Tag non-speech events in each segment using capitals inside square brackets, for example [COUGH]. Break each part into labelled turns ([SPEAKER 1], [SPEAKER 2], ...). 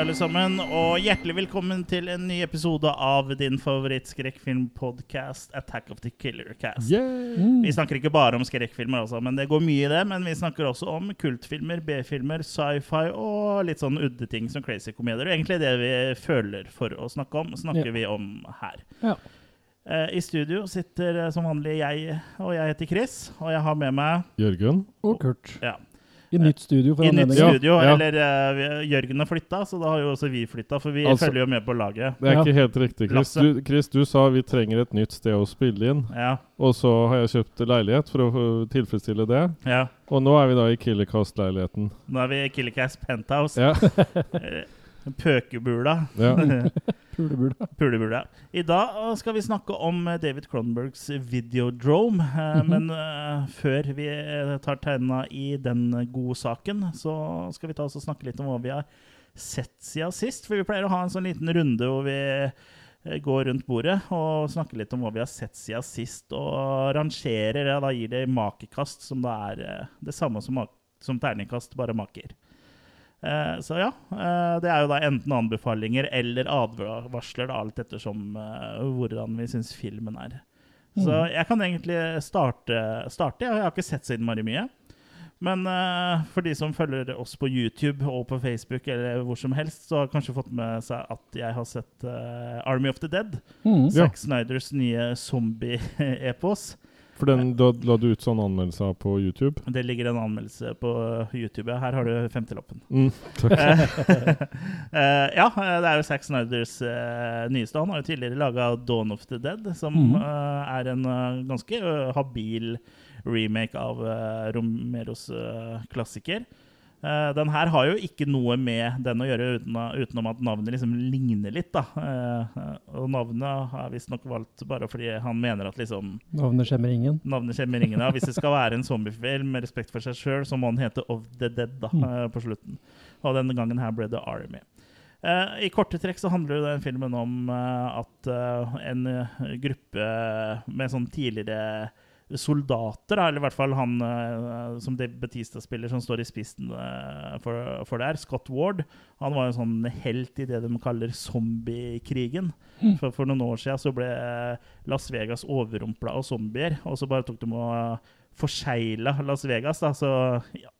[SPEAKER 1] alle sammen, og hjertelig velkommen til en ny episode av din favoritt-skrekkfilmpodkast, 'Attack of the Killer Cast'.
[SPEAKER 2] Mm.
[SPEAKER 1] Vi snakker ikke bare om skrekkfilmer, altså, men det går mye i det. Men vi snakker også om kultfilmer, B-filmer, sci-fi og litt sånn udde ting som crazy komedier. Og egentlig det vi føler for å snakke om, snakker
[SPEAKER 2] Ja.
[SPEAKER 1] vi om her.
[SPEAKER 2] Ja.
[SPEAKER 1] Eh, I studio sitter eh, som vanlig jeg, og jeg heter Chris. Og jeg har med meg
[SPEAKER 3] Jørgen?
[SPEAKER 2] Og Kurt.
[SPEAKER 1] ja,
[SPEAKER 2] I nytt studio for
[SPEAKER 1] i nytt
[SPEAKER 2] anledningen.
[SPEAKER 1] studio.
[SPEAKER 3] Ja.
[SPEAKER 1] Eller eh, vi- Jørgen har flytta, så da har jo også vi flytta, for vi
[SPEAKER 3] Altså-
[SPEAKER 1] følger jo med på laget.
[SPEAKER 3] Det er
[SPEAKER 2] Ja.
[SPEAKER 3] ikke helt riktig, Chris.
[SPEAKER 1] Lasse.
[SPEAKER 3] Du, Chris, du sa vi trenger et nytt sted å spille inn,
[SPEAKER 1] Ja,
[SPEAKER 3] og så har jeg kjøpt leilighet for å få tilfredsstille det.
[SPEAKER 1] ja.
[SPEAKER 3] Og nå er vi da i Killercast-leiligheten.
[SPEAKER 1] Nå er vi i Killercast Penthouse.
[SPEAKER 3] Ja. [LAUGHS]
[SPEAKER 1] Eh, Pøkebula.
[SPEAKER 3] ja.
[SPEAKER 2] Pulebula.
[SPEAKER 1] Pulebula. I dag eh, skal vi snakke om eh, David Cronbergs Videodrome. eh, Men eh, før vi eh, tar tegna i den gode saken, så skal vi ta oss og snakke litt om hva vi har sett siden sist. For vi pleier å ha en sånn liten runde hvor vi eh, går rundt bordet og snakker litt om hva vi har sett siden sist, og rangerer. Ja, da gir det makekast, som da er eh, det samme som, mak- som terningkast, bare maker. Eh, så ja, eh, det er jo da enten anbefalinger eller advarsler, da, alt ettersom eh, hvordan vi syns filmen er. Så jeg kan egentlig starte, starte. Jeg har ikke sett så innmari mye. Men eh, for de som følger oss på YouTube og på Facebook, eller hvor som helst, så har kanskje fått med seg at jeg har sett eh, Army of the Dead.
[SPEAKER 2] Mm.
[SPEAKER 3] Ja.
[SPEAKER 1] Zack Snyders nye zombie-epos.
[SPEAKER 3] For den da, la du ut sånn anmeldelse av på YouTube?
[SPEAKER 1] Det ligger en anmeldelse på YouTube. Her har du femteloppen.
[SPEAKER 3] Mm, takk.
[SPEAKER 1] [LAUGHS] Eh, ja, eh, det er jo Zack Snyders eh, nyeste. Han har jo tidligere laga Dawn of the Dead, som
[SPEAKER 2] Mhm.
[SPEAKER 1] eh, er en eh, ganske eh, habil remake av eh, Romeros eh, klassiker. Eh, den her har jo ikke noe med den å gjøre, uten, utenom at navnet liksom ligner litt. da. Eh, og navnet er visstnok valgt bare fordi han mener at liksom
[SPEAKER 2] Navnet skjemmer ingen.
[SPEAKER 1] Navnet skjemmer ingen av. Hvis det skal være en zombiefilm med respekt for seg sjøl, så må den hete Of the Dead da,
[SPEAKER 2] Mm.
[SPEAKER 1] eh, på slutten. Og denne gangen her ble det Army. Eh, I korte trekk så handler jo den filmen om eh, at eh, en eh, gruppe med sånn tidligere soldater, da, eller i hvert fall han eh, som Dave Batista spiller, som står i spissen eh, for, for det her, Scott Ward, han var jo en sånn helt i det de kaller zombiekrigen.
[SPEAKER 2] Mm.
[SPEAKER 1] Mm. For, for noen år siden så ble Las Vegas overrumpla av zombier, og så bare tok de og forsegla Las Vegas. Da. Så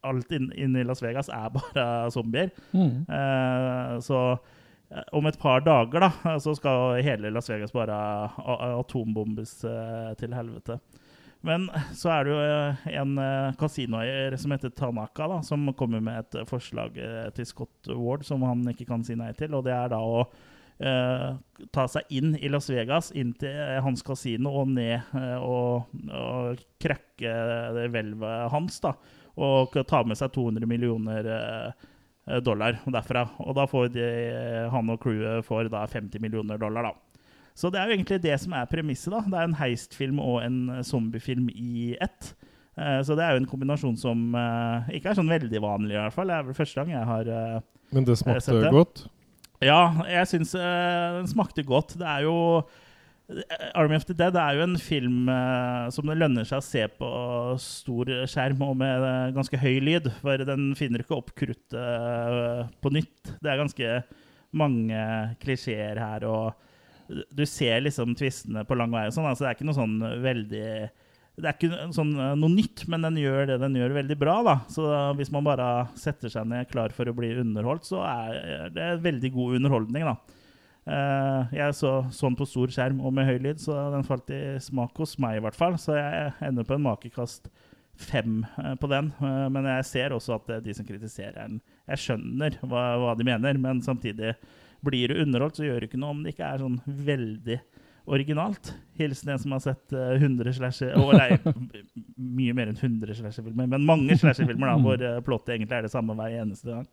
[SPEAKER 1] alt inn- inni Las Vegas er bare [LAUGHS] zombier.
[SPEAKER 2] Mm.
[SPEAKER 1] Eh, så eh, om et par dager da, eh, så skal hele Las Vegas bare a- a- atombombes eh, til helvete. Men så er det jo eh, en eh, kasinoeier som heter Tanaka, da, som kommer med et eh, forslag eh, til Scott Ward som han ikke kan si nei til. Og det er da å eh, ta seg inn i Las Vegas, inn til eh, hans kasino og ned eh, og, og krakke det hvelvet hans. da, Og ta med seg 200 millioner eh, dollar derfra. Og da får de, eh, han og crewet får da 50 millioner dollar, da. Så det er jo egentlig det som er premisset. da. Det er en heistfilm og en eh, zombiefilm i ett. Eh, Så det er jo en kombinasjon som eh, ikke er sånn veldig vanlig, i hvert fall. Det er vel første gang jeg har eh,
[SPEAKER 3] Men det
[SPEAKER 1] Jeg [LAUGHS] har
[SPEAKER 3] smakte
[SPEAKER 1] sett det.
[SPEAKER 3] godt?
[SPEAKER 1] ja, jeg syns eh, den smakte godt. Det er jo eh, Army of the Dead er jo en film eh, som det lønner seg å se på stor skjerm og med eh, ganske høy lyd, for den finner ikke opp kruttet eh, på nytt. Det er ganske mange klisjeer her, og du ser liksom tvistene på lang vei og sånn. Altså, det er ikke noe sånn veldig det er ikke noe sånn, eh, noe nytt, men den gjør det den gjør veldig bra. da. Så eh, Hvis man bare setter seg ned klar for å bli underholdt, så er eh, det veldig god underholdning. da. Eh, Jeg så sånn på stor skjerm og med høy lyd, så den falt i smak hos meg i hvert fall. Så jeg ender på en makekast fem eh, på den. Eh, Men jeg ser også at eh, de som kritiserer den, jeg skjønner hva, hva de mener, men samtidig blir du underholdt, så gjør det ikke noe om det ikke er sånn veldig originalt. Hilsen en som har sett eh, 100 slasher Å nei, m- mye mer enn 100 slasherfilmer, men mange slasherfilmer da, hvor uh, plottet egentlig er det samme hver eneste gang.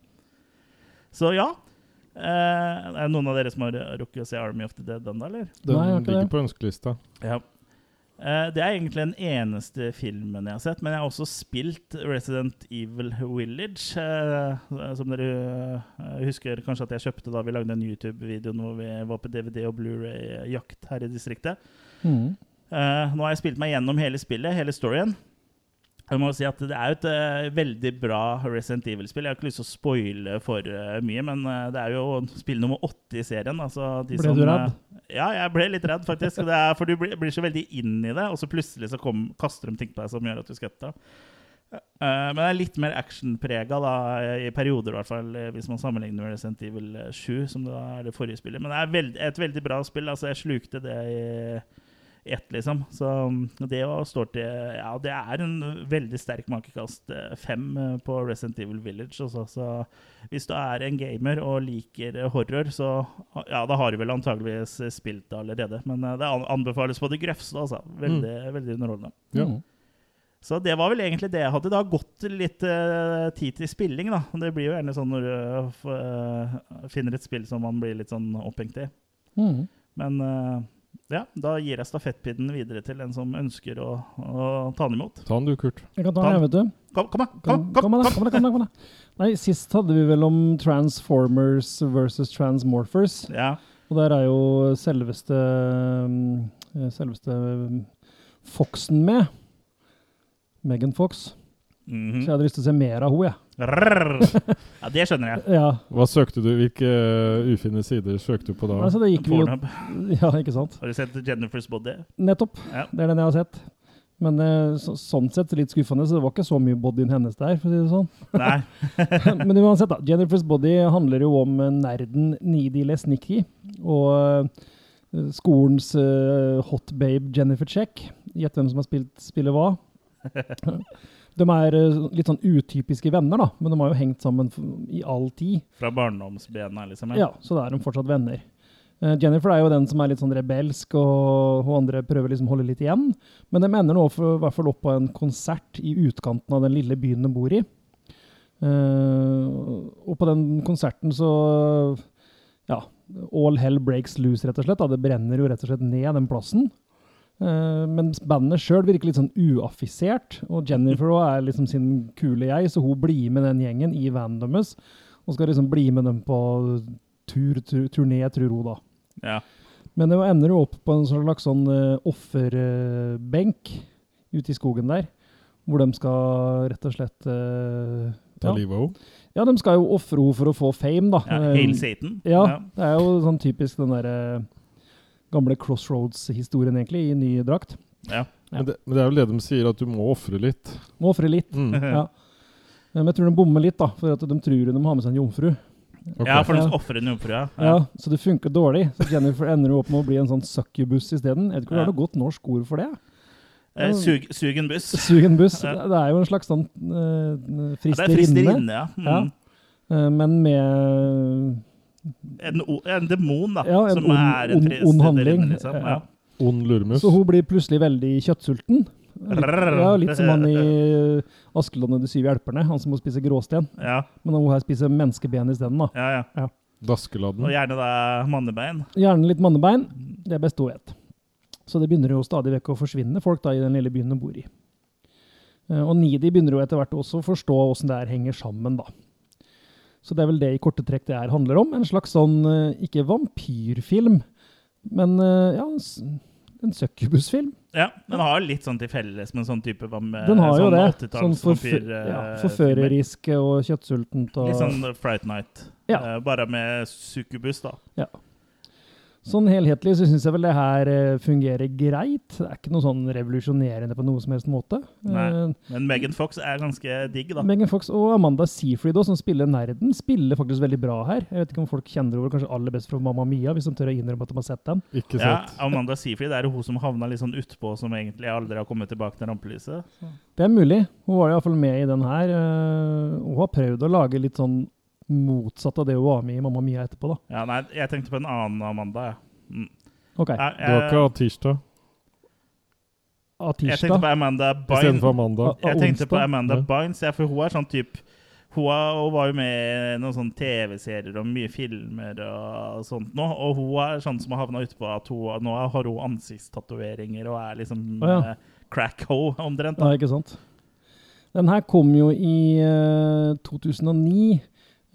[SPEAKER 1] Så ja. eh, er det noen av dere som har eh, rukket å se Army of the Dead ennå, eller?
[SPEAKER 3] Den
[SPEAKER 2] Nei, jeg har ikke
[SPEAKER 3] ligger
[SPEAKER 2] det.
[SPEAKER 3] på ønskelista.
[SPEAKER 1] Ja. Eh, Det er egentlig den eneste filmen jeg har sett, men jeg har også spilt Resident Evil Village. eh, Som dere eh, husker kanskje at jeg kjøpte da vi lagde en YouTube-video når vi var på DVD- og Blu-ray-jakt her i distriktet.
[SPEAKER 2] Mm.
[SPEAKER 1] Eh, nå har jeg spilt meg gjennom hele spillet, hele storyen. Jeg må jo si at Det er jo et eh, veldig bra Resident Evil-spill. Jeg har ikke lyst til å spoile for eh, mye, men eh, det er jo spill nummer åtte i serien. Altså de
[SPEAKER 2] Ble
[SPEAKER 1] som,
[SPEAKER 2] du redd?
[SPEAKER 1] eh, ja, jeg ble litt redd, faktisk. Det er, for du blir, blir så veldig inn i det, og så plutselig så kom, kaster de ting på deg som gjør at du skvetter. Eh, men det er litt mer actionprega, da, i perioder i hvert fall, eh, hvis man sammenligner med Resident Evil 7, som da er det forrige spillet. Men det er veld, et veldig bra spill. Altså, jeg slukte det i ett, liksom. Så um, det å stå til Ja, det er en veldig sterk makekast eh, fem eh, på Resident Evil Village. Også, så hvis du er en gamer og liker eh, horror, så ja, da har du vel antageligvis eh, spilt det allerede. Men eh, det an- anbefales på det grøfste, altså. Veldig, veldig underholdende.
[SPEAKER 3] Ja.
[SPEAKER 2] Mm.
[SPEAKER 1] Så det var vel egentlig det jeg hadde. Det har gått litt eh, tid til spilling, da. Det blir jo gjerne sånn når du eh, f- eh, finner et spill som man blir litt sånn opphengt i.
[SPEAKER 2] Mm.
[SPEAKER 1] Men eh, ja, da gir jeg stafettpinnen videre til en som ønsker å, å ta den imot.
[SPEAKER 3] Ta den du, Kurt.
[SPEAKER 2] Jeg kan ta den, jeg, vet du.
[SPEAKER 1] Kom, kom, da, kom,
[SPEAKER 2] Kom,
[SPEAKER 1] kom,
[SPEAKER 2] kom, da,
[SPEAKER 1] kom.
[SPEAKER 2] kom, da, kom, da, kom, da. Nei, sist hadde vi vel om Transformers versus Transmorphers.
[SPEAKER 1] Ja,
[SPEAKER 2] Og der er jo selveste mm, eh, Selveste mm, Foxen med. Megan Fox. Så jeg
[SPEAKER 1] mhm.
[SPEAKER 2] hadde lyst til å se mer av henne, jeg.
[SPEAKER 1] Rrrr. ja det skjønner jeg.
[SPEAKER 2] Ja.
[SPEAKER 3] Hva søkte du? Hvilke eh, ufine sider søkte du på da?
[SPEAKER 2] Altså, det gikk vi jo
[SPEAKER 1] Pornhub.
[SPEAKER 2] [LAUGHS] Ja, ikke sant.
[SPEAKER 1] Har du sett Jennifer's Body?
[SPEAKER 2] Nettopp.
[SPEAKER 1] Ja.
[SPEAKER 2] Det er den jeg har sett. Men eh, så, sånn sett litt skuffende, så det var ikke så mye bodyen hennes der. for å si det sånn.
[SPEAKER 1] Nei.
[SPEAKER 2] Men uansett, da. Jennifer's Body handler jo om eh, nerden Needy Lesnicki og eh, skolens eh, hot babe Jennifer Check. Gjett hvem som har spilt spiller hva. De er eh, litt sånn utypiske venner, da, men de har jo hengt sammen f- i all tid.
[SPEAKER 1] Fra barndomsbena, liksom.
[SPEAKER 2] Ja, så da er de fortsatt venner. Eh, Jennifer er jo den som er litt sånn rebelsk, og hun andre prøver liksom å holde litt igjen. Men de ender nå for, i hvert fall opp på en konsert i utkanten av den lille byen de bor i. Eh, og på den konserten så Ja, all hell breaks loose, rett og slett. Da. Det brenner jo rett og slett ned den plassen. Eh, men bandet sjøl virker litt sånn uaffisert, og Jennifer også er liksom sin kule jeg, så hun blir med den gjengen i vanen deres. Og skal liksom bli med dem på tur, tur, turné, tror hun, da.
[SPEAKER 1] Ja.
[SPEAKER 2] Men det ender jo opp på en slags sånn eh, offerbenk ute i skogen der, hvor de skal rett og slett eh,
[SPEAKER 3] Ta
[SPEAKER 2] ja.
[SPEAKER 3] livet av henne?
[SPEAKER 2] ja, de skal jo ofre henne for å få fame, da.
[SPEAKER 1] ja.
[SPEAKER 2] Eh,
[SPEAKER 1] Hail Satan.
[SPEAKER 2] ja, det er jo sånn typisk den derre gamle Crossroads-historien, egentlig, i ny drakt. Ja.
[SPEAKER 3] Men, det- men det er jo det de sier, at du må ofre litt.
[SPEAKER 1] [LAUGHS]
[SPEAKER 2] Må ofre litt.
[SPEAKER 3] Mm.
[SPEAKER 2] Ja. Eh, Men jeg tror de bommer litt, da, for at de tror de har med seg en jomfru.
[SPEAKER 3] ok.
[SPEAKER 1] ja, for de
[SPEAKER 2] Ja.
[SPEAKER 1] skal ofre en jomfru, ja.
[SPEAKER 2] Ja, så det funker dårlig. Så Jennifer ender jo opp med å bli en sånn succubus isteden. Jeg vet ikke om det er noe godt norsk ord for det.
[SPEAKER 1] Eh, Sug, sug en buss.
[SPEAKER 2] Sug en buss. Det
[SPEAKER 1] Ja.
[SPEAKER 2] det er jo en slags sånn eh,
[SPEAKER 1] Ja, det er
[SPEAKER 2] fristerinne,
[SPEAKER 1] fristerinne, ja. Mm.
[SPEAKER 2] Ja. eh, men med
[SPEAKER 1] En, o- en demon, da.
[SPEAKER 2] Ja, en
[SPEAKER 1] som
[SPEAKER 2] ond-
[SPEAKER 1] er en
[SPEAKER 2] ond-
[SPEAKER 1] fristerinne,
[SPEAKER 2] ond handling.
[SPEAKER 1] Liksom. Ja.
[SPEAKER 2] Ja.
[SPEAKER 3] Ond lurmus.
[SPEAKER 2] Så hun blir plutselig veldig kjøttsulten. Litt,
[SPEAKER 1] Rrrr.
[SPEAKER 2] ja, litt som han i
[SPEAKER 1] [LAUGHS]
[SPEAKER 2] Askeland og de syv hjelperne, han som må spise gråsten.
[SPEAKER 1] Ja,
[SPEAKER 2] Men hun her spiser menneskeben isteden, da.
[SPEAKER 1] ja, ja. Og
[SPEAKER 3] Daskeladden.
[SPEAKER 1] gjerne da mannebein.
[SPEAKER 2] Gjerne litt mannebein. Det er best hun vet. Så det begynner jo stadig vekk å forsvinne folk da i den lille byen de bor i. Eh, Og Nidi begynner jo etter hvert også å forstå åssen det her henger sammen, da. Så det er vel det i korte trekk det her handler om. En slags sånn, eh, ikke vampyrfilm, men eh, ja, en s- en succubusfilm.
[SPEAKER 1] Ja, den har litt sånn til felles med sånn type vam-
[SPEAKER 2] Den har jo
[SPEAKER 1] sånn
[SPEAKER 2] det.
[SPEAKER 1] 80-talls
[SPEAKER 2] Sånn forfø
[SPEAKER 1] vampyr, eh,
[SPEAKER 2] ja, forførerisk og kjøttsultent.
[SPEAKER 1] filmer.
[SPEAKER 2] Og,
[SPEAKER 1] Litt sånn Fright Night.
[SPEAKER 2] Ja.
[SPEAKER 1] Eh, bare med succubus, da.
[SPEAKER 2] Sånn helhetlig så syns jeg vel det her eh, fungerer greit. Det er ikke noe sånn revolusjonerende på noen som helst måte.
[SPEAKER 1] Nei.
[SPEAKER 2] Eh,
[SPEAKER 1] Men Megan Fox er ganske digg, da.
[SPEAKER 2] Megan Fox og Amanda Seyfried også, som spiller nerden, spiller faktisk veldig bra her. Jeg vet ikke om folk kjenner over kanskje aller best fra Mamma Mia, hvis de tør å innrømme at de har sett den.
[SPEAKER 3] Ikke
[SPEAKER 1] Ja,
[SPEAKER 3] sant?
[SPEAKER 1] Amanda Seyfried er jo hun som havna litt sånn utpå, som egentlig aldri har kommet tilbake til rampelyset.
[SPEAKER 2] Det er mulig. Hun var iallfall med i den her. eh, Hun har prøvd å lage litt sånn motsatt av det hun var med i Mamma Mia etterpå, da.
[SPEAKER 1] Ja, nei, jeg tenkte på en annen Amanda, jeg.
[SPEAKER 2] OK.
[SPEAKER 1] Nei,
[SPEAKER 3] Det var ikke Atisha
[SPEAKER 1] jeg tenkte
[SPEAKER 2] Atisha.
[SPEAKER 1] på Amanda Bynes.
[SPEAKER 3] istedenfor Amanda.
[SPEAKER 2] Av
[SPEAKER 1] Jeg tenkte på
[SPEAKER 2] onsdag.
[SPEAKER 1] Amanda
[SPEAKER 3] Ja.
[SPEAKER 1] Bynes, ja, for hun er sånn typ hun, er, hun var jo med i noen sånne TV-serier og mye filmer og sånt nå, og hun er sånn som har havna utpå at hun nå har hun ansiktstatoveringer og er liksom
[SPEAKER 2] Å, ja.
[SPEAKER 1] eh, crack-ho omtrent. da.
[SPEAKER 2] Ja, ikke sant? Den her kom jo i eh, 2009.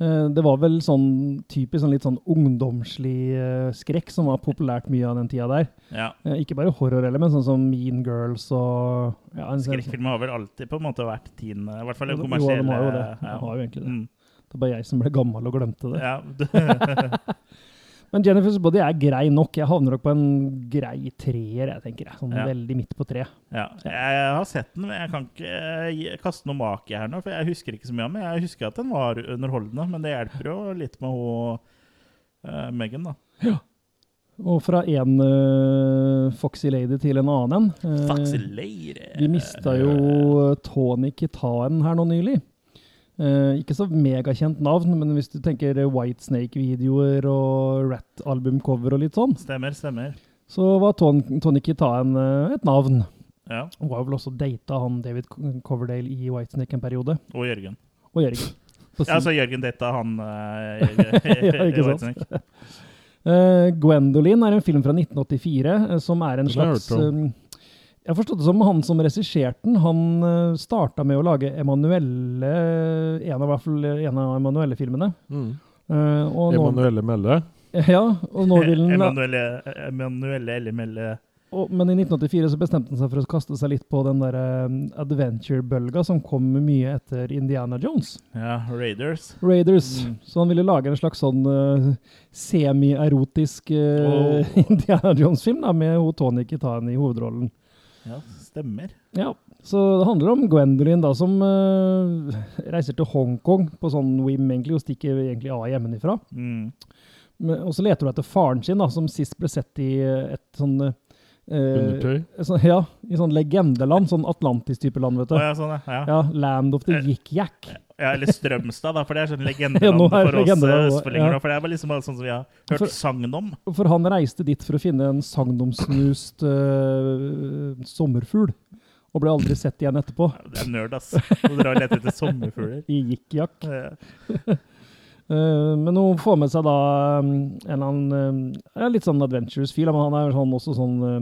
[SPEAKER 2] Eh, Det var vel sånn typisk sånn litt sånn ungdomslig eh, skrekk som var populært mye av den tida der.
[SPEAKER 1] Ja.
[SPEAKER 2] Eh, Ikke bare horror heller, men sånn som Mean Girls og ja, en-
[SPEAKER 1] Skrekkfilmer har vel alltid på en måte vært din eh, I hvert fall den
[SPEAKER 2] Jo,
[SPEAKER 1] kommersielle.
[SPEAKER 2] de har jo det. De
[SPEAKER 1] ja.
[SPEAKER 2] har jo egentlig det.
[SPEAKER 1] Mm.
[SPEAKER 2] Det er bare jeg som ble gammel og glemte det.
[SPEAKER 1] Ja,
[SPEAKER 2] [LAUGHS]
[SPEAKER 1] du-
[SPEAKER 2] Men Jennifer's Body er grei nok. Jeg havner nok på en grei treer, jeg tenker. jeg. Sånn
[SPEAKER 1] Ja.
[SPEAKER 2] veldig midt på tre.
[SPEAKER 1] ja. Jeg har sett den, men jeg kan ikke eh, gi- kaste noe make her nå. For jeg husker ikke så mye av den. Jeg husker at den var underholdende, men det hjelper jo litt med hun eh, Megan, da.
[SPEAKER 2] Og fra én eh, foxy lady til en annen en. Eh,
[SPEAKER 1] Foxy Leire.
[SPEAKER 2] Vi mista jo Tony Kitaen her nå nylig. Eh, ikke så megakjent navn, men hvis du tenker Whitesnake-videoer og Rat-albumcover og litt sånn,
[SPEAKER 1] Stemmer, stemmer.
[SPEAKER 2] så var Ton Tony Kitaen eh, et navn.
[SPEAKER 1] Ja.
[SPEAKER 2] Hun var vel også data han David Coverdale i Whitesnake en periode.
[SPEAKER 1] Og Jørgen.
[SPEAKER 2] Og [LAUGHS] Jørgen. På
[SPEAKER 1] Ja,
[SPEAKER 2] sin-
[SPEAKER 1] så Jørgen dette han
[SPEAKER 2] [LAUGHS]
[SPEAKER 1] eh,
[SPEAKER 2] Ja, ikke sant?
[SPEAKER 1] Whitesnake.
[SPEAKER 2] Eh, Gwendoline er en film fra 1984 eh, som er en
[SPEAKER 3] Den har jeg
[SPEAKER 2] slags
[SPEAKER 3] hørt om.
[SPEAKER 2] eh, Jeg forstod det som han som regisserte den, han eh, starta med å lage Emanuelle eh, En av, i hvert fall en av Emanuelle-filmene.
[SPEAKER 1] Ah.
[SPEAKER 2] Eh, og, nå-
[SPEAKER 3] Emanuelle Melle.
[SPEAKER 2] [LAUGHS] ja, og nå vil den
[SPEAKER 1] Emanuelle Emanuelle Ellemelle.
[SPEAKER 2] og, Men i 1984 så bestemte han seg for å kaste seg litt på den der eh, adventure-bølga som kom mye etter Indiana Jones.
[SPEAKER 1] Ja, Raiders.
[SPEAKER 2] Raiders. Så han ville lage en slags sånn eh, semi-erotisk eh,
[SPEAKER 1] Åh.
[SPEAKER 2] [LAUGHS] Indiana Jones-film da, med ho- Tony Kitaen i hovedrollen.
[SPEAKER 1] Ja, stemmer.
[SPEAKER 2] Ja, Så det handler om Gwendolyn da, som eh, reiser til Hongkong på sånn whim egentlig, og stikker egentlig av hjemmefra.
[SPEAKER 1] Mm.
[SPEAKER 2] Men- Og så leter hun etter faren sin, da, som sist ble sett i eh, et sånn eh,
[SPEAKER 3] Undertøy.
[SPEAKER 2] et sånn- ja, i sånn legendeland, sånn Atlantis-type land, vet du.
[SPEAKER 1] Å, ja, sånn, ja. Ja.
[SPEAKER 2] Ja, Land of the Yik-Yak.
[SPEAKER 1] ja, eller Strømstad, da, for det er sånn
[SPEAKER 2] [LAUGHS] Ja,
[SPEAKER 1] legendeland
[SPEAKER 2] nå er det
[SPEAKER 1] for oss
[SPEAKER 2] legendeland,
[SPEAKER 1] eh,
[SPEAKER 2] ja. Altså-
[SPEAKER 1] østfoldinger. da, For det er bare liksom alt sånn som vi har
[SPEAKER 2] For-
[SPEAKER 1] hørt sagn om.
[SPEAKER 2] For han reiste dit for å finne en sagnomsnust eh, sommerfugl, og ble aldri sett igjen etterpå.
[SPEAKER 1] Ja, Det er nerd, ass. Å dra og lete etter sommerfugler.
[SPEAKER 2] I Yik-Yak.
[SPEAKER 1] Eh,
[SPEAKER 2] Eh, men hun får med seg da um, en eller annen eh, ja, litt sånn adventures-fil. Men han er sånn, også sånn eh,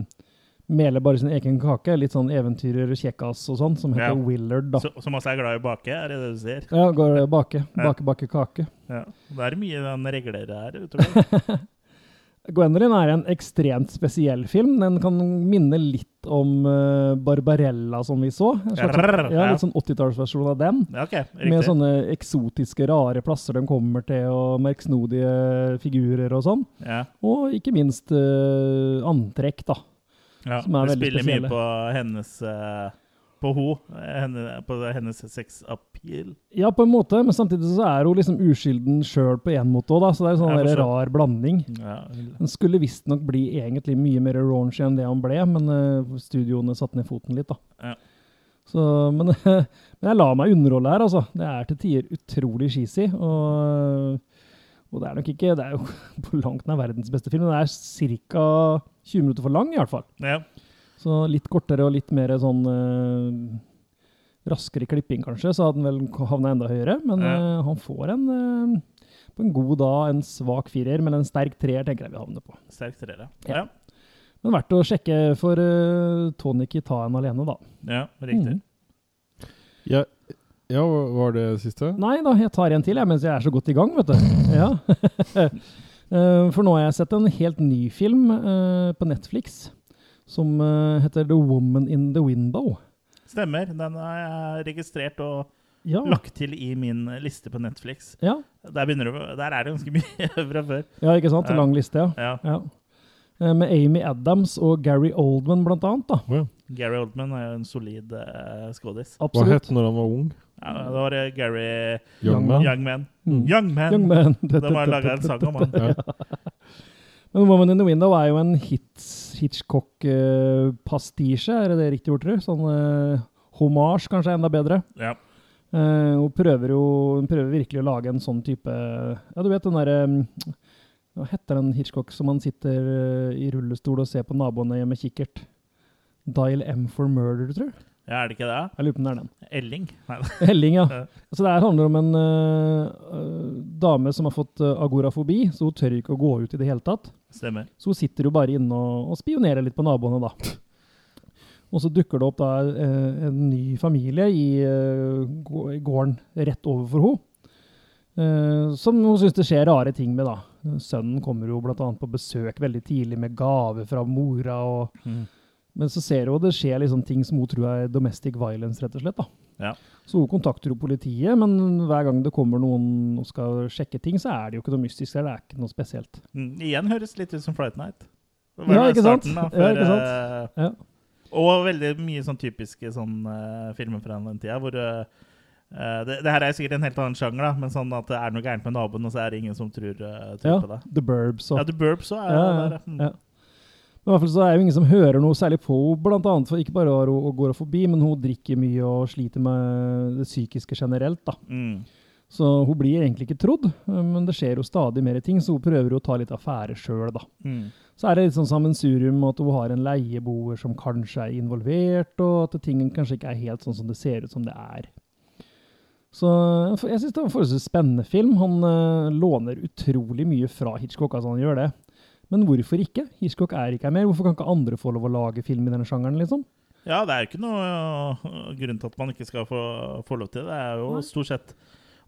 [SPEAKER 2] Meler bare sin egen kake. Litt sånn eventyrer, kjekkas og sånn, som heter
[SPEAKER 1] Ja.
[SPEAKER 2] Willard, da.
[SPEAKER 1] så- Som også er glad i å bake, er det det du sier?
[SPEAKER 2] Ja, går og bake. Bake, bake kake.
[SPEAKER 1] Ja. Det er mye den regler her, utover.
[SPEAKER 2] Gwendoline er en ekstremt spesiell film. Den kan minne litt om eh, Barbarella, som vi så. En slags,
[SPEAKER 1] Rrrr, ja.
[SPEAKER 2] ja, litt sånn 80-tallsversjon av den. [LAUGHS]
[SPEAKER 1] Ja, ok,
[SPEAKER 2] Med
[SPEAKER 1] riktig.
[SPEAKER 2] sånne eksotiske, rare plasser de kommer til, og merksnodige figurer og sånn.
[SPEAKER 1] Ja.
[SPEAKER 2] Og ikke minst eh, antrekk, da.
[SPEAKER 1] Ja.
[SPEAKER 2] som er
[SPEAKER 1] Det
[SPEAKER 2] veldig
[SPEAKER 1] spiller
[SPEAKER 2] spesielle.
[SPEAKER 1] mye på hennes eh, På ho. Henne, på hennes sex appeal.
[SPEAKER 2] Ja, på en måte, men samtidig så er hun liksom uskylden sjøl på én måte òg, da. Så det er en sånn
[SPEAKER 1] Ja, for
[SPEAKER 2] der
[SPEAKER 1] så-
[SPEAKER 2] rar blanding.
[SPEAKER 1] Ja.
[SPEAKER 2] Den skulle visstnok bli egentlig mye mer raunchy enn det han ble, men eh, studioene satte ned foten litt, da.
[SPEAKER 1] Ja.
[SPEAKER 2] Så, men, [LAUGHS] men jeg lar meg underholde her, altså. Det er til tider utrolig cheesy. Og, og det er nok ikke Det er jo [LAUGHS] på langt nær verdens beste film. men Den er ca. 20 minutter for lang, i hvert fall.
[SPEAKER 1] ja.
[SPEAKER 2] Så litt kortere og litt mer sånn eh, raskere klipping, kanskje, så hadde den vel havna enda høyere. Men
[SPEAKER 1] Ja.
[SPEAKER 2] eh, han får en eh, på en god dag en svak firer, men en sterk treer tenker jeg vi havner på.
[SPEAKER 1] Sterk treer,
[SPEAKER 2] Ja.
[SPEAKER 1] ja.
[SPEAKER 2] Men verdt å sjekke for uh, Tony Kitaen alene, da.
[SPEAKER 1] Ja, riktig.
[SPEAKER 2] Mm.
[SPEAKER 3] Ja, ja, var det siste?
[SPEAKER 2] Nei da, jeg tar en til jeg, mens jeg er så godt i gang, vet du. [LAUGHS] Ja. Eh, for nå har jeg sett en helt ny film eh, på Netflix som eh, heter The Woman in the Window.
[SPEAKER 1] Stemmer. Den har jeg registrert og
[SPEAKER 2] Ja.
[SPEAKER 1] lagt til i min liste på Netflix.
[SPEAKER 2] Ja,
[SPEAKER 1] Der, begynner du, der er det ganske [LAUGHS] mye fra før.
[SPEAKER 2] ja ikke sant?
[SPEAKER 1] Ja.
[SPEAKER 2] Lang liste, ja.
[SPEAKER 1] Ja,
[SPEAKER 2] Ja. Eh, Med Amy Adams og Gary Oldman blant annet, da.
[SPEAKER 3] Å ja.
[SPEAKER 1] Gary Oldman er jo en solid uh, skådis.
[SPEAKER 3] Hva
[SPEAKER 2] Absolutt.
[SPEAKER 3] het han når han var ung?
[SPEAKER 1] Ja, det var eh, Gary
[SPEAKER 2] Young
[SPEAKER 3] Young Man?
[SPEAKER 1] Young Man.
[SPEAKER 2] Mm.
[SPEAKER 1] Young Man!
[SPEAKER 2] Young Man. [LAUGHS]
[SPEAKER 1] De har laga en sang om han.
[SPEAKER 3] Ja.
[SPEAKER 2] Men Woman in the Window er jo en hits, Hitchcock-pastisje, er det det riktig ord, tror du? Sånn uh, hommage, kanskje, er enda bedre.
[SPEAKER 1] Ja.
[SPEAKER 2] Eh, hun prøver jo hun prøver virkelig å lage en sånn type Ja, du vet den derre mm, Hva heter den Hitchcock som han sitter eh, i rullestol og ser på naboene med kikkert? Dial M for murder, tror jeg.
[SPEAKER 1] ja, er det ikke det?
[SPEAKER 2] Jeg lurer på om det er den.
[SPEAKER 1] Elling? Nei,
[SPEAKER 2] Helling, ja.
[SPEAKER 1] Ja.
[SPEAKER 2] Så det her handler om en eh, eh, dame som har fått eh, agorafobi, så hun tør ikke å gå ut i det hele tatt.
[SPEAKER 1] [LAUGHS] stemmer.
[SPEAKER 2] Så hun sitter jo bare inne og, og spionerer litt på naboene, da. Og så dukker det opp da eh, en ny familie i eh, gå- i gården rett overfor henne. Eh, som hun syns det skjer rare ting med, da. Sønnen kommer jo bl.a. på besøk veldig tidlig med gave fra mora. og
[SPEAKER 1] Mm.
[SPEAKER 2] men så ser hun det skjer liksom ting som hun tror er domestic violence, rett og slett. da.
[SPEAKER 1] Ja.
[SPEAKER 2] Så hun kontakter jo politiet, men hver gang det kommer noen og skal sjekke ting, så er det jo ikke noe mystisk eller det er ikke noe spesielt.
[SPEAKER 1] Mm. Igjen høres litt ut som Flight Night. Det
[SPEAKER 2] Ja,
[SPEAKER 1] jo
[SPEAKER 2] ikke sant?
[SPEAKER 1] starten
[SPEAKER 2] Ja, ikke
[SPEAKER 1] eh,
[SPEAKER 2] Ja.
[SPEAKER 1] Og veldig mye sånn typiske sånn, eh, filmer fra den tida hvor eh, eh, det, det her er sikkert en helt annen sjanger, da, men sånn at det er noe gærent med naboen, og så er det ingen som tror, eh, tror
[SPEAKER 2] Ja,
[SPEAKER 1] på det.
[SPEAKER 2] The Burbs og
[SPEAKER 1] Ja, The Burbs òg er jo
[SPEAKER 2] Ja,
[SPEAKER 1] der. ja. Mm.
[SPEAKER 2] ja. Men i hvert fall så er jo ingen som hører noe særlig på henne, blant annet, for ikke bare har hun og går hun forbi, men hun drikker mye og sliter med det psykiske generelt, da.
[SPEAKER 1] Mm.
[SPEAKER 2] Så hun blir egentlig ikke trodd, eh, men det skjer jo stadig mer ting, så hun prøver å ta litt affære sjøl, da.
[SPEAKER 1] Mm.
[SPEAKER 2] Så er det litt sånn sammensurium at hun har en leieboer som kanskje er involvert, og at ting kanskje ikke er helt sånn som det ser ut som det er. Så for- jeg syns det var en forholdsvis spennende film. Han eh, låner utrolig mye fra Hitchcock, altså han gjør det. Men hvorfor ikke? Hitchcock er ikke her mer. Hvorfor kan ikke andre få lov å lage film i denne sjangeren, liksom?
[SPEAKER 1] Ja, det er jo ikke noe øh, grunn til at man ikke skal få, få lov til det. Det er jo
[SPEAKER 2] Nei.
[SPEAKER 1] stort sett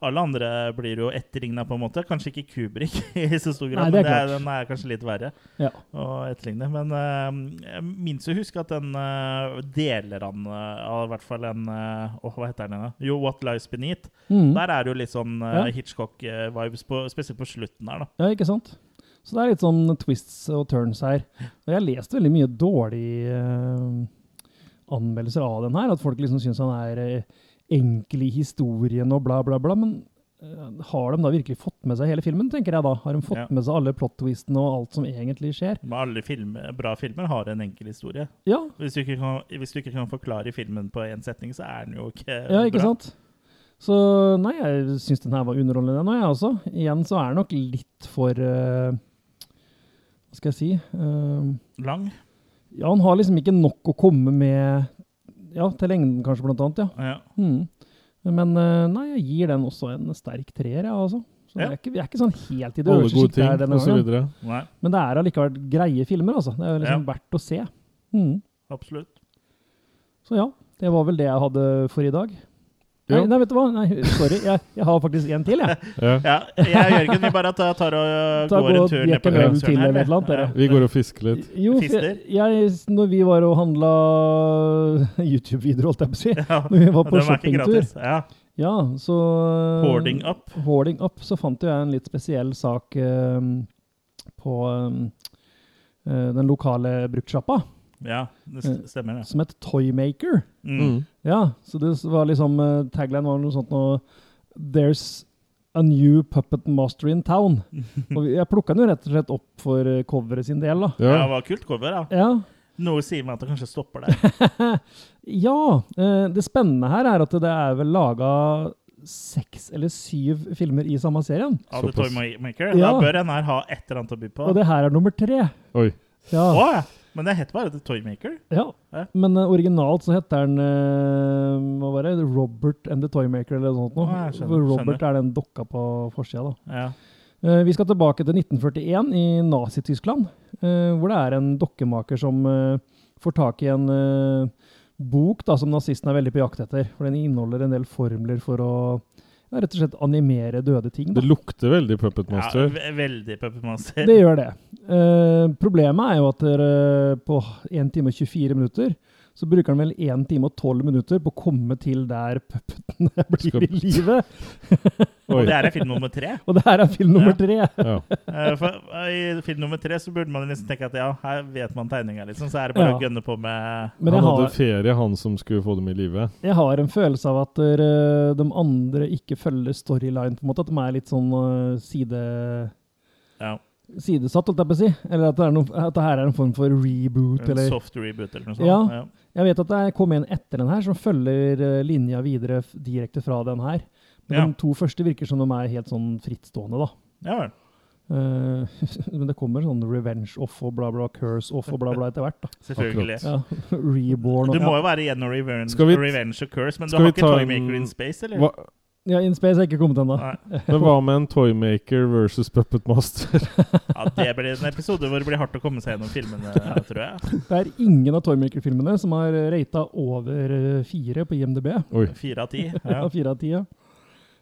[SPEAKER 1] alle andre blir jo etterligna, på en måte. Kanskje ikke Kubrik [LAUGHS] i så stor
[SPEAKER 2] Nei,
[SPEAKER 1] grad,
[SPEAKER 2] det
[SPEAKER 1] men
[SPEAKER 2] er
[SPEAKER 1] det er,
[SPEAKER 2] klart.
[SPEAKER 1] den er kanskje litt verre
[SPEAKER 2] Ja.
[SPEAKER 1] å etterligne. Men øh, jeg minnes å huske at den øh, deler han øh, av i hvert fall en øh, Åh, hva heter den igjen? da? Jo, What Lies Beneath.
[SPEAKER 2] Mm.
[SPEAKER 1] Der er det jo litt sånn
[SPEAKER 2] Ja.
[SPEAKER 1] Hitchcock-vibes, spesielt på slutten her, da.
[SPEAKER 2] Ja, ikke sant? Så det er litt sånn twists og turns her. Og jeg har lest veldig mye dårlige eh, anmeldelser av den her, at folk liksom syns han er eh, enkel i historien og bla, bla, bla. Men eh, har de da virkelig fått med seg hele filmen, tenker jeg da? Har de fått
[SPEAKER 1] Ja.
[SPEAKER 2] med seg alle plot-twistene og alt som egentlig skjer?
[SPEAKER 1] Men alle filmer, bra filmer har en enkel historie.
[SPEAKER 2] Ja,
[SPEAKER 1] Hvis du ikke kan, hvis du ikke kan forklare filmen på én setning, så er den jo ikke
[SPEAKER 2] ja ikke
[SPEAKER 1] bra.
[SPEAKER 2] sant? Så nei, jeg syns den her var underholdende, den òg, jeg også. Igjen så er den nok litt for eh, Hva skal jeg si? Eh,
[SPEAKER 1] Lang?
[SPEAKER 2] Ja, han har liksom ikke nok å komme med Ja, til lengden kanskje, blant annet, ja.
[SPEAKER 1] Ja.
[SPEAKER 2] Mm. Men eh, nei, jeg gir den også en sterk treer, jeg, altså. Så
[SPEAKER 1] Ja.
[SPEAKER 2] jeg, er ikke, vi er ikke sånn helt i det
[SPEAKER 3] Alle
[SPEAKER 2] øverste
[SPEAKER 3] gode
[SPEAKER 2] sjiktet
[SPEAKER 3] ting,
[SPEAKER 2] her denne gangen.
[SPEAKER 3] osv.
[SPEAKER 1] Nei,
[SPEAKER 2] Men det er allikevel greie filmer, altså. Det er jo liksom verdt å se. Mm.
[SPEAKER 1] absolutt.
[SPEAKER 2] Så ja, det var vel det jeg hadde for i dag. Nei,
[SPEAKER 3] Ja.
[SPEAKER 2] nei vet du hva? Nei, sorry, jeg, jeg har faktisk en
[SPEAKER 1] [LAUGHS]
[SPEAKER 2] til, jeg.
[SPEAKER 3] Ja.
[SPEAKER 1] Ja, jeg og Jørgen vi bare tar, tar og øh,
[SPEAKER 2] Ta
[SPEAKER 1] går
[SPEAKER 2] gå
[SPEAKER 1] en tur ned
[SPEAKER 2] jekke
[SPEAKER 1] på
[SPEAKER 2] en øl
[SPEAKER 1] Grønnshjørnet,
[SPEAKER 2] til eller et eller annet, dere.
[SPEAKER 1] Ja.
[SPEAKER 3] Vi går og fisker litt.
[SPEAKER 2] Jo, for jeg, jeg, når vi var og handla [LAUGHS] YouTube-videoer, holdt jeg på å si,
[SPEAKER 1] [LAUGHS] Ja,
[SPEAKER 2] når [LAUGHS] vi var
[SPEAKER 1] den er
[SPEAKER 2] på
[SPEAKER 1] ikke
[SPEAKER 2] shoppingtur,
[SPEAKER 1] gratis. Ja.
[SPEAKER 2] ja, så eh,
[SPEAKER 1] Hoarding up.
[SPEAKER 2] Hoarding Up, så fant jo jeg en litt spesiell sak eh, på eh, den lokale bruktsjappa,
[SPEAKER 1] Ja, det st- stemmer det.
[SPEAKER 2] som het Toymaker.
[SPEAKER 1] Mm.
[SPEAKER 2] Ja, så det var liksom eh, Tagline var noe sånt nå There's a new puppet master in town.
[SPEAKER 1] [LAUGHS]
[SPEAKER 2] Og jeg plukka den jo rett og slett opp for eh, coveret sin del, da.
[SPEAKER 1] Ja, det
[SPEAKER 3] Ja.
[SPEAKER 1] var kult cover, da.
[SPEAKER 2] Ja,
[SPEAKER 1] Noe sier meg at det kanskje stopper der.
[SPEAKER 2] ja eh, det spennende her er at det er vel laga seks eller syv filmer i samme serien.
[SPEAKER 1] Av The
[SPEAKER 3] Såpass.
[SPEAKER 1] Toymaker. Da
[SPEAKER 2] Ja.
[SPEAKER 1] bør en her ha et eller annet å by på.
[SPEAKER 2] Og det her er nummer tre.
[SPEAKER 3] Oi.
[SPEAKER 2] Ja.
[SPEAKER 1] Å, ja. Men det heter bare The Toymaker.
[SPEAKER 2] Ja,
[SPEAKER 1] Ja.
[SPEAKER 2] men eh, originalt så heter den eh, hva var det? Robert and the Toymaker eller noe sånt. Nå.
[SPEAKER 1] Ah, jeg skjønner,
[SPEAKER 2] Hvor Robert er den dokka på forsida. da.
[SPEAKER 1] Ja.
[SPEAKER 2] Eh, vi skal tilbake til 1941 i Nazi-Tyskland, eh, hvor det er en dokkemaker som eh, får tak i en eh, bok da, som nazistene er veldig på jakt etter. For den inneholder en del formler for å ja, rett og slett animere døde ting. Da.
[SPEAKER 3] Det lukter veldig Puppet
[SPEAKER 1] ja
[SPEAKER 3] Master.
[SPEAKER 1] ve- veldig Puppet Master.
[SPEAKER 2] Det gjør det. Eh, problemet er jo at dere eh, på 1 time og 24 minutter så bruker han vel 1 time og 12 minutter på å komme til der puppeten blir i live.
[SPEAKER 1] Og
[SPEAKER 3] Oi.
[SPEAKER 1] det er i film nummer tre.
[SPEAKER 2] Og det her er film nummer tre.
[SPEAKER 3] Ja.
[SPEAKER 1] Eh, For eh, I film nummer tre så burde man liksom tenke at ja, her vet man tegninga, liksom. Så er det bare
[SPEAKER 2] Ja.
[SPEAKER 1] å gønne på med
[SPEAKER 2] Men
[SPEAKER 3] han
[SPEAKER 2] jeg
[SPEAKER 3] hadde
[SPEAKER 2] har,
[SPEAKER 3] ferie, han som skulle få dem i live.
[SPEAKER 2] jeg har en følelse av at dere- de andre ikke følger storyline, på en måte. At de er litt sånn eh, side,
[SPEAKER 1] ja,
[SPEAKER 2] sidesatt, holdt jeg på å si. Eller at det, er noe, at det her er en form for reboot.
[SPEAKER 1] en
[SPEAKER 2] Eller.
[SPEAKER 1] soft reboot eller noe sånt.
[SPEAKER 2] Ja.
[SPEAKER 1] ja.
[SPEAKER 2] Jeg vet at det kom en etter den her, som følger eh, linja videre f- direkte fra den her. Men
[SPEAKER 1] Ja.
[SPEAKER 2] de to første virker som de er helt sånn frittstående, da.
[SPEAKER 1] Ja vel.
[SPEAKER 2] Eh, [LAUGHS] men det kommer sånn revenge off og bla, bla, curse off og bla, bla etter
[SPEAKER 1] [LAUGHS]
[SPEAKER 2] hvert. da.
[SPEAKER 1] Selvfølgelig.
[SPEAKER 2] Ja. Reborn og
[SPEAKER 1] Du må jo være igjennom Revenge,
[SPEAKER 3] Skal vi-
[SPEAKER 1] Revenge og Curse, men du
[SPEAKER 3] skal
[SPEAKER 1] har
[SPEAKER 3] vi
[SPEAKER 1] ikke
[SPEAKER 3] ta
[SPEAKER 1] Toymaker
[SPEAKER 3] en-
[SPEAKER 1] in Space, eller?
[SPEAKER 2] [LAUGHS]
[SPEAKER 3] Hva,
[SPEAKER 2] ja, In Space er ikke kommet ennå.
[SPEAKER 1] Nei.
[SPEAKER 3] men hva med en Toymaker versus Puppet Master?
[SPEAKER 1] Ja, det blir en episode hvor det blir hardt å komme seg gjennom filmene, tror jeg.
[SPEAKER 2] Det er ingen av Toymaker-filmene som har rata over eh, fire på IMDb.
[SPEAKER 3] Oi.
[SPEAKER 2] [LAUGHS]
[SPEAKER 1] Fire av ti.
[SPEAKER 2] Ja.
[SPEAKER 1] Ja.
[SPEAKER 2] Fire av ti, ja.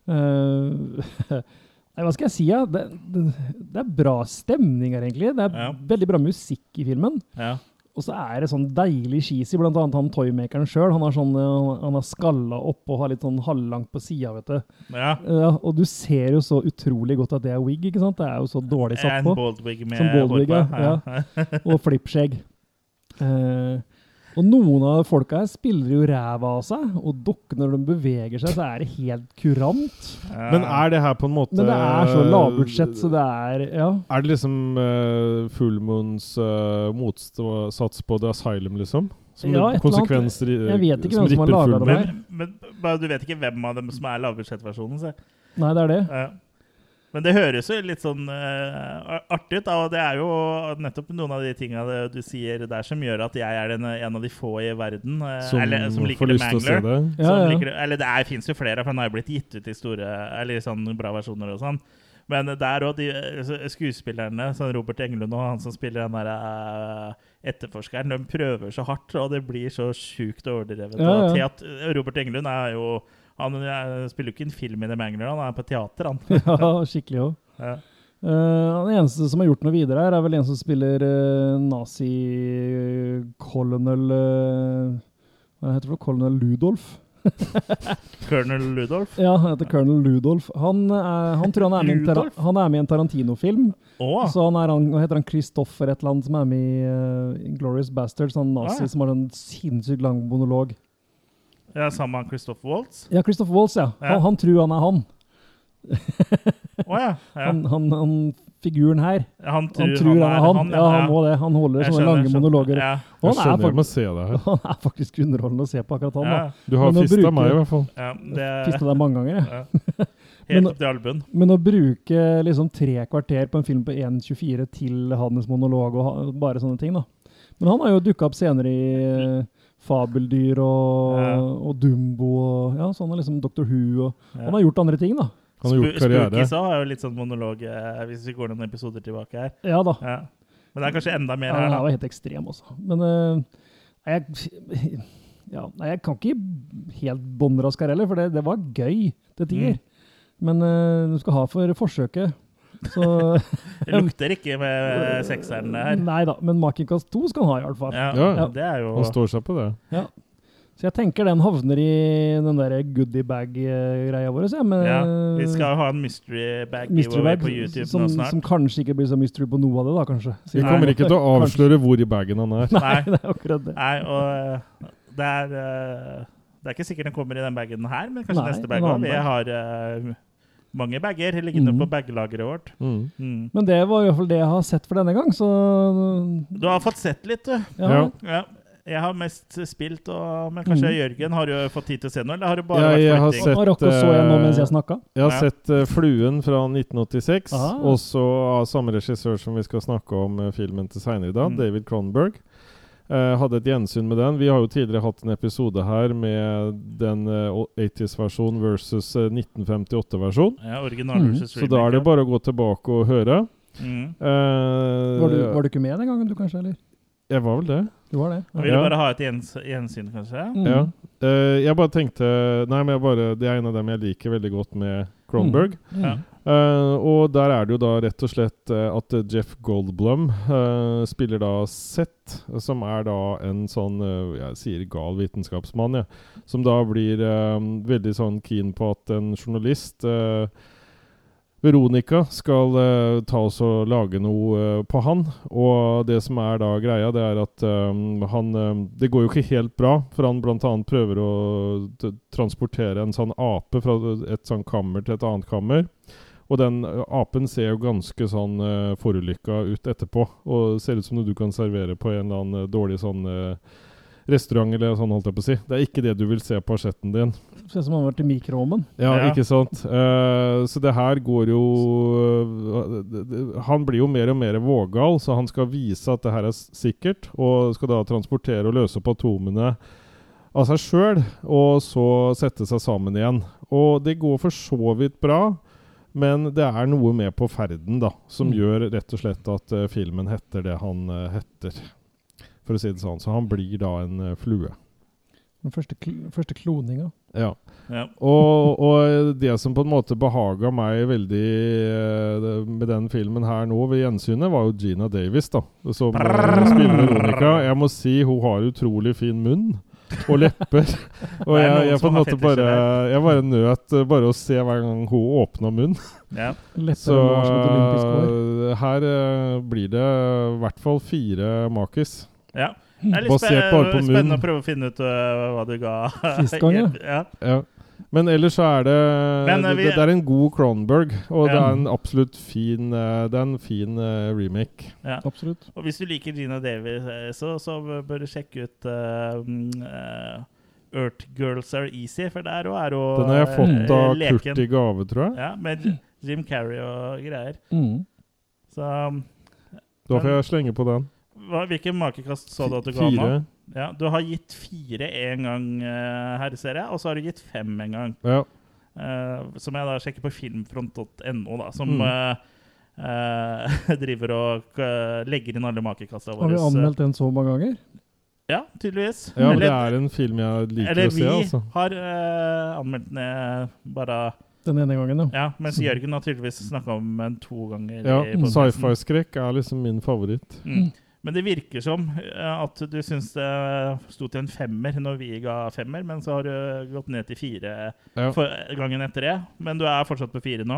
[SPEAKER 2] Eh, [LAUGHS] nei, hva skal jeg si? Ja? Det, det, det er bra stemning her, egentlig. Det er
[SPEAKER 1] Ja.
[SPEAKER 2] veldig bra musikk i filmen.
[SPEAKER 1] Ja.
[SPEAKER 2] Og så er det sånn deilig cheesy, blant annet han toymakeren sjøl. Han, har sånn, eh, han er skalla opp og har litt sånn halvlangt på sida, vet du.
[SPEAKER 1] ja.
[SPEAKER 2] Ja, og du ser jo så utrolig godt at det er wig, ikke sant? Det er jo så dårlig satt
[SPEAKER 1] En
[SPEAKER 2] på.
[SPEAKER 1] Baldwig med
[SPEAKER 2] Som Baldwig,
[SPEAKER 1] hår på.
[SPEAKER 2] ja.
[SPEAKER 1] [LAUGHS]
[SPEAKER 2] Og flippskjegg. Eh, og noen av folka her spiller jo ræva av seg, og dukker når de beveger seg, så er det helt kurant.
[SPEAKER 1] Ja.
[SPEAKER 3] Men er det her på en måte
[SPEAKER 2] Men det er så lavbudsjett, så det er Ja.
[SPEAKER 3] Er det liksom uh, Fullmoons motsats på The Asylum, liksom? Som det-
[SPEAKER 2] Ja, et eller annet.
[SPEAKER 3] konsekvenser i-
[SPEAKER 2] Jeg vet ikke hvem som
[SPEAKER 3] ripper
[SPEAKER 2] har laget
[SPEAKER 3] Fullmoon.
[SPEAKER 2] det her.
[SPEAKER 1] Men, men bare du vet ikke hvem av dem som er lavbudsjettversjonen. så-
[SPEAKER 2] Nei, det er det.
[SPEAKER 1] Ja. Men det høres jo litt sånn eh, ar- artig ut, da, og det er jo nettopp noen av de tinga det- du sier der som gjør at jeg er den, eh, en av de få i verden eh,
[SPEAKER 3] Som,
[SPEAKER 1] eller, som liker
[SPEAKER 3] får
[SPEAKER 1] The
[SPEAKER 3] lyst til å se
[SPEAKER 1] Mangler.
[SPEAKER 3] det.
[SPEAKER 2] Ja,
[SPEAKER 1] som
[SPEAKER 2] ja.
[SPEAKER 1] Sånn liker, det- eller det er- finnes jo flere, for den har jo blitt gitt ut i store Eller i sånne bra versjoner og sånn. Men der òg, de eh, så- skuespillerne, sånn Robert Englund og han som spiller den derre etterforskeren, de prøver så hardt, og det blir så sjukt overdrevet.
[SPEAKER 2] Ja,
[SPEAKER 1] Og
[SPEAKER 2] ja.
[SPEAKER 1] teat- Robert Englund er jo Han eh, spiller jo ikke en film i The Mangler, han er på teater, han.
[SPEAKER 2] [LAUGHS] ja skikkelig òg.
[SPEAKER 1] Ja.
[SPEAKER 2] Uh, den eneste som har gjort noe videre her, er vel en som spiller eh, nazi-colonel eh, Hva heter det? for? Colonel Ludolf?
[SPEAKER 1] Colonel Ludolf.
[SPEAKER 2] Ja, han heter colonel Ludolf. Han, er, han tror han er med i en, tara-
[SPEAKER 1] Ludolf? Ah.
[SPEAKER 2] han er med i en Tarantino-film.
[SPEAKER 1] Å,
[SPEAKER 2] Så han er han, hva heter han Kristoffer et eller annet som er med i uh, Glorious Bastards, han nazi
[SPEAKER 1] Ah, ja.
[SPEAKER 2] som har en sinnssykt lang monolog.
[SPEAKER 1] ja, sammen med Christopher Waltz?
[SPEAKER 2] Ja, Christopher Waltz, ja.
[SPEAKER 1] Ja.
[SPEAKER 2] Han, han tror han er han.
[SPEAKER 1] Å ja. ja.
[SPEAKER 2] Han, han, han figuren her.
[SPEAKER 1] Han tror
[SPEAKER 2] Han tror han er han. Ja, han må det. Han
[SPEAKER 1] Jeg
[SPEAKER 2] holder sånne
[SPEAKER 1] skjønner,
[SPEAKER 2] lange
[SPEAKER 1] skjønner.
[SPEAKER 2] monologer.
[SPEAKER 1] Ja,
[SPEAKER 2] Og
[SPEAKER 3] Jeg
[SPEAKER 2] han er
[SPEAKER 3] skjønner jeg må
[SPEAKER 2] faktisk,
[SPEAKER 3] se det her.
[SPEAKER 2] [LAUGHS] han er faktisk underholdende å se på, akkurat han. da.
[SPEAKER 1] ja,
[SPEAKER 3] Du har
[SPEAKER 2] Men å
[SPEAKER 3] fista
[SPEAKER 2] bruke-
[SPEAKER 3] meg, i hvert fall.
[SPEAKER 1] ja,
[SPEAKER 2] Fista
[SPEAKER 1] det,
[SPEAKER 2] deg mange ganger, jeg.
[SPEAKER 1] ja.
[SPEAKER 2] [LAUGHS] Men-
[SPEAKER 1] Helt opp til albuen.
[SPEAKER 2] Men å bruke liksom tre kvarter på en film på 1,24 til hans monolog og ha, bare sånne ting, da. Men han har jo dukka opp senere i eh, Fabeldyr og,
[SPEAKER 1] Ja.
[SPEAKER 2] og Dumbo og ja, sånn liksom Dr. Who og Han
[SPEAKER 1] Ja.
[SPEAKER 2] har gjort andre ting, da.
[SPEAKER 3] Han har gjort
[SPEAKER 1] Spu-
[SPEAKER 3] karriere.
[SPEAKER 1] Spookies også har jo litt sånn monolog, eh, hvis vi går noen episoder tilbake her.
[SPEAKER 2] Ja da.
[SPEAKER 1] Ja. Men det er kanskje enda mer
[SPEAKER 2] Ja,
[SPEAKER 1] her,
[SPEAKER 2] han var
[SPEAKER 1] da.
[SPEAKER 2] helt ekstrem, altså. Men eh, nei, jeg, [LAUGHS] ja, nei, jeg kan ikke helt bånn raskere heller, for det, det var gøy til tider.
[SPEAKER 1] Mm.
[SPEAKER 2] Men eh, du skal ha for forsøket. Så
[SPEAKER 1] [LAUGHS] Det lukter ikke med Eh, sekseren her.
[SPEAKER 2] Nei da, men Makikas 2 skal han ha, i hvert fall.
[SPEAKER 1] Ja,
[SPEAKER 3] Ja.
[SPEAKER 1] det er jo
[SPEAKER 3] Han står seg på det.
[SPEAKER 2] Så jeg tenker den havner i den der goodiebag-greia vår. Ja, men,
[SPEAKER 1] ja, Vi skal ha en mystery bag
[SPEAKER 2] mystery
[SPEAKER 1] giveaway
[SPEAKER 2] bag,
[SPEAKER 1] på YouTube
[SPEAKER 2] som,
[SPEAKER 1] nå snart.
[SPEAKER 2] som kanskje ikke blir så mystery på noe av det, da, kanskje.
[SPEAKER 3] Vi
[SPEAKER 1] Nei.
[SPEAKER 3] kommer ikke til å avsløre hvor i bagen han er.
[SPEAKER 1] Nei,
[SPEAKER 2] [LAUGHS] Det er akkurat det.
[SPEAKER 1] nei, og eh, det er eh, Det er ikke sikkert den kommer i den bagen her, men kanskje
[SPEAKER 2] Nei,
[SPEAKER 1] neste bag
[SPEAKER 2] en
[SPEAKER 1] òg.
[SPEAKER 2] annen
[SPEAKER 1] Vi
[SPEAKER 2] bag.
[SPEAKER 1] har eh, mange bager liggende
[SPEAKER 2] Mhm.
[SPEAKER 1] på baglageret vårt.
[SPEAKER 3] Mm.
[SPEAKER 1] Mm.
[SPEAKER 2] Men det var i hvert fall det jeg har sett for denne gang, så
[SPEAKER 1] Du har fått sett litt, du.
[SPEAKER 2] ja.
[SPEAKER 3] Ja.
[SPEAKER 1] Ja. Jeg har mest spilt, og, men kanskje
[SPEAKER 2] Mhm.
[SPEAKER 1] Jørgen har jo fått tid til å se noe? Eller har det bare
[SPEAKER 3] Mm. Jeg, jeg
[SPEAKER 1] vært
[SPEAKER 3] har
[SPEAKER 1] fighting?
[SPEAKER 3] sett
[SPEAKER 2] Og Rocco så jeg nå mens jeg
[SPEAKER 3] eh,
[SPEAKER 2] snakka.
[SPEAKER 3] Jeg har
[SPEAKER 1] Ja.
[SPEAKER 3] sett eh, 'Fluen' fra 1986,
[SPEAKER 2] Ah.
[SPEAKER 3] også av samme regissør som vi skal snakke om eh, filmen til seinere i dag,
[SPEAKER 1] Mm.
[SPEAKER 3] David Cronenberg. Eh, hadde et gjensyn med den. Vi har jo tidligere hatt en episode her med den eh, 80s-versjonen versus 1958-versjon.
[SPEAKER 1] Ja, original
[SPEAKER 2] Mhm,
[SPEAKER 1] versus
[SPEAKER 3] Mm, Så da er det
[SPEAKER 1] remake,
[SPEAKER 3] bare å gå tilbake og høre.
[SPEAKER 1] ja. Mhm.
[SPEAKER 3] Eh,
[SPEAKER 2] Var du, var du ikke med den gangen, du kanskje? eller?
[SPEAKER 3] Jeg var vel det.
[SPEAKER 2] Du var det?
[SPEAKER 1] Jeg
[SPEAKER 2] Ja.
[SPEAKER 1] ville
[SPEAKER 3] Ja.
[SPEAKER 1] bare ha et gjens gjensyn, kanskje.
[SPEAKER 2] Mm.
[SPEAKER 3] Ja. Eh, jeg bare tenkte Nei, men jeg bare, det er en av dem jeg liker veldig godt med Cronenberg.
[SPEAKER 2] Mm.
[SPEAKER 1] Ja.
[SPEAKER 3] Eh, og der er det jo da rett og slett eh, at eh, Jeff Goldblum eh, spiller da Seth, som er da en sånn eh, Jeg sier gal vitenskapsmann, jeg. som da blir eh, veldig sånn keen på at en journalist eh, Veronica skal eh, ta oss og lage noe eh, på han. Og det som er da greia, det er at eh, han eh, Det går jo ikke helt bra, for han bl.a. prøver å t transportere en sånn ape fra et sånn kammer til et annet kammer. Og den eh, apen ser jo ganske sånn uh, forulykka ut etterpå, og ser ut som noe du kan servere på en eller annen eh, dårlig sånn eh, restaurant, eller sånn, holdt jeg på å si. Det er ikke det du vil se på asjetten din.
[SPEAKER 2] Ser ut som han har vært i mikroovnen.
[SPEAKER 3] Ja,
[SPEAKER 1] Ja.
[SPEAKER 3] ikke sant. Eh, så det her går jo eh, det- det- Han blir jo mer og mer vågal, så han skal vise at det her er s- sikkert, og skal da transportere og løse opp atomene av seg sjøl, og så sette seg sammen igjen. Og det går for så vidt bra, men det er noe med på ferden da, som
[SPEAKER 2] Mm.
[SPEAKER 3] gjør rett og slett at eh, filmen heter det han eh, heter, for å si det sånn. Så han blir da en eh, flue.
[SPEAKER 2] Den første, kl første kloninga.
[SPEAKER 3] Ja.
[SPEAKER 1] Ja.
[SPEAKER 3] Og, og det som på en måte behaga meg veldig eh, med den filmen her nå ved gjensynet, var jo Gina Davis, da. Som eh, spiller Veronica. Jeg må si hun har utrolig fin munn. Og lepper.
[SPEAKER 1] [LAUGHS]
[SPEAKER 3] Og
[SPEAKER 1] Det er
[SPEAKER 3] jeg,
[SPEAKER 1] noen
[SPEAKER 3] jeg på
[SPEAKER 1] som
[SPEAKER 3] en
[SPEAKER 1] har
[SPEAKER 3] måte bare Jeg bare nøt eh, bare å se hver gang hun åpna munn.
[SPEAKER 1] Ja.
[SPEAKER 2] Lettere
[SPEAKER 3] Så
[SPEAKER 2] enn Lars med et olympisk hår.
[SPEAKER 3] eh, her eh, blir det i hvert fall fire makis.
[SPEAKER 1] ja.
[SPEAKER 2] Mm.
[SPEAKER 1] Det er litt spe
[SPEAKER 3] Basert bare på
[SPEAKER 1] spennende
[SPEAKER 3] munn.
[SPEAKER 1] å prøve å finne ut øh, hva du ga.
[SPEAKER 2] Sist gang, ja.
[SPEAKER 1] [LAUGHS] ja.
[SPEAKER 3] Ja. Men ellers så er det
[SPEAKER 1] Men, eh, vi-
[SPEAKER 3] det, det er en god Cronberg, og det
[SPEAKER 1] Ja.
[SPEAKER 3] er en absolutt fin eh, Det er en fin eh, remake.
[SPEAKER 2] Absolutt.
[SPEAKER 1] Og hvis du liker Gina Davis, eh, så, så bør du sjekke ut eh, mm, eh, Earth Girls Are Easy, for der òg er hun
[SPEAKER 3] Den har jeg
[SPEAKER 1] eh,
[SPEAKER 3] fått av
[SPEAKER 1] leken.
[SPEAKER 3] Kurt i gave, tror jeg.
[SPEAKER 1] Ja, med Jim Carrey og greier.
[SPEAKER 2] Mm.
[SPEAKER 1] Så um,
[SPEAKER 3] Da får jeg slenge på den.
[SPEAKER 1] hva, hvilken makekast så du at du ga nå?
[SPEAKER 3] Fire.
[SPEAKER 1] Ja, du har gitt fire en gang eh, her, ser jeg, og så har du gitt fem en gang.
[SPEAKER 3] Ja.
[SPEAKER 1] Eh, som jeg da sjekker på filmfront.no, da, som
[SPEAKER 3] Mm.
[SPEAKER 1] eh, eh, [LAUGHS] driver og eh, legger inn alle makekasta
[SPEAKER 2] Har
[SPEAKER 1] våre.
[SPEAKER 2] vi anmeldt den så mange ganger?
[SPEAKER 1] Ja, tydeligvis.
[SPEAKER 3] ja, men
[SPEAKER 1] Eller-
[SPEAKER 3] det er en film jeg liker
[SPEAKER 1] Eller
[SPEAKER 3] å se,
[SPEAKER 1] vi
[SPEAKER 3] altså.
[SPEAKER 1] har eh, anmeldt den eh, bare
[SPEAKER 2] Den ene gangen, ja.
[SPEAKER 1] Ja, mens Jørgen har tydeligvis snakka om den to ganger.
[SPEAKER 3] Ja,
[SPEAKER 1] i podcasten.
[SPEAKER 3] Sci-fi-skrekk er liksom min favoritt.
[SPEAKER 1] Mm. Men det virker som eh, at du syns det sto til en femmer når vi ga femmer, men så har du gått ned til fire
[SPEAKER 3] Ja,
[SPEAKER 1] for gangen etter det. Men du er fortsatt på fire nå.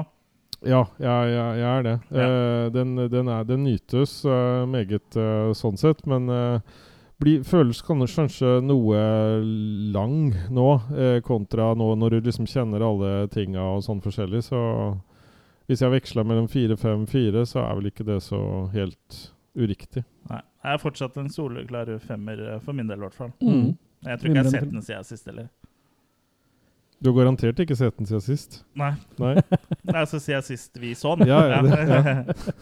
[SPEAKER 3] ja jeg, jeg, jeg er det.
[SPEAKER 1] Ja.
[SPEAKER 3] Eh, den, den, er, den nytes eh, meget eh, sånn sett, men eh, bli, føles kanskje, kanskje noe lang nå, eh, kontra nå når du liksom kjenner alle tinga og sånn forskjellig, så hvis jeg veksler mellom 4-5-4, så er vel ikke det så helt uriktig.
[SPEAKER 1] Nei, jeg er fortsatt en soleklar femmer, eh, for min del i hvert fall.
[SPEAKER 2] Mm.
[SPEAKER 3] Mm.
[SPEAKER 1] Jeg tror ikke jeg har
[SPEAKER 2] Mindre enn
[SPEAKER 1] sett
[SPEAKER 2] fem.
[SPEAKER 1] den siden sist heller.
[SPEAKER 3] Du har garantert ikke sett den siden sist?
[SPEAKER 1] Nei,
[SPEAKER 3] Nei?
[SPEAKER 1] Nei, så sier jeg sist vi så den.
[SPEAKER 3] Ja, ja,
[SPEAKER 1] [LAUGHS]
[SPEAKER 3] det-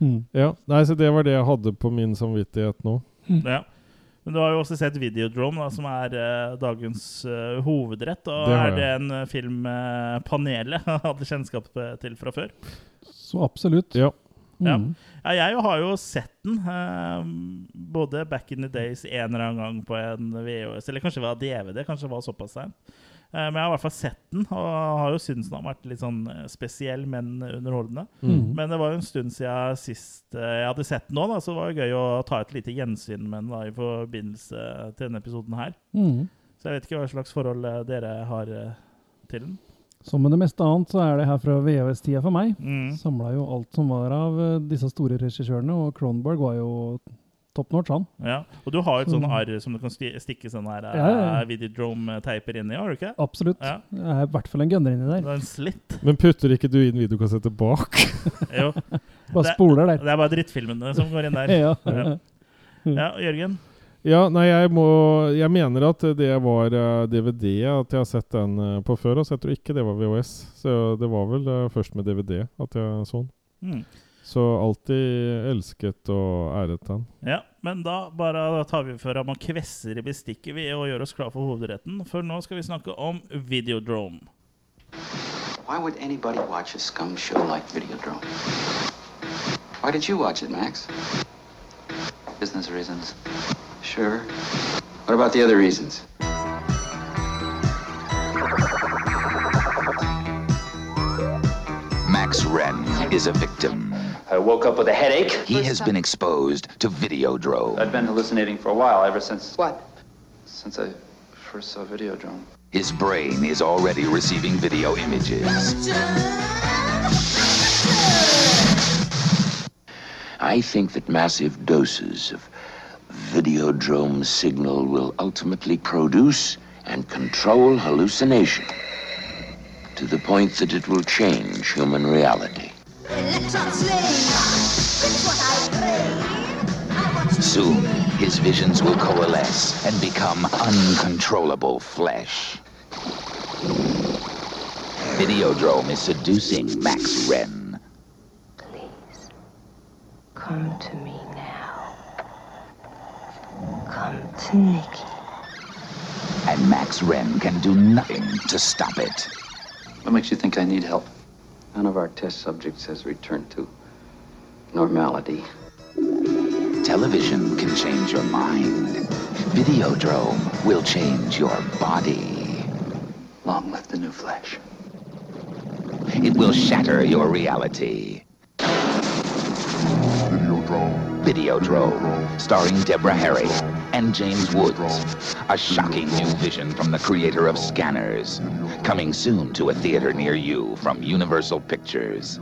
[SPEAKER 2] Mm.
[SPEAKER 3] Ja. Nei, så det var det jeg hadde på min samvittighet nå.
[SPEAKER 1] Ja. Men du har jo også sett Videodrome, da, som er eh, dagens eh, hovedrett. Og
[SPEAKER 3] Det
[SPEAKER 1] er
[SPEAKER 3] har jeg.
[SPEAKER 1] det en uh, film eh, panelet [LAUGHS] hadde kjennskap eh, til fra før?
[SPEAKER 2] Så absolutt.
[SPEAKER 3] Ja.
[SPEAKER 1] Ja.
[SPEAKER 2] Mm.
[SPEAKER 1] Ja, jeg har jo sett den, eh, både back in the days en eller annen gang på en VHS, eller kanskje det var DVD, kanskje det var såpass seint. Eh, men jeg har i hvert fall sett den, og har jo syntes den har vært litt sånn eh, spesiell, men underholdende.
[SPEAKER 2] Mm.
[SPEAKER 1] Men det var jo en stund siden sist eh, jeg hadde sett den òg, så det var jo gøy å ta et lite gjensyn med den da, i forbindelse til denne episoden her.
[SPEAKER 2] Mm.
[SPEAKER 1] Så jeg vet ikke hva slags forhold eh, dere har eh, til den.
[SPEAKER 2] Som med det meste annet, så er det her fra VHS-tida for meg.
[SPEAKER 1] Mm.
[SPEAKER 2] Samla jo alt som var av eh, disse store regissørene, og Cronberg var jo top notch, han.
[SPEAKER 1] Ja. Og du har jo et sånn
[SPEAKER 2] Mm.
[SPEAKER 1] arr som du kan sti- stikke sånn her
[SPEAKER 2] Ja, ja, ja.
[SPEAKER 1] eh, videodrome-teiper inn i, har du ikke?
[SPEAKER 2] Absolutt.
[SPEAKER 1] Ja.
[SPEAKER 2] Det er i hvert fall en gunner inni
[SPEAKER 1] Det
[SPEAKER 2] der.
[SPEAKER 1] er en slitt.
[SPEAKER 3] Men putter ikke du inn videokassetter bak?
[SPEAKER 1] Jo.
[SPEAKER 2] Bare
[SPEAKER 1] det-
[SPEAKER 2] spoler der.
[SPEAKER 1] Det er bare drittfilmene som går inn der.
[SPEAKER 2] Ja.
[SPEAKER 1] Ja. Ja, Jørgen?
[SPEAKER 3] Ja, nei, jeg må Jeg mener at det var eh, DVD at jeg har sett den eh, på før. Så jeg tror ikke det var VHS. Så det var vel eh, først med DVD at jeg så den.
[SPEAKER 1] Mm.
[SPEAKER 3] Så alltid elsket og æret den.
[SPEAKER 1] Ja, men da bare tar vi for ham og kvesser i bestikket vi og gjør oss klar for hovedretten, for nå skal vi snakke om Videodrome.
[SPEAKER 4] Why would anybody watch a scum show like Videodrome? Why did you watch it, Max? Business reasons. Sure. What about the other reasons?
[SPEAKER 5] Max Wren is a victim.
[SPEAKER 6] I woke up with a headache.
[SPEAKER 5] He has been exposed to Videodrome.
[SPEAKER 6] I'd been hallucinating for a while, ever since
[SPEAKER 4] What?
[SPEAKER 6] since I first saw Videodrome.
[SPEAKER 5] His brain is already receiving video images. I think that massive doses of Videodrome signal will ultimately produce and control hallucination to the point that it will change human reality.
[SPEAKER 7] Electron slave, it's what I crave. I want you
[SPEAKER 5] Soon, his visions will coalesce and become uncontrollable flesh. Videodrome is seducing Max Wren.
[SPEAKER 7] Please, come to me now. Come to Nikki.
[SPEAKER 5] And Max Wren can do nothing to stop it.
[SPEAKER 6] What makes you think I need help?
[SPEAKER 4] None of our test subjects has returned to normality.
[SPEAKER 5] Television can change your mind. Videodrome will change your body.
[SPEAKER 6] Long live the new flesh.
[SPEAKER 5] It will shatter your reality.
[SPEAKER 8] Videodrome.
[SPEAKER 5] Videodrome, starring Deborah Harry and James Woods. A shocking new vision from the creator of Scanners. Coming soon to a theater near you from Universal Pictures.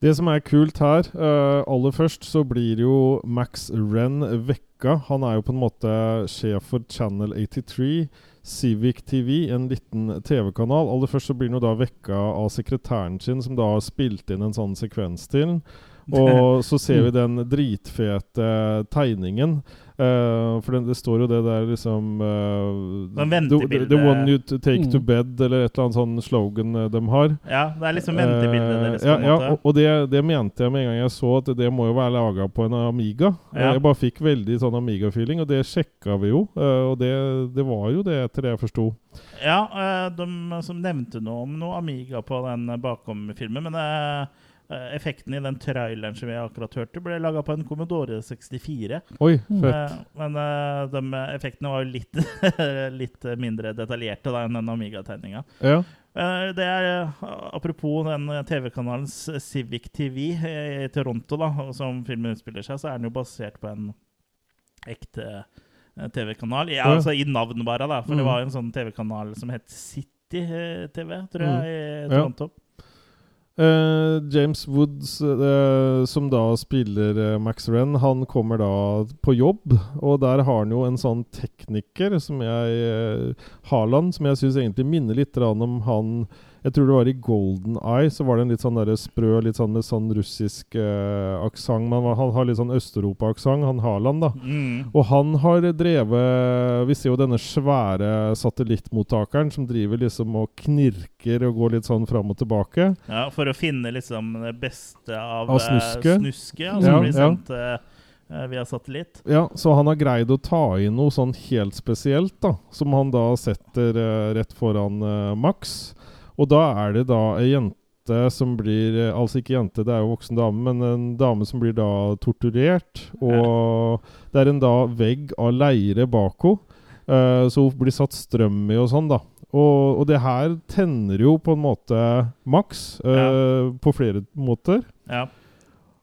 [SPEAKER 3] Det som er kult her, eh, aller først så blir jo Max Renn vekka. Han er jo på en måte sjef for Channel 83, Civic TV, en liten TV-kanal. Aller først så blir han jo da vekka av sekretæren sin, som da har spilt inn en sånn sekvens til. Og så ser vi den dritfete tegningen. Eh, for den, det står jo det der liksom
[SPEAKER 1] Den
[SPEAKER 3] eh, the, the- the
[SPEAKER 1] ventebildet.
[SPEAKER 3] one you t- take to
[SPEAKER 2] Mm.
[SPEAKER 3] bed, eller et eller annet sånn slogan eh, de har.
[SPEAKER 1] Ja, det er liksom ventebildet deres.
[SPEAKER 3] Eh,
[SPEAKER 1] på en
[SPEAKER 3] ja,
[SPEAKER 1] måte.
[SPEAKER 3] ja, og- og det, det mente jeg med en gang jeg så at det må jo være laga på en Amiga. Eh,
[SPEAKER 1] Ja.
[SPEAKER 3] Jeg bare fikk veldig sånn Amiga-feeling, og det sjekka vi jo. eh, Og det, det var jo det, etter det jeg forsto.
[SPEAKER 1] Ja, eh, de som nevnte noe om noe Amiga på den eh, bakom-filmen, men eh, eh, effekten i den traileren som jeg akkurat hørte, ble laga på en Commodore 64.
[SPEAKER 3] Oi, fett.
[SPEAKER 1] Eh, Men eh, de effektene var jo litt, [LAUGHS] litt mindre detaljerte da, enn den Amiga-tegninga.
[SPEAKER 3] Ja.
[SPEAKER 1] Eh, Det er eh, Apropos den eh, TV-kanalen S- Civic TV eh, i Toronto, da, og som filmen utspiller seg, så er den jo basert på en ekte eh, TV-kanal. Ja,
[SPEAKER 3] Ja.
[SPEAKER 1] altså i navn bare, da. For
[SPEAKER 3] Mm.
[SPEAKER 1] det var jo en sånn TV-kanal som het City eh, TV, tror jeg, i
[SPEAKER 3] Mm. Ja.
[SPEAKER 1] Toronto.
[SPEAKER 3] Eh, James Woods, eh, som da spiller eh, Max Renn, han kommer da på jobb. Og der har han jo en sånn tekniker som jeg eh, Haaland, som jeg syns egentlig minner litt grann om han Jeg tror det var i Golden Eye, så var det en litt sånn der sprø, litt sånn med sånn russisk eh, aksent. men Han har litt sånn Østeuropa-aksent, han Haaland, da.
[SPEAKER 1] Mm.
[SPEAKER 3] Og han har drevet Vi ser jo denne svære satellittmottakeren som driver liksom og knirker og går litt sånn fram og tilbake.
[SPEAKER 1] Ja, for å finne liksom det beste av,
[SPEAKER 3] Av
[SPEAKER 1] eh,
[SPEAKER 3] snuske.
[SPEAKER 1] snuske ja,
[SPEAKER 3] Ja,
[SPEAKER 1] som
[SPEAKER 3] ja.
[SPEAKER 1] blir sendt eh, eh, via satellitt.
[SPEAKER 3] Ja, så han har greid å ta inn noe sånn helt spesielt, da. Som han da setter eh, rett foran eh, Max. Og da er det da ei jente som blir eh, Altså ikke jente, det er jo voksen dame, men en dame som blir da torturert. Og det er en da vegg av leire bak henne. eh, så hun blir satt strøm i og sånn, da. Og, og det her tenner jo på en måte Max eh, på flere måter.
[SPEAKER 1] Ja.
[SPEAKER 2] [LAUGHS]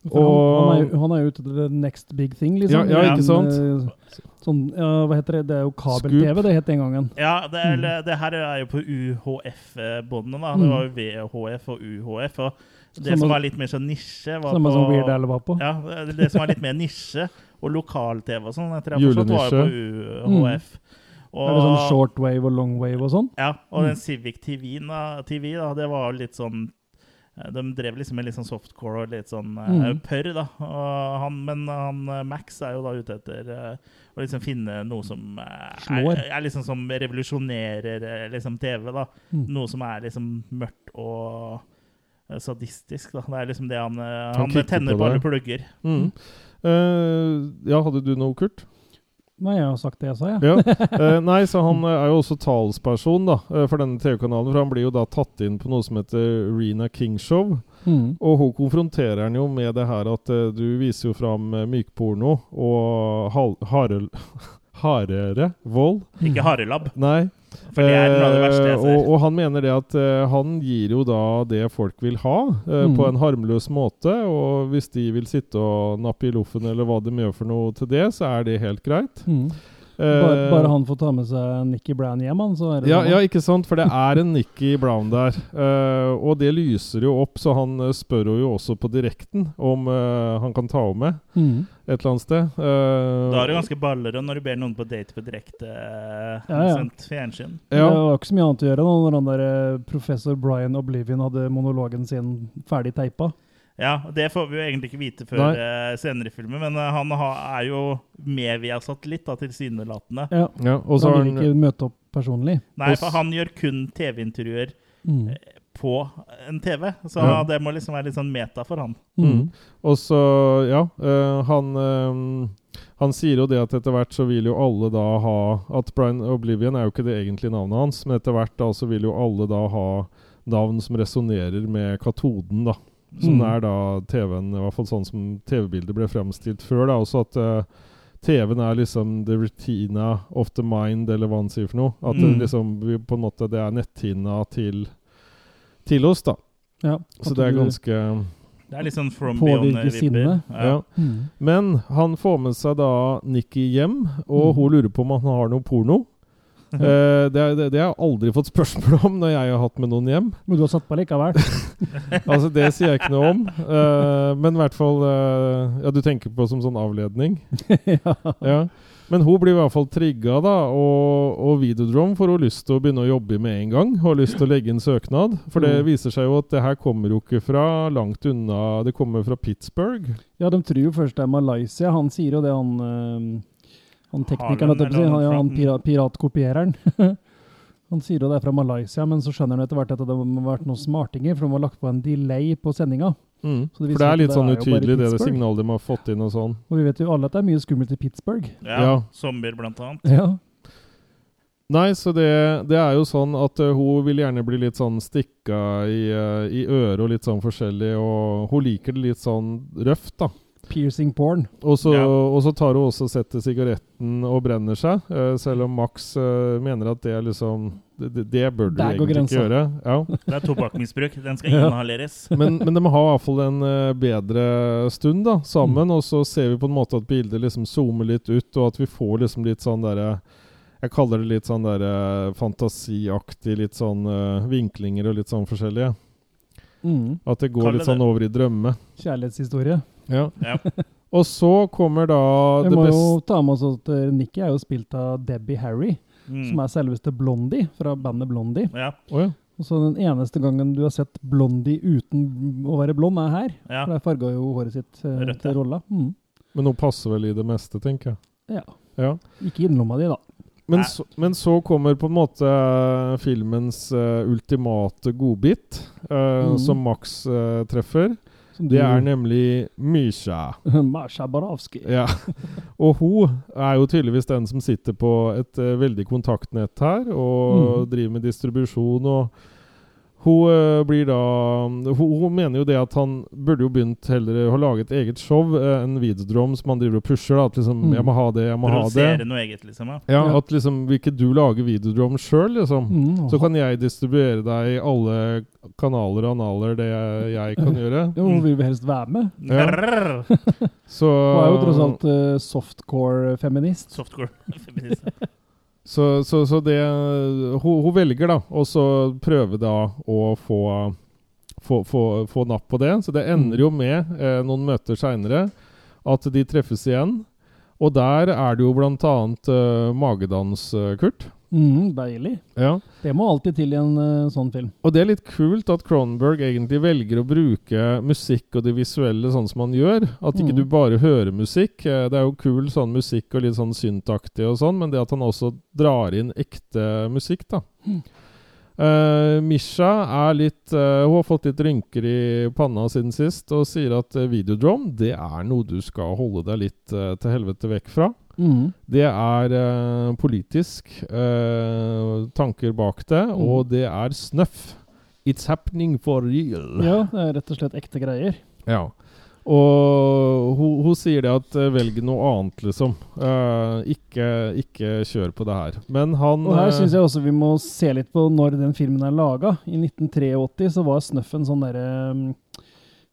[SPEAKER 2] For han, han, er,
[SPEAKER 3] Og-
[SPEAKER 2] jo- han er jo ute til the next big thing,
[SPEAKER 3] Ja,
[SPEAKER 2] liksom.
[SPEAKER 1] ja,
[SPEAKER 2] En,
[SPEAKER 3] ikke sant?
[SPEAKER 2] eh, Sånn, ja, hva heter det? Det er jo kabel-TV det het den gangen.
[SPEAKER 1] Ja, det, er,
[SPEAKER 2] Mm.
[SPEAKER 1] det her er jo på UHF-båndene. da. Det var jo VHF og UHF. Og det
[SPEAKER 2] Samme-
[SPEAKER 1] som var litt mer sånn nisje var
[SPEAKER 2] Samme
[SPEAKER 1] på,
[SPEAKER 2] som Weird Al var på.
[SPEAKER 1] Ja, det- det som var litt mer nisje, og lokal-TV og sånn, etter jeg har forstått, var jo på UHF. Og,
[SPEAKER 2] Er det sånn shortwave og longwave og sånn?
[SPEAKER 1] Ja, og
[SPEAKER 3] Mm.
[SPEAKER 1] den Civic TV-en, da, TV, da, det var jo litt sånn eh, de drev liksom med litt sånn softcore og litt sånn eh,
[SPEAKER 2] Mm.
[SPEAKER 1] pørr, da. Og han, men han, eh, Max er jo da ute etter eh, å liksom finne noe som eh,
[SPEAKER 2] Slår.
[SPEAKER 1] Er, er liksom som revolusjonerer eh, liksom TV, da.
[SPEAKER 3] Mm.
[SPEAKER 1] Noe som er liksom mørkt og eh, sadistisk, da. Det er liksom det han eh,
[SPEAKER 3] Han
[SPEAKER 1] Han
[SPEAKER 3] kikker
[SPEAKER 1] tenner
[SPEAKER 3] på
[SPEAKER 1] på
[SPEAKER 3] deg.
[SPEAKER 1] alle plugger.
[SPEAKER 3] Mm. Eh, ja, hadde du noe, Kurt?
[SPEAKER 2] Nei, jeg har sagt det jeg sa, jeg.
[SPEAKER 3] Ja. Eh, nei, så han eh, er jo også talsperson da, eh, for denne TV-kanalen. For han blir jo da tatt inn på noe som heter Rena King Show.
[SPEAKER 2] Mm.
[SPEAKER 3] Og hun konfronterer han jo med det her at eh, du viser jo fram eh, mykporno og hal harel- [LAUGHS] hardere vold.
[SPEAKER 1] Ikke harelab,
[SPEAKER 3] Nei.
[SPEAKER 1] for det er noe av det verste
[SPEAKER 3] Eh,
[SPEAKER 1] jeg
[SPEAKER 3] og,
[SPEAKER 1] ser.
[SPEAKER 3] og han mener det at eh, han gir jo da det folk vil ha, eh,
[SPEAKER 2] Mm.
[SPEAKER 3] på en harmløs måte. Og hvis de vil sitte og nappe i loffen eller hva de gjør for noe til det, så er det helt greit.
[SPEAKER 2] Mm. Bare, bare han får ta med seg Nikki Brown hjem, han, så er det
[SPEAKER 3] Eh, Ja,
[SPEAKER 2] sånn.
[SPEAKER 3] ja, ikke sant, for det er en Nikki Brown der. eh, og det lyser jo opp, så han eh, spør henne jo også på direkten om eh, han kan ta henne med
[SPEAKER 2] Mm.
[SPEAKER 3] et eller annet sted. Eh,
[SPEAKER 1] Da er du ganske ballerød når du ber noen på date på direkte eh,
[SPEAKER 2] Ja, ja.
[SPEAKER 1] sendt fjernsyn.
[SPEAKER 3] ja,
[SPEAKER 2] Det var ikke så mye annet å gjøre da når han der eh, professor Brian Oblivion hadde monologen sin ferdig teipa.
[SPEAKER 1] Ja, det får vi jo egentlig ikke vite før eh, senere i filmen, men eh, han har, er jo med via satellitt, da, tilsynelatende.
[SPEAKER 2] Ja.
[SPEAKER 3] ja, og så
[SPEAKER 2] han
[SPEAKER 3] har
[SPEAKER 2] vil
[SPEAKER 3] han
[SPEAKER 2] ikke møte opp personlig.
[SPEAKER 1] Nei,
[SPEAKER 3] Og s-
[SPEAKER 1] for han gjør kun TV-intervjuer
[SPEAKER 2] Mm.
[SPEAKER 1] på en TV, så
[SPEAKER 3] Ja.
[SPEAKER 1] det må liksom være litt sånn meta for han.
[SPEAKER 2] Mm.
[SPEAKER 3] Og så, ja eh, han, eh, han sier jo det at etter hvert så vil jo alle da ha At Brian Oblivion er jo ikke det egentlige navnet hans, men etter hvert da så vil jo alle da ha navn som resonnerer med katoden, da. Sånn
[SPEAKER 2] Mm.
[SPEAKER 3] er da TV-en, i hvert fall sånn som TV-bildet ble fremstilt før. da, Også at eh, TV-en er liksom the retina of the mind, eller hva han sier for noe. At
[SPEAKER 1] Mm.
[SPEAKER 3] det liksom vi på en måte det er netthinna til, til oss, da.
[SPEAKER 2] Ja,
[SPEAKER 3] Så
[SPEAKER 2] at
[SPEAKER 3] det er
[SPEAKER 2] du
[SPEAKER 3] ganske
[SPEAKER 1] Det er litt sånn from
[SPEAKER 2] Påvirker
[SPEAKER 1] beyond-vibber.
[SPEAKER 2] sinnet.
[SPEAKER 3] ja.
[SPEAKER 2] Mm.
[SPEAKER 3] Men han får med seg da Nikki hjem, og
[SPEAKER 2] Mm.
[SPEAKER 3] hun lurer på om han har noe porno.
[SPEAKER 2] [LAUGHS]
[SPEAKER 3] Eh, det, er- det, det har jeg aldri fått spørsmål om når jeg har hatt med noen hjem.
[SPEAKER 2] Men du har satt på likevel.
[SPEAKER 3] Altså, det sier jeg ikke noe om. eh, men i hvert fall eh, Ja, du tenker på som sånn avledning.
[SPEAKER 2] [LAUGHS] ja.
[SPEAKER 3] Ja. Men hun blir i hvert fall trigga, da. Og, og Videodrome får hun lyst til å begynne å jobbe i med en gang. Har lyst til å legge inn søknad. For det
[SPEAKER 2] Mm.
[SPEAKER 3] viser seg jo at det her kommer jo ikke fra langt unna. Det kommer fra Pittsburgh.
[SPEAKER 2] ja, de tror jo først det er Malaysia. Han sier jo det, han, eh, han teknikeren,
[SPEAKER 1] Harlan,
[SPEAKER 2] holdt jeg på å si.
[SPEAKER 1] eller
[SPEAKER 2] han, ja, han
[SPEAKER 1] han
[SPEAKER 2] pira, piratkopiereren. [LAUGHS] han sier jo det er fra Malaysia, men så skjønner han etter hvert at det må ha vært noen smartinger, for de har lagt på en delay på sendinga. Så det
[SPEAKER 3] For
[SPEAKER 2] viser
[SPEAKER 3] det
[SPEAKER 2] seg at
[SPEAKER 3] er litt
[SPEAKER 2] det
[SPEAKER 3] sånn
[SPEAKER 2] er jo bare
[SPEAKER 3] utydelig, det, det
[SPEAKER 2] Pittsburgh.
[SPEAKER 3] signalet de har fått inn og sånn.
[SPEAKER 2] Og vi vet jo alle at det er mye skummelt i
[SPEAKER 3] [LAUGHS]
[SPEAKER 2] Pittsburgh.
[SPEAKER 1] Ja.
[SPEAKER 3] Ja.
[SPEAKER 1] Zombier, blant annet.
[SPEAKER 2] Ja.
[SPEAKER 3] Nei, så det, det er jo sånn at eh, hun vil gjerne bli litt sånn stikka i, eh, i øret og litt sånn forskjellig, og hun liker det litt sånn røft, da.
[SPEAKER 2] Piercing porn.
[SPEAKER 3] Og så,
[SPEAKER 1] Ja.
[SPEAKER 3] og så tar hun også og setter sigaretten og brenner seg, eh, selv om Max eh, mener at det er liksom Det, det- det bør du
[SPEAKER 2] Der
[SPEAKER 3] egentlig
[SPEAKER 2] går
[SPEAKER 3] ikke
[SPEAKER 2] grensa.
[SPEAKER 3] gjøre. Ja.
[SPEAKER 1] Det er tobakksmisbruk. Den skal
[SPEAKER 3] [LAUGHS] Ja.
[SPEAKER 1] inhaleres.
[SPEAKER 3] Men, men de har i hvert fall en eh, bedre stund da,
[SPEAKER 2] Mm.
[SPEAKER 3] sammen, og så ser vi på en måte at bildet liksom zoomer litt ut, og at vi får liksom litt sånn derre jeg kaller det litt sånn der, eh, fantasiaktig, litt sånn eh, vinklinger og litt sånn forskjellige.
[SPEAKER 2] Mm.
[SPEAKER 3] At det går
[SPEAKER 1] Kalle
[SPEAKER 3] litt sånn
[SPEAKER 1] det-
[SPEAKER 3] over i drømme.
[SPEAKER 2] Kjærlighetshistorie.
[SPEAKER 3] Ja.
[SPEAKER 1] Ja.
[SPEAKER 3] [LAUGHS] Og så kommer da
[SPEAKER 2] Vi
[SPEAKER 3] det
[SPEAKER 2] må
[SPEAKER 3] beste
[SPEAKER 2] jo ta med oss at eh, Nikki er jo spilt av Debbie Harry,
[SPEAKER 1] Mm.
[SPEAKER 2] som er selveste Blondie fra bandet Blondie.
[SPEAKER 1] Ja,
[SPEAKER 3] Å ja.
[SPEAKER 2] Og så den eneste gangen du har sett Blondie uten å være blond, er her.
[SPEAKER 1] ja.
[SPEAKER 2] For der farga jo håret sitt eh,
[SPEAKER 1] Rødt, ja.
[SPEAKER 2] til rolla. Mm.
[SPEAKER 3] Men hun passer vel i det meste, tenker jeg.
[SPEAKER 2] Ja.
[SPEAKER 3] Ja.
[SPEAKER 2] Ikke innlomma di, da.
[SPEAKER 3] Men,
[SPEAKER 1] Nei.
[SPEAKER 3] så, men så kommer på en måte eh, filmens eh, ultimate godbit, eh,
[SPEAKER 2] Mhm.
[SPEAKER 3] som Max eh, treffer.
[SPEAKER 2] Som
[SPEAKER 3] Det er nemlig Mysja.
[SPEAKER 2] [LAUGHS] Marsha Barawski.
[SPEAKER 3] Ja. Og hun er jo tydeligvis den som sitter på et eh, veldig kontaktnett her, og
[SPEAKER 2] Mhm.
[SPEAKER 3] driver med distribusjon og hun eh, blir da hun, hun mener jo det at han burde jo begynt heller eh, å lage et eget show eh, enn videodrom som han driver og pusher. da, At liksom
[SPEAKER 2] Mhm.
[SPEAKER 3] 'Jeg må ha det, jeg må ha det'.
[SPEAKER 1] Produsere noe eget, liksom. Ja.
[SPEAKER 3] Ja,
[SPEAKER 2] Ja.
[SPEAKER 3] At liksom vil ikke du lage videodrom sjøl, liksom?
[SPEAKER 2] Mm. [LAUGHS]
[SPEAKER 3] Så kan jeg distribuere deg i alle kanaler og analer det jeg, jeg kan gjøre.
[SPEAKER 2] Jo, hun vil jo helst være med.
[SPEAKER 3] Ja.
[SPEAKER 1] Rrrr.
[SPEAKER 3] Så,
[SPEAKER 2] Hun er jo tross alt eh, softcore-feminist.
[SPEAKER 1] Softcore. [LAUGHS] feminisme.
[SPEAKER 3] så, så, så det hun, hun velger, da, og så prøve da å få få, få, få napp på det. Så det ender jo med, eh, noen møter seinere, at de treffes igjen. Og der er det jo blant annet eh, magedans, eh, Kurt.
[SPEAKER 2] Mm, deilig.
[SPEAKER 3] Ja.
[SPEAKER 2] Det må alltid til i en eh, sånn film.
[SPEAKER 3] Og det er litt kult at Cronenberg egentlig velger å bruke musikk og det visuelle sånn som han gjør. At ikke
[SPEAKER 2] Mm.
[SPEAKER 3] du bare hører musikk. Eh, Det er jo kul sånn musikk og litt sånn syntaktig og sånn, men det at han også drar inn ekte musikk, da. Eh, Misha er litt eh, Hun har fått litt rynker i panna siden sist og sier at uh, videodrom, det er noe du skal holde deg litt eh, til helvete vekk fra.
[SPEAKER 2] Mm.
[SPEAKER 3] Det er eh, politisk eh, tanker bak det,
[SPEAKER 2] Mm.
[SPEAKER 3] og det er snøff. It's happening for real.
[SPEAKER 2] Ja, det er rett og slett ekte greier.
[SPEAKER 3] Ja. Og hun, hun sier det at eh, velg noe annet, liksom. Eh, ikke, ikke kjør på det her. Men han
[SPEAKER 2] Og her
[SPEAKER 3] eh,
[SPEAKER 2] syns jeg også vi må se litt på når den filmen er laga. I 1983 så var Snuff en sånn derre mm,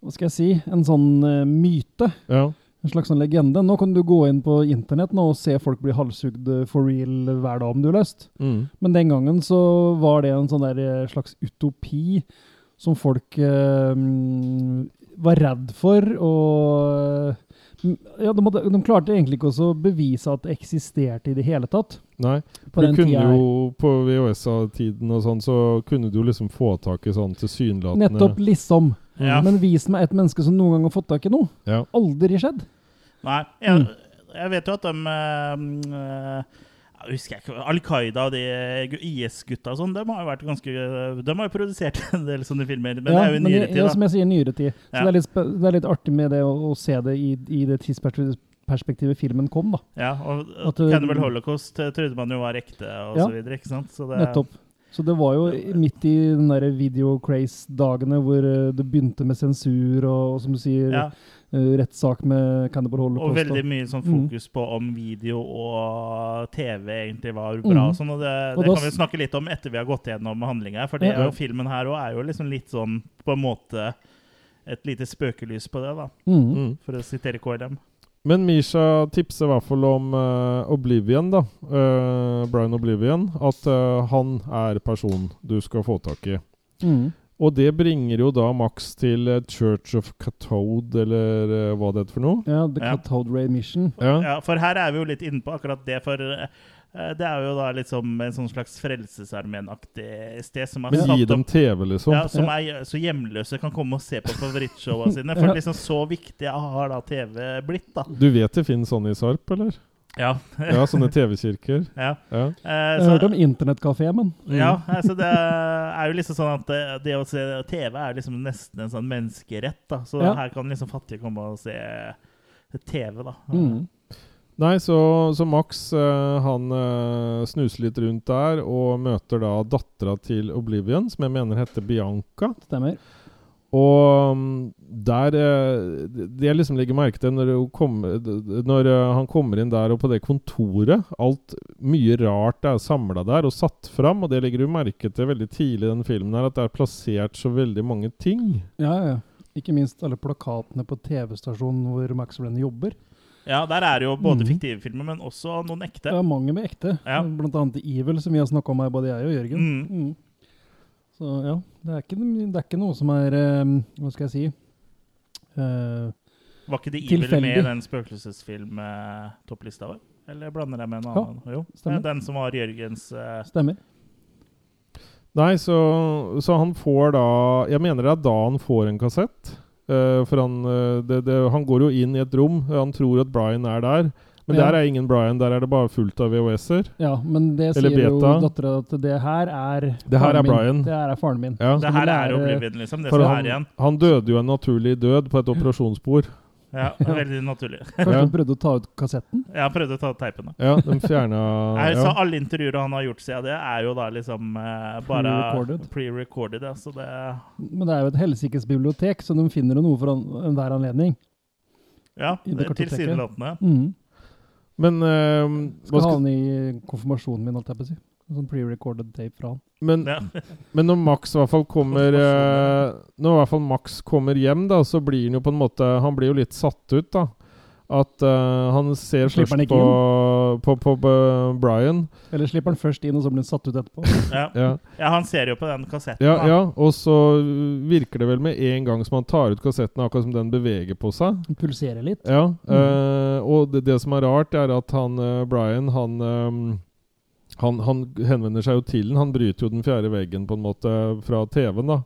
[SPEAKER 2] Hva skal jeg si? En sånn eh, myte.
[SPEAKER 3] ja.
[SPEAKER 2] En slags sånn legende. Nå kan du gå inn på internett nå og se folk bli halshugd eh, for real hver dag om du har lyst.
[SPEAKER 3] Mm.
[SPEAKER 2] Men den gangen så var det en sånn der eh, slags utopi som folk eh, mm, var redd for, og mm, ja, de, hadde, de klarte egentlig ikke også å bevise at det eksisterte i det hele tatt.
[SPEAKER 3] Nei.
[SPEAKER 2] På
[SPEAKER 3] For
[SPEAKER 2] den
[SPEAKER 3] du kunne
[SPEAKER 2] tida her.
[SPEAKER 3] jo på VHS-tiden og sånn, så kunne du jo liksom få tak i sånn tilsynelatende
[SPEAKER 2] Nettopp liksom.
[SPEAKER 1] Ja.
[SPEAKER 2] Men vis meg ett menneske som noen gang har fått tak i noe.
[SPEAKER 3] Ja.
[SPEAKER 2] Aldri skjedd.
[SPEAKER 1] Nei,
[SPEAKER 2] Mm.
[SPEAKER 1] jeg, jeg vet jo at de eh, eh, jeg husker ikke, Al Qaida og de IS-gutta og sånn, de har jo vært ganske De har jo produsert [LAUGHS] en del sånne filmer, men det er jo i nyere
[SPEAKER 2] Ja,
[SPEAKER 1] tid,
[SPEAKER 2] som jeg sier, nyere tid. Så
[SPEAKER 1] Ja.
[SPEAKER 2] det, er litt, spe- det er litt artig med det å, å se det i, i det tidsperspektivet filmen kom, da.
[SPEAKER 1] da. Ja, og
[SPEAKER 2] At,
[SPEAKER 1] Cannibal Holocaust eh, trodde man jo var ekte, og
[SPEAKER 2] Ja.
[SPEAKER 1] så videre, ikke sant? Så det,
[SPEAKER 2] Nettopp. Så det var jo i- midt i den derre video craze-dagene hvor eh, det begynte med sensur og, og som du sier,
[SPEAKER 1] Ja,
[SPEAKER 2] eh, rettssak med Cannibal
[SPEAKER 1] og
[SPEAKER 2] Holocaust.
[SPEAKER 1] veldig mye sånn
[SPEAKER 2] Mm.
[SPEAKER 1] fokus på om video og TV egentlig var bra.
[SPEAKER 2] Mm.
[SPEAKER 1] Og sånn, og det,
[SPEAKER 2] Og
[SPEAKER 1] det
[SPEAKER 2] da
[SPEAKER 1] kan vi
[SPEAKER 2] s-
[SPEAKER 1] snakke litt om etter vi har gått gjennom handlinga. For det
[SPEAKER 2] Ja.
[SPEAKER 1] er jo, filmen her også er jo liksom litt sånn på en måte et lite spøkelys på det, da,
[SPEAKER 2] Mm.
[SPEAKER 3] Mm.
[SPEAKER 1] for å sitere KLM.
[SPEAKER 3] Men Misha tipser i hvert fall om eh, Oblivion, da. Eh, Brian Oblivion. At eh, han er personen du skal få tak i.
[SPEAKER 2] Mm.
[SPEAKER 3] Og det bringer jo da Max til eh, Church of Cathode, eller eh, hva det heter for noe.
[SPEAKER 2] Ja, The
[SPEAKER 1] Ja.
[SPEAKER 2] Cathode Ray Mission.
[SPEAKER 3] Ja.
[SPEAKER 1] Ja, for her er vi jo litt inne på akkurat det, for eh, det er jo da liksom en sånn slags Frelsesarmeen-aktig sted som er
[SPEAKER 3] Men
[SPEAKER 1] satt
[SPEAKER 3] gi
[SPEAKER 1] opp
[SPEAKER 3] dem TV, liksom.
[SPEAKER 1] Ja, som er så hjemløse kan komme og se på favorittshowene sine. For liksom så viktig har da TV blitt, da.
[SPEAKER 3] Du vet det finnes sånne i Sarp, eller?
[SPEAKER 1] [LAUGHS] Ja.
[SPEAKER 3] Ja, sånne TV-kirker.
[SPEAKER 1] ja.
[SPEAKER 3] Ja.
[SPEAKER 1] Eh,
[SPEAKER 2] Jeg
[SPEAKER 1] så,
[SPEAKER 2] hørte om internettkafé, men
[SPEAKER 1] ja, altså det er jo liksom sånn at det, det å se TV er liksom nesten en sånn menneskerett, da. Så
[SPEAKER 2] Ja.
[SPEAKER 1] her kan liksom fattige komme og se TV, da.
[SPEAKER 2] mm.
[SPEAKER 3] Nei, så, så Max eh, han eh, snuser litt rundt der og møter da dattera til Oblivion, som jeg mener heter Bianca.
[SPEAKER 2] Stemmer.
[SPEAKER 3] Og mm, der eh, Det det jeg liksom legger merke til når, hun kommer- d- d- når eh, han kommer inn der og på det kontoret Alt mye rart er samla der og satt fram, og det legger du merke til veldig tidlig i den filmen her, at det er plassert så veldig mange ting.
[SPEAKER 2] Ja, ja, ja. Ikke minst alle plakatene på TV-stasjonen hvor Max Brenner jobber.
[SPEAKER 1] Ja, der er det jo både
[SPEAKER 2] Mhm.
[SPEAKER 1] fiktive filmer, men også noen
[SPEAKER 2] Det
[SPEAKER 1] ekte.
[SPEAKER 2] er mange med ekte,
[SPEAKER 1] Ja.
[SPEAKER 2] blant annet Evil, som vi har snakka om her, både jeg og Jørgen.
[SPEAKER 1] Mm.
[SPEAKER 2] Mm. Så ja, det er, ikke, det er ikke noe som er eh, Hva skal jeg si eh,
[SPEAKER 1] Var ikke det Evil
[SPEAKER 2] Tilfeldig.
[SPEAKER 1] med i den spøkelsesfilm-topplista vår? Eller blander jeg med en
[SPEAKER 2] Ja,
[SPEAKER 1] annen? jo, det
[SPEAKER 2] stemmer.
[SPEAKER 1] er den som var Jørgens eh,
[SPEAKER 2] Stemmer.
[SPEAKER 3] Nei, så, så han får da Jeg mener det er da han får en kassett. Eh, for han, eh, det, det, han går jo inn i et rom. eh, Han tror at Brian er der. Men
[SPEAKER 2] Ja.
[SPEAKER 3] der er ingen Brian. Der er det bare fullt av VHS-er.
[SPEAKER 2] Ja, men det
[SPEAKER 3] Eller
[SPEAKER 2] sier jo
[SPEAKER 3] beta.
[SPEAKER 2] dattera at det her er
[SPEAKER 3] Det her er
[SPEAKER 2] faren min.
[SPEAKER 3] Brian.
[SPEAKER 2] Det her er faren min.
[SPEAKER 3] Ja.
[SPEAKER 1] Det her er
[SPEAKER 2] lære-
[SPEAKER 1] Oblivion, liksom. Det
[SPEAKER 3] For
[SPEAKER 1] som
[SPEAKER 3] han,
[SPEAKER 1] er igjen.
[SPEAKER 3] han døde jo en naturlig død på et operasjonsbord.
[SPEAKER 2] [LAUGHS]
[SPEAKER 1] Ja, Veldig naturlig.
[SPEAKER 2] Kanskje
[SPEAKER 3] Ja.
[SPEAKER 2] hun prøvde å ta ut kassetten?
[SPEAKER 1] Jeg har prøvd å ta teipene.
[SPEAKER 3] Ja, de fjerna
[SPEAKER 1] Nei, Så
[SPEAKER 3] ja.
[SPEAKER 1] alle intervjuer han har gjort siden det, er jo da liksom eh, bare
[SPEAKER 2] Pre-recorded.
[SPEAKER 1] pre-recorded. ja, så det
[SPEAKER 2] Men det er jo et helsikes bibliotek, så de finner jo noe for an enhver anledning.
[SPEAKER 1] Ja,
[SPEAKER 2] I det kartoteket.
[SPEAKER 1] tilsynelatende.
[SPEAKER 2] Mm.
[SPEAKER 3] Men, eh, hva
[SPEAKER 2] Skal ha
[SPEAKER 3] skal,
[SPEAKER 2] han i konfirmasjonen min, holdt jeg på å si. En sånn pre-recorded tape fra han.
[SPEAKER 3] men,
[SPEAKER 1] Ja.
[SPEAKER 3] men når Max i hvert fall kommer eh, Når i hvert fall Max kommer hjem, da, så blir han jo på en måte Han blir jo litt satt ut, da. At eh, han ser
[SPEAKER 2] Slipper
[SPEAKER 3] først
[SPEAKER 2] han
[SPEAKER 3] på,
[SPEAKER 2] ikke
[SPEAKER 3] på, på, eh, Brian.
[SPEAKER 2] Eller slipper han først inn, og så blir han satt ut etterpå.
[SPEAKER 1] Ja.
[SPEAKER 3] Ja.
[SPEAKER 1] ja, han ser jo på den kassetten.
[SPEAKER 3] Ja,
[SPEAKER 1] da.
[SPEAKER 3] ja, og så virker det vel med en gang som han tar ut kassetten, akkurat som den beveger på seg.
[SPEAKER 2] Han pulserer litt.
[SPEAKER 3] Ja,
[SPEAKER 1] Mm.
[SPEAKER 3] eh, og det, det som er rart, er at han eh, Brian, han, eh, han Han henvender seg jo til den. Han bryter jo den fjerde veggen, på en måte, fra TV-en, da.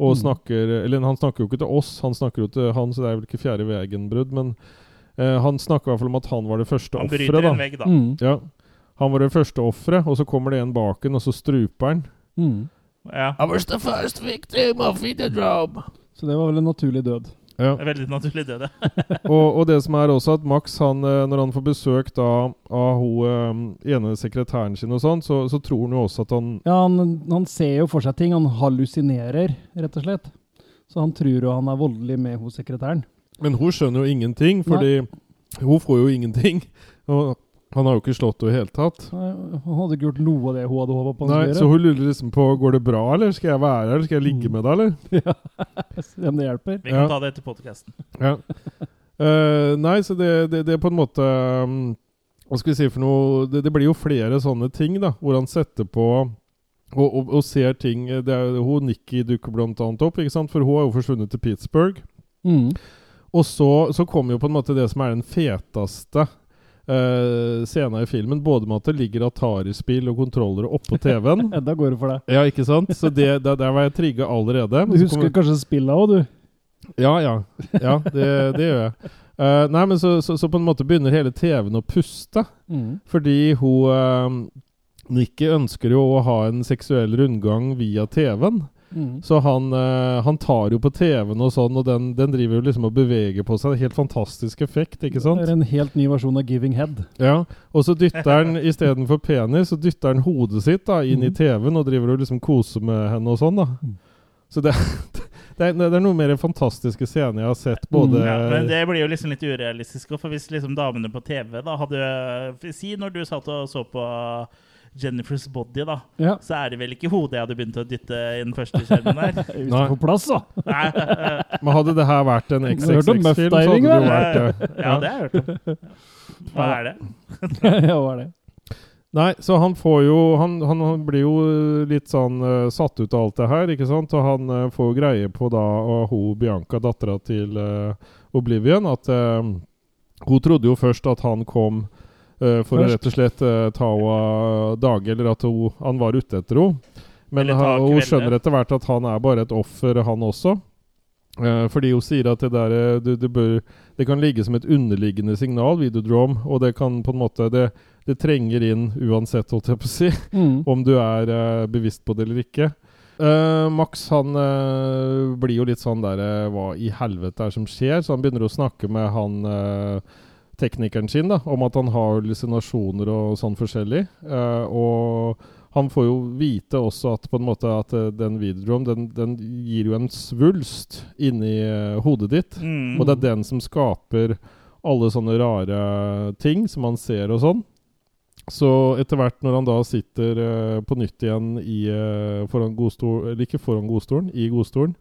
[SPEAKER 3] Og
[SPEAKER 2] Mm.
[SPEAKER 3] snakker Eller han snakker jo ikke til oss, han snakker jo til han, så det er vel ikke fjerde veggen-brudd, men eh, han snakker i hvert fall om at han var det første
[SPEAKER 1] Han
[SPEAKER 3] offeret,
[SPEAKER 1] bryter
[SPEAKER 3] da.
[SPEAKER 1] en vegg, da.
[SPEAKER 2] Mm.
[SPEAKER 3] Ja. Han var det første offeret, og så kommer det en bak en, og så struper han.
[SPEAKER 2] Mm.
[SPEAKER 1] Ja,
[SPEAKER 5] I was the first victim of Videodrome.
[SPEAKER 2] Så det var vel en naturlig død.
[SPEAKER 3] Ja.
[SPEAKER 1] det er Veldig naturlig, det. det.
[SPEAKER 3] og, og det som er også at Max, han, eh, når han får besøk da, av hun eh, ene sekretæren sin, og sånn, så, så tror han jo også at han
[SPEAKER 2] Ja, han, han ser jo for seg ting. Han hallusinerer, rett og slett. Så han tror jo han er voldelig med hos sekretæren.
[SPEAKER 3] Men hun skjønner jo ingenting, fordi hun får jo ingenting. Og han har jo ikke slått henne i det hele tatt.
[SPEAKER 2] Nei, eh, Han hadde ikke gjort noe av det hun hadde håpa på.
[SPEAKER 3] Nei,
[SPEAKER 2] han
[SPEAKER 3] så
[SPEAKER 2] skulle
[SPEAKER 3] hun lurer liksom på går det bra, eller skal jeg være her, eller skal jeg ligge
[SPEAKER 2] Mm.
[SPEAKER 3] med deg, eller?
[SPEAKER 2] gjøre. Ja, se om det hjelper.
[SPEAKER 1] Vi kan
[SPEAKER 3] Ja.
[SPEAKER 1] ta det etter podkasten.
[SPEAKER 3] Ja. Eh, nei, så det, det, det er på en måte um, Hva skal vi si for noe det, det blir jo flere sånne ting, da, hvor han setter på og, og, og ser ting det er, Hun Nikki dukker blant annet opp, ikke sant? for hun har jo forsvunnet til Pittsburgh.
[SPEAKER 2] Mm.
[SPEAKER 3] Og så, så kommer jo på en måte det som er den feteste uh, scenen i filmen, både med at det ligger Atari-spill og kontrollere oppå TV-en.
[SPEAKER 2] [LAUGHS] Edda går det for deg.
[SPEAKER 3] ja, ikke sant? Så det, der- der var jeg trigga allerede. men
[SPEAKER 2] Du
[SPEAKER 3] så
[SPEAKER 2] husker
[SPEAKER 3] kommer-
[SPEAKER 2] kanskje spilla òg, du?
[SPEAKER 3] ja, ja. ja det, det gjør jeg. Eh, nei, men så, så, så på en måte begynner hele TV-en å puste,
[SPEAKER 2] Mm.
[SPEAKER 3] fordi hun eh, Nikki ønsker jo å ha en seksuell rundgang via TV-en.
[SPEAKER 2] Mm.
[SPEAKER 3] Så han, eh, han tar jo på TV-en og sånn, og den, den driver jo liksom og beveger på seg. Det er Helt fantastisk effekt, ikke sant?
[SPEAKER 2] Det er en helt ny versjon av Giving Head.
[SPEAKER 3] Ja, og så dytter han istedenfor penis, så dytter han hodet sitt da inn i
[SPEAKER 2] Mhm.
[SPEAKER 3] TV-en og driver og liksom koser med henne og sånn, da.
[SPEAKER 2] Mhm.
[SPEAKER 3] Så det, [LAUGHS] det, er, det er noen mer fantastiske scener jeg har sett,
[SPEAKER 2] Mm.
[SPEAKER 3] både
[SPEAKER 1] Ja, men det blir jo liksom litt urealistisk. og For hvis liksom damene på TV da hadde eh, Si når du satt og så på Jennifers Body, da.
[SPEAKER 2] Ja.
[SPEAKER 1] Så er det vel ikke hodet jeg hadde begynt å dytte i den første skjermen
[SPEAKER 2] [LAUGHS]
[SPEAKER 1] der.
[SPEAKER 2] Hvis
[SPEAKER 3] Nei.
[SPEAKER 2] du får plass,
[SPEAKER 3] [LAUGHS]
[SPEAKER 2] da.
[SPEAKER 1] Nei, [LAUGHS]
[SPEAKER 3] Men hadde det her vært en
[SPEAKER 2] Du hørte
[SPEAKER 3] XXX-film,
[SPEAKER 2] om
[SPEAKER 3] så hadde
[SPEAKER 2] muff-diving,
[SPEAKER 3] det jo
[SPEAKER 2] vel?
[SPEAKER 3] vært det.
[SPEAKER 1] ja, det har jeg hørt om. Hva er det?
[SPEAKER 2] ja, hva er det?
[SPEAKER 3] Nei, så han får jo Han, han blir jo litt sånn eh, satt ut av alt det her, ikke sant? Og han eh, får jo greie på da og hun Bianca, dattera til eh, Oblivion, at eh, hun trodde jo først at han kom eh, for å
[SPEAKER 2] Først.
[SPEAKER 3] rett og slett eh, ta henne av dage, eller at hun, han var ute etter henne. Men
[SPEAKER 1] Eller ta
[SPEAKER 3] han, hun
[SPEAKER 1] kvelden.
[SPEAKER 3] skjønner etter hvert at han er bare et offer, han også. Eh, fordi hun sier at det der eh, du, du bør, Det kan ligge som et underliggende signal, videodrome, og det kan på en måte Det, det trenger inn uansett, holdt jeg på å si,
[SPEAKER 2] Mm.
[SPEAKER 3] om du er eh, bevisst på det eller ikke. Eh, Max han eh, blir jo litt sånn der eh, Hva i helvete er det som skjer? Så han begynner å snakke med han eh, teknikeren sin da, om at han har hallusinasjoner og sånn forskjellig. Eh, og han får jo vite også at på en måte at eh, den videodrome den, den gir jo en svulst inni eh, hodet ditt.
[SPEAKER 1] Mm.
[SPEAKER 3] Og det er den som skaper alle sånne rare ting som man ser og sånn. Så etter hvert når han da sitter eh, på nytt igjen i, eh, foran godstolen Eller ikke foran godstolen, i
[SPEAKER 1] [LAUGHS]
[SPEAKER 3] godstolen.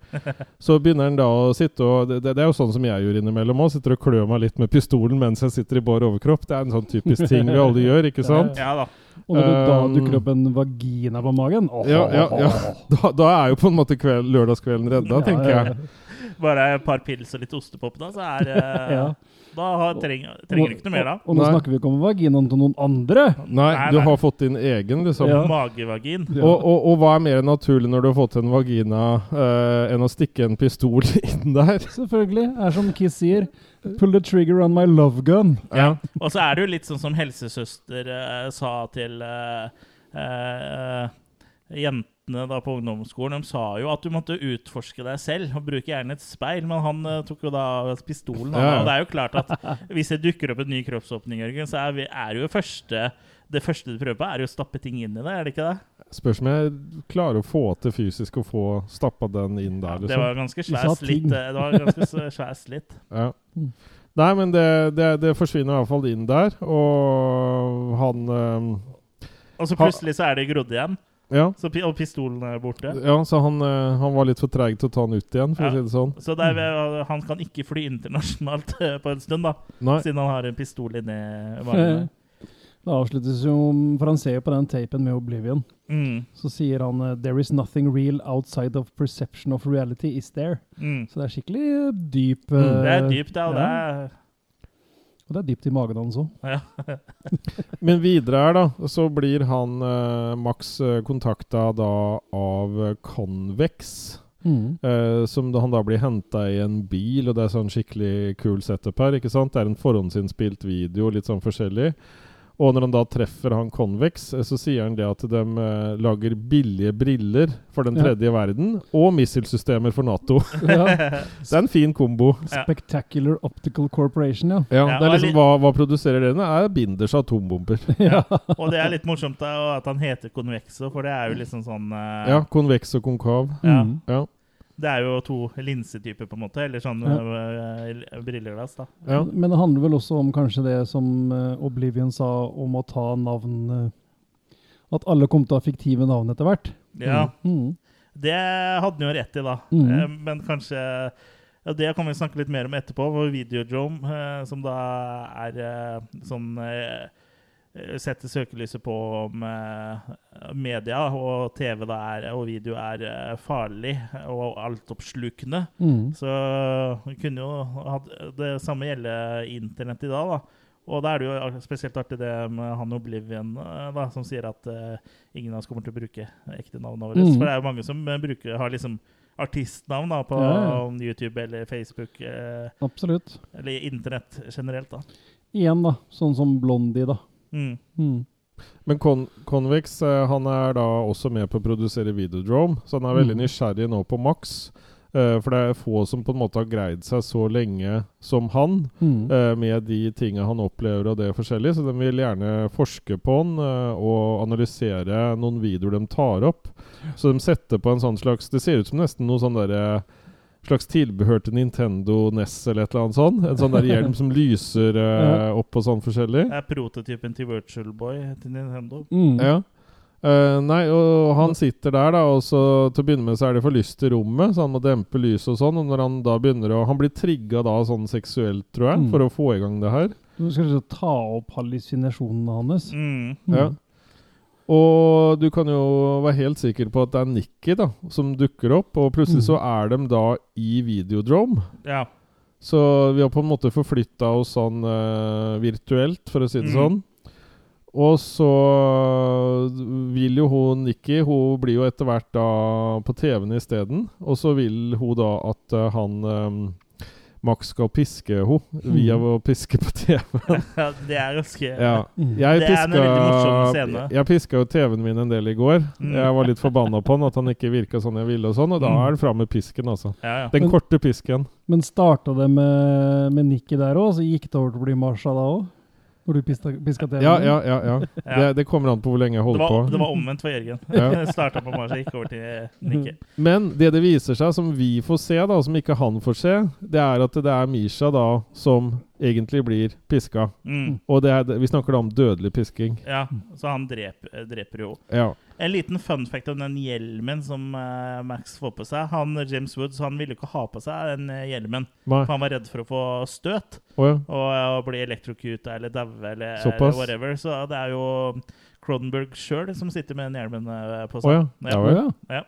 [SPEAKER 3] Så begynner han da å sitte og Det, det det er jo sånn som jeg gjør innimellom òg. Sitter og klør meg litt med pistolen mens jeg sitter i bar overkropp. Det er en sånn typisk ting vi alle gjør, ikke
[SPEAKER 1] [LAUGHS]
[SPEAKER 3] sant?
[SPEAKER 1] Ja da.
[SPEAKER 2] Og når det da
[SPEAKER 3] Um,
[SPEAKER 2] dukker opp en vagina på magen Åh,
[SPEAKER 3] Ja, ja, ja. [LAUGHS] Da, da er jo på en måte kveld, lørdagskvelden redda,
[SPEAKER 2] Ja,
[SPEAKER 3] tenker
[SPEAKER 2] ja,
[SPEAKER 3] jeg.
[SPEAKER 1] Bare et par pils og litt ostepop, da, så er eh,
[SPEAKER 2] Ja.
[SPEAKER 1] Da har, trenger, trenger du ikke noe mer da.
[SPEAKER 2] Og, og nå
[SPEAKER 3] Nei.
[SPEAKER 2] snakker vi ikke om vaginaen til noen andre.
[SPEAKER 3] Nei,
[SPEAKER 1] Nei,
[SPEAKER 3] du
[SPEAKER 1] nei.
[SPEAKER 3] har fått din egen, liksom.
[SPEAKER 2] Ja.
[SPEAKER 1] Magevagin.
[SPEAKER 3] Og, og, og hva er mer naturlig når du har fått en vagina eh, enn å stikke en pistol [LAUGHS] inn der?
[SPEAKER 2] Selvfølgelig. Er som Kiss sier Pull the trigger on my love gun.
[SPEAKER 3] Ja.
[SPEAKER 1] Og så er det jo litt sånn som helsesøster eh, sa til eh, eh, jentene da på ungdomsskolen. De sa jo at du måtte utforske deg selv og bruke gjerne et speil. Men han eh, tok jo da pistolen. Han,
[SPEAKER 3] Ja, ja.
[SPEAKER 1] Og det er jo klart at hvis det dukker opp en ny kroppsåpning, Jørgen, så er, vi, er jo første det første du prøver på, er jo å stappe ting inn i det. er Det ikke det?
[SPEAKER 3] Spørs om jeg klarer å få til fysisk å få stappa den inn der,
[SPEAKER 1] Det var
[SPEAKER 3] liksom.
[SPEAKER 1] ganske
[SPEAKER 2] sa
[SPEAKER 1] svær slitt.
[SPEAKER 2] ting.
[SPEAKER 1] eh, Det var ganske s- svær slitt.
[SPEAKER 3] Ja. Nei, men det, det, det forsvinner i hvert fall inn der, og han eh,
[SPEAKER 1] Og så
[SPEAKER 3] Ha-
[SPEAKER 1] plutselig så er det grodd igjen,
[SPEAKER 3] ja.
[SPEAKER 1] så, pi- og pistolen er borte.
[SPEAKER 3] ja, så han, eh, han var litt for treig til å ta den ut igjen, for
[SPEAKER 1] Ja.
[SPEAKER 3] å si det sånn.
[SPEAKER 1] Så det er, han kan ikke fly internasjonalt eh, på en stund, da.
[SPEAKER 3] Nei.
[SPEAKER 1] Siden han har en pistol inni
[SPEAKER 2] Eh,
[SPEAKER 1] magen.
[SPEAKER 2] [LAUGHS] Det avsluttes jo For han ser jo på den tapen med Oblivion.
[SPEAKER 1] Mm,
[SPEAKER 2] Så sier han eh, There is nothing real outside of perception of reality, is there?
[SPEAKER 1] mm.
[SPEAKER 2] Så det er skikkelig eh, dyp
[SPEAKER 3] Mm,
[SPEAKER 1] Det er
[SPEAKER 2] eh,
[SPEAKER 1] dypt, ja. og Det er,
[SPEAKER 2] Og det er dypt i magen hans òg.
[SPEAKER 3] Men videre her, da, så blir han eh, Max kontakta da av eh, Convex.
[SPEAKER 2] Mm.
[SPEAKER 3] Eh, som da han da blir henta i en bil, og det er sånn skikkelig cool setup her. ikke sant? Det er en forhåndsinnspilt video, litt sånn forskjellig. Og når han da treffer han Convex, eh, så sier han det at de eh, lager billige briller for den
[SPEAKER 2] Ja.
[SPEAKER 3] tredje verden, og missilsystemer for Nato. [LAUGHS]
[SPEAKER 2] Ja.
[SPEAKER 3] Det er en fin kombo.
[SPEAKER 2] Spectacular Optical Corporation, ja.
[SPEAKER 3] Ja,
[SPEAKER 1] Ja,
[SPEAKER 3] det er
[SPEAKER 1] og
[SPEAKER 3] liksom
[SPEAKER 1] litt-
[SPEAKER 3] Hva, hva produserer dere? Det er binders atombomber.
[SPEAKER 1] og det er litt morsomt da, og at han heter Convexo, for det er jo liksom sånn eh,
[SPEAKER 3] Ja, konveks og konkav.
[SPEAKER 1] ja,
[SPEAKER 2] [LAUGHS] Mm.
[SPEAKER 3] Ja.
[SPEAKER 1] Det er jo to linsetyper, på en måte. Eller sånn eh, eh, brilleglass, da.
[SPEAKER 3] ja.
[SPEAKER 2] Men det handler vel også om kanskje det som eh, Oblivion sa om å ta navn eh, At alle kom til å ha fiktive navn etter hvert.
[SPEAKER 1] Ja,
[SPEAKER 2] Mm.
[SPEAKER 1] Det hadde han jo rett i, da.
[SPEAKER 2] Mhm.
[SPEAKER 1] Eh, Men kanskje ja, Det kan vi snakke litt mer om etterpå. Vår videodrome, eh, som da er eh, sånn eh, Setter søkelyset på om eh, media og TV da er, og video er eh, farlig og altoppslukende.
[SPEAKER 2] Mm.
[SPEAKER 1] Så vi kunne jo hatt det samme gjelde internett i dag, da. Og da er det jo ar- spesielt artig det med han Oblivion eh, da, som sier at eh, ingen av oss kommer til å bruke ekte navn våre.
[SPEAKER 2] Mm.
[SPEAKER 1] For det er jo mange som eh, bruker, har liksom artistnavn da, på
[SPEAKER 2] Ja,
[SPEAKER 1] YouTube eller Facebook eh,
[SPEAKER 2] Absolutt.
[SPEAKER 1] eller internett generelt. da.
[SPEAKER 2] Igjen, da. Sånn som Blondie, da.
[SPEAKER 1] Mm.
[SPEAKER 2] Mm.
[SPEAKER 3] Men Con Convex eh, han er da også med på å produsere Videodrome, så han er veldig
[SPEAKER 2] Mm.
[SPEAKER 3] nysgjerrig nå på Max. eh, for det er få som på en måte har greid seg så lenge som han,
[SPEAKER 2] Mm.
[SPEAKER 3] eh, med de tinga han opplever og det forskjellige. Så de vil gjerne forske på han eh, og analysere noen videoer de tar opp. Så de setter på en sånn slags Det ser ut som nesten noe sånn derre Slags tilbehør til Nintendo NES eller et eller annet sånn. En sånn der hjelm som lyser eh, opp og sånn forskjellig.
[SPEAKER 1] Det er prototypen til Virtual Boy til Nintendo.
[SPEAKER 2] Mm.
[SPEAKER 3] Ja. Eh, nei, og han sitter der, da, og så til å begynne med så er det for lyst i rommet, så han må dempe lyset og sånn. Og når han da begynner å Han blir trigga da sånn seksuelt, tror jeg,
[SPEAKER 2] Mm.
[SPEAKER 3] for å få i gang det her.
[SPEAKER 2] Du skal liksom ta opp hallusinasjonene hans.
[SPEAKER 1] Mm.
[SPEAKER 2] Mm.
[SPEAKER 3] Ja. Og du kan jo være helt sikker på at det er Nikki da som dukker opp, og
[SPEAKER 2] Mm.
[SPEAKER 3] plutselig så er de da i Videodrome.
[SPEAKER 1] Ja.
[SPEAKER 3] Så vi har på en måte forflytta oss sånn eh, virtuelt, for å si det
[SPEAKER 1] Mm.
[SPEAKER 3] sånn. Og så vil jo hun Nikki Hun blir jo etter hvert da på TV-en isteden. Og så vil hun da at eh, han eh, Max skal piske henne via å piske på TV.
[SPEAKER 1] Mm. ja, det er ganske
[SPEAKER 3] Ja.
[SPEAKER 2] Mm.
[SPEAKER 3] Jeg
[SPEAKER 1] Det er en
[SPEAKER 3] piska,
[SPEAKER 1] veldig morsom scene.
[SPEAKER 3] Jeg piska jo TV-en min en del i går.
[SPEAKER 1] Mm.
[SPEAKER 3] Jeg var litt forbanna på han, at han ikke virka sånn jeg ville, og sånn. Og da er det fram med pisken, altså.
[SPEAKER 1] Ja, ja.
[SPEAKER 3] Den
[SPEAKER 2] Men-
[SPEAKER 3] korte pisken.
[SPEAKER 2] Men starta det med, med Nikki der òg, så gikk det over til å bli Marsha da òg? Hvor du piska, piska TV-en?
[SPEAKER 3] Ja, ja, ja. ja.
[SPEAKER 1] Ja.
[SPEAKER 3] Det, det kommer an på hvor lenge jeg
[SPEAKER 1] Det
[SPEAKER 3] holder på.
[SPEAKER 1] var, det var omvendt for Jørgen. [LAUGHS]
[SPEAKER 3] Ja.
[SPEAKER 1] Starta på Mars og gikk over til Nikke.
[SPEAKER 3] Men det det viser seg, som vi får se, da, som ikke han får se, det er at det er Misha da som egentlig blir piska.
[SPEAKER 1] Mm.
[SPEAKER 3] Og det er, det- vi snakker da om dødelig pisking.
[SPEAKER 1] Ja, så han dreper, eh, dreper jo.
[SPEAKER 3] Ja.
[SPEAKER 1] En liten fun fact om den hjelmen som eh, Max får på seg. Han, James Woods han ville ikke ha på seg den eh, hjelmen,
[SPEAKER 3] Nei.
[SPEAKER 1] for han var redd for å få støt
[SPEAKER 3] Å ja.
[SPEAKER 1] og, og bli electrocuta eller daue eller, eller
[SPEAKER 3] Såpass.
[SPEAKER 1] whatever. Så det er jo Cronenberg sjøl som sitter med den hjelmen eh, på
[SPEAKER 3] Å
[SPEAKER 1] seg.
[SPEAKER 3] ja. Ja
[SPEAKER 2] Å
[SPEAKER 3] vel.
[SPEAKER 2] ja.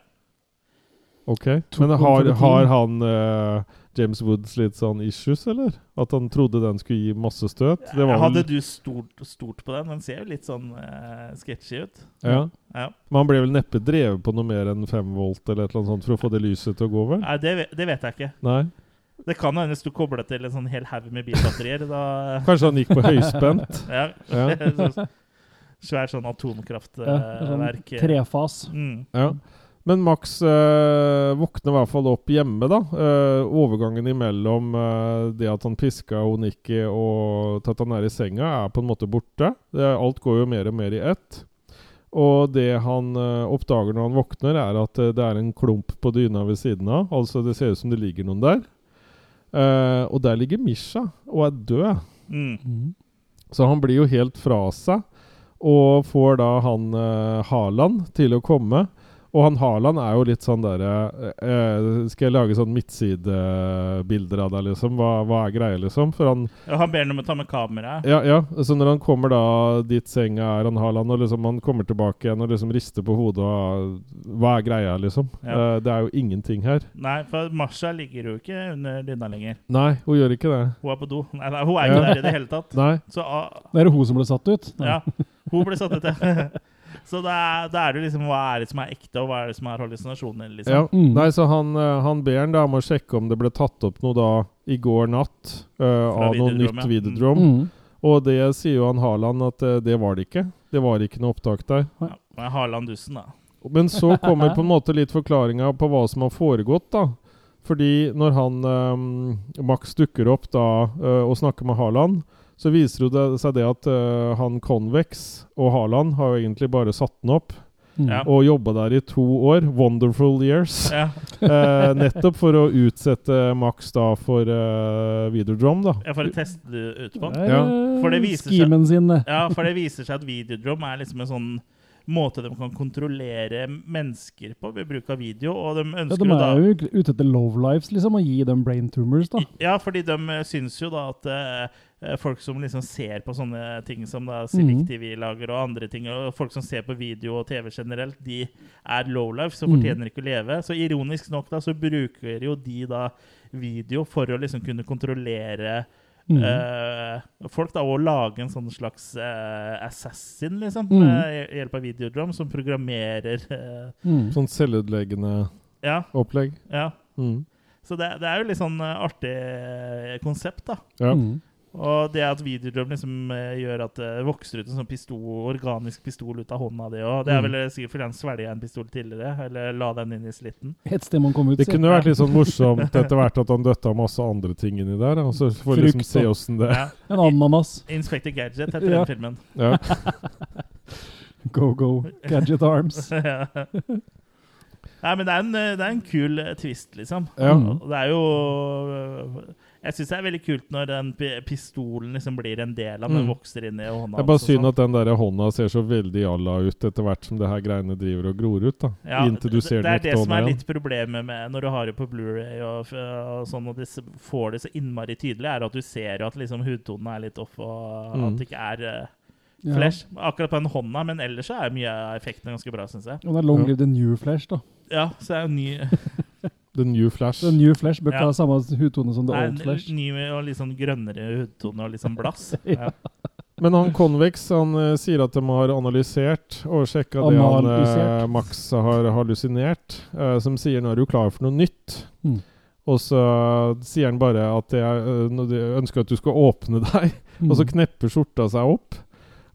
[SPEAKER 3] Ok. Men
[SPEAKER 2] kontra
[SPEAKER 3] har,
[SPEAKER 2] to.
[SPEAKER 3] har han eh, James Woods litt sånn issues, eller? At han trodde den skulle gi masse støt? Det var
[SPEAKER 1] Hadde
[SPEAKER 3] vel
[SPEAKER 1] du stort, stort på den? Den ser jo litt sånn eh, sketchy ut.
[SPEAKER 3] ja.
[SPEAKER 1] Ja.
[SPEAKER 3] Men han ble vel neppe drevet på noe mer enn 5 volt eller et eller annet sånt for å få det lyset til å gå, vel?
[SPEAKER 1] Nei, det, ve- det vet jeg ikke.
[SPEAKER 3] Nei?
[SPEAKER 1] Det kan hende hvis du kobler til en sånn hel haug med bilbatterier. Da [LAUGHS]
[SPEAKER 3] Kanskje han gikk på høyspent?
[SPEAKER 1] ja.
[SPEAKER 3] Ja.
[SPEAKER 1] [LAUGHS] Så- Svært sånn
[SPEAKER 2] Ja, det er sånn
[SPEAKER 1] atomkraftverk.
[SPEAKER 2] Trefas.
[SPEAKER 1] Mm.
[SPEAKER 3] Ja. Men Max eh, våkner i hvert fall opp hjemme, da. Eh, overgangen imellom eh, det at han piska og Nikki og til at han er i senga, er på en måte borte. Det, alt går jo mer og mer i ett. Og det han eh, oppdager når han våkner, er at eh, det er en klump på dyna ved siden av. Altså Det ser ut som det ligger noen der. Eh, og der ligger Misha og er død.
[SPEAKER 1] Mm.
[SPEAKER 2] Mm.
[SPEAKER 3] Så han blir jo helt fra seg, og får da han eh, Haaland til å komme. Og han Haaland er jo litt sånn derre eh, Skal jeg lage sånn midtsidebilder av deg, liksom? Hva, hva er greia, liksom? For han
[SPEAKER 1] Og han ber ham om å ta med kameraet.
[SPEAKER 3] Ja, ja. Så når han kommer da dit senga er, han Haaland, og liksom han kommer tilbake igjen og liksom rister på hodet og Hva er greia, liksom?
[SPEAKER 1] Ja.
[SPEAKER 3] Eh, det er jo ingenting her.
[SPEAKER 1] Nei, for Marsha ligger jo ikke under dyna lenger.
[SPEAKER 3] Nei, hun gjør ikke det.
[SPEAKER 1] Hun er på do. Nei, nei, hun er ikke
[SPEAKER 3] Ja.
[SPEAKER 1] der i det hele tatt.
[SPEAKER 3] Nei.
[SPEAKER 1] Så ah,
[SPEAKER 2] Det er hun som ble satt ut?
[SPEAKER 1] ja, hun ble satt ut, ja. [LAUGHS] Så da er, da er det jo liksom hva er det som er ekte, og hva er det som er hallusinasjoner?
[SPEAKER 3] Ja.
[SPEAKER 1] Liksom.
[SPEAKER 2] Mm.
[SPEAKER 3] Nei, så han, eh, han ber han da om å sjekke om det ble tatt opp noe da i går natt eh, av noe
[SPEAKER 1] videodrom,
[SPEAKER 3] nytt
[SPEAKER 1] ja.
[SPEAKER 3] videodrom.
[SPEAKER 2] Mm.
[SPEAKER 3] Og det sier jo han Haaland at eh, det var det ikke. Det var ikke noe opptak der.
[SPEAKER 1] Ja. men Harland Dussen, da.
[SPEAKER 3] Men
[SPEAKER 2] [LAUGHS]
[SPEAKER 3] så kommer på en måte litt forklaringa på hva som har foregått, da. Fordi når han eh, Max dukker opp da eh, og snakker med Haaland, så viser jo det seg det at eh, han Convex og Haaland har jo egentlig bare satt den opp
[SPEAKER 2] Mm.
[SPEAKER 1] Ja.
[SPEAKER 3] og jobba der i to år. Wonderful
[SPEAKER 1] [LAUGHS]
[SPEAKER 3] years.
[SPEAKER 1] Ja.
[SPEAKER 3] Eh, nettopp for å utsette Max da for eh, Videodrome, da.
[SPEAKER 1] Jeg får teste det ut på.
[SPEAKER 2] Det er,
[SPEAKER 3] Ja.
[SPEAKER 2] eh,
[SPEAKER 1] Sånn. For det viser seg-
[SPEAKER 2] Skimen sin, det.
[SPEAKER 1] Ja, for det viser seg at videodrom er liksom en sånn måte de kan kontrollere mennesker på ved bruk av video, og de
[SPEAKER 2] Ja,
[SPEAKER 1] ønsker
[SPEAKER 2] de
[SPEAKER 1] jo da
[SPEAKER 2] er jo ikke ute etter love lives, liksom, og gi dem brain tumors, da.
[SPEAKER 1] ja, fordi de eh, syns jo da at eh, folk som liksom ser på sånne ting som da Silic
[SPEAKER 2] Mhm.
[SPEAKER 1] TV lager og andre ting, og folk som ser på video og TV generelt, de er lowlife, så
[SPEAKER 2] Mhm.
[SPEAKER 1] fortjener ikke å leve. Så ironisk nok da, så bruker jo de da video for å liksom kunne kontrollere
[SPEAKER 2] Mm.
[SPEAKER 1] Eh, folk da, og lage en sånn slags eh, assassin, liksom,
[SPEAKER 2] Mm.
[SPEAKER 1] med hj- hjelp av videodrum, som programmerer eh,
[SPEAKER 2] Mm.
[SPEAKER 3] Sånn selvutleggende
[SPEAKER 1] Ja,
[SPEAKER 3] opplegg.
[SPEAKER 1] ja.
[SPEAKER 3] Mm.
[SPEAKER 1] Så det, det er jo litt sånn eh, artig eh, konsept, da.
[SPEAKER 3] Ja.
[SPEAKER 2] Mm.
[SPEAKER 1] Og det at videodrum liksom eh, gjør at det vokser ut en sånn pistol, organisk pistol ut av hånda di òg.
[SPEAKER 3] Mm.
[SPEAKER 1] Det er vel eh, sikkert fordi han svelga en pistol tidligere, eller la den inn i slitten.
[SPEAKER 2] Et sted man kom ut
[SPEAKER 3] Det kunne vært litt sånn morsomt etter hvert at han døtta masse andre ting inni der. Og så får vi liksom
[SPEAKER 2] Frukt
[SPEAKER 3] se
[SPEAKER 2] og-
[SPEAKER 3] åssen det
[SPEAKER 1] Ja.
[SPEAKER 2] En ananas.
[SPEAKER 1] [LAUGHS] Inspector Gadget heter den
[SPEAKER 2] Ja.
[SPEAKER 1] filmen. [LAUGHS]
[SPEAKER 3] ja.
[SPEAKER 2] Go, go.
[SPEAKER 1] [LAUGHS]
[SPEAKER 2] Gadget arms.
[SPEAKER 1] Ja. Nei, men det er en, eh, det er en kul eh, twist, liksom.
[SPEAKER 3] Ja.
[SPEAKER 1] Og det er jo øh, Jeg syns det er veldig kult når den pi- pistolen liksom blir en del av den,
[SPEAKER 3] Mm.
[SPEAKER 1] vokser inn i hånda.
[SPEAKER 3] Det er bare
[SPEAKER 1] hans og
[SPEAKER 3] synd
[SPEAKER 1] sånn.
[SPEAKER 3] at den der hånda ser så veldig jalla ut etter hvert som det her greiene driver og gror ut. da
[SPEAKER 1] Ja,
[SPEAKER 3] Inntil du
[SPEAKER 1] det,
[SPEAKER 3] ser
[SPEAKER 1] det er
[SPEAKER 3] den
[SPEAKER 1] det som er
[SPEAKER 3] ekte hånda
[SPEAKER 1] litt
[SPEAKER 3] igjen.
[SPEAKER 1] problemet med når du har det på Blu-ray og, f- og sånn, og de s- får det så innmari tydelig, er at du ser jo at liksom hudtonen er litt off, og
[SPEAKER 3] Mm.
[SPEAKER 1] at det ikke er eh,
[SPEAKER 2] Ja.
[SPEAKER 1] flash. Akkurat på den hånda, men ellers så er mye av effekten ganske bra, syns jeg.
[SPEAKER 2] Og det er long live the new flash, da.
[SPEAKER 1] Ja, så er det ny,
[SPEAKER 3] The New Flash.
[SPEAKER 2] The new flash bør ikke
[SPEAKER 1] Ja.
[SPEAKER 2] ha samme hudtone som [LAUGHS] the
[SPEAKER 1] nei,
[SPEAKER 2] old flash.
[SPEAKER 1] ny og litt sånn grønnere hudtone og litt sånn
[SPEAKER 2] [LAUGHS]
[SPEAKER 1] blass. Ja.
[SPEAKER 3] Men han Convex han eh, sier at de har analysert og sjekka det han eh,
[SPEAKER 2] Analysert.
[SPEAKER 3] Max har hallusinert, eh, som sier nå er du klar for noe nytt.
[SPEAKER 2] Mm.
[SPEAKER 3] Og så sier han bare at jeg eh, nå- jeg ønsker at du skal åpne [LAUGHS] deg. Og
[SPEAKER 2] Mm.
[SPEAKER 3] så knepper skjorta seg opp,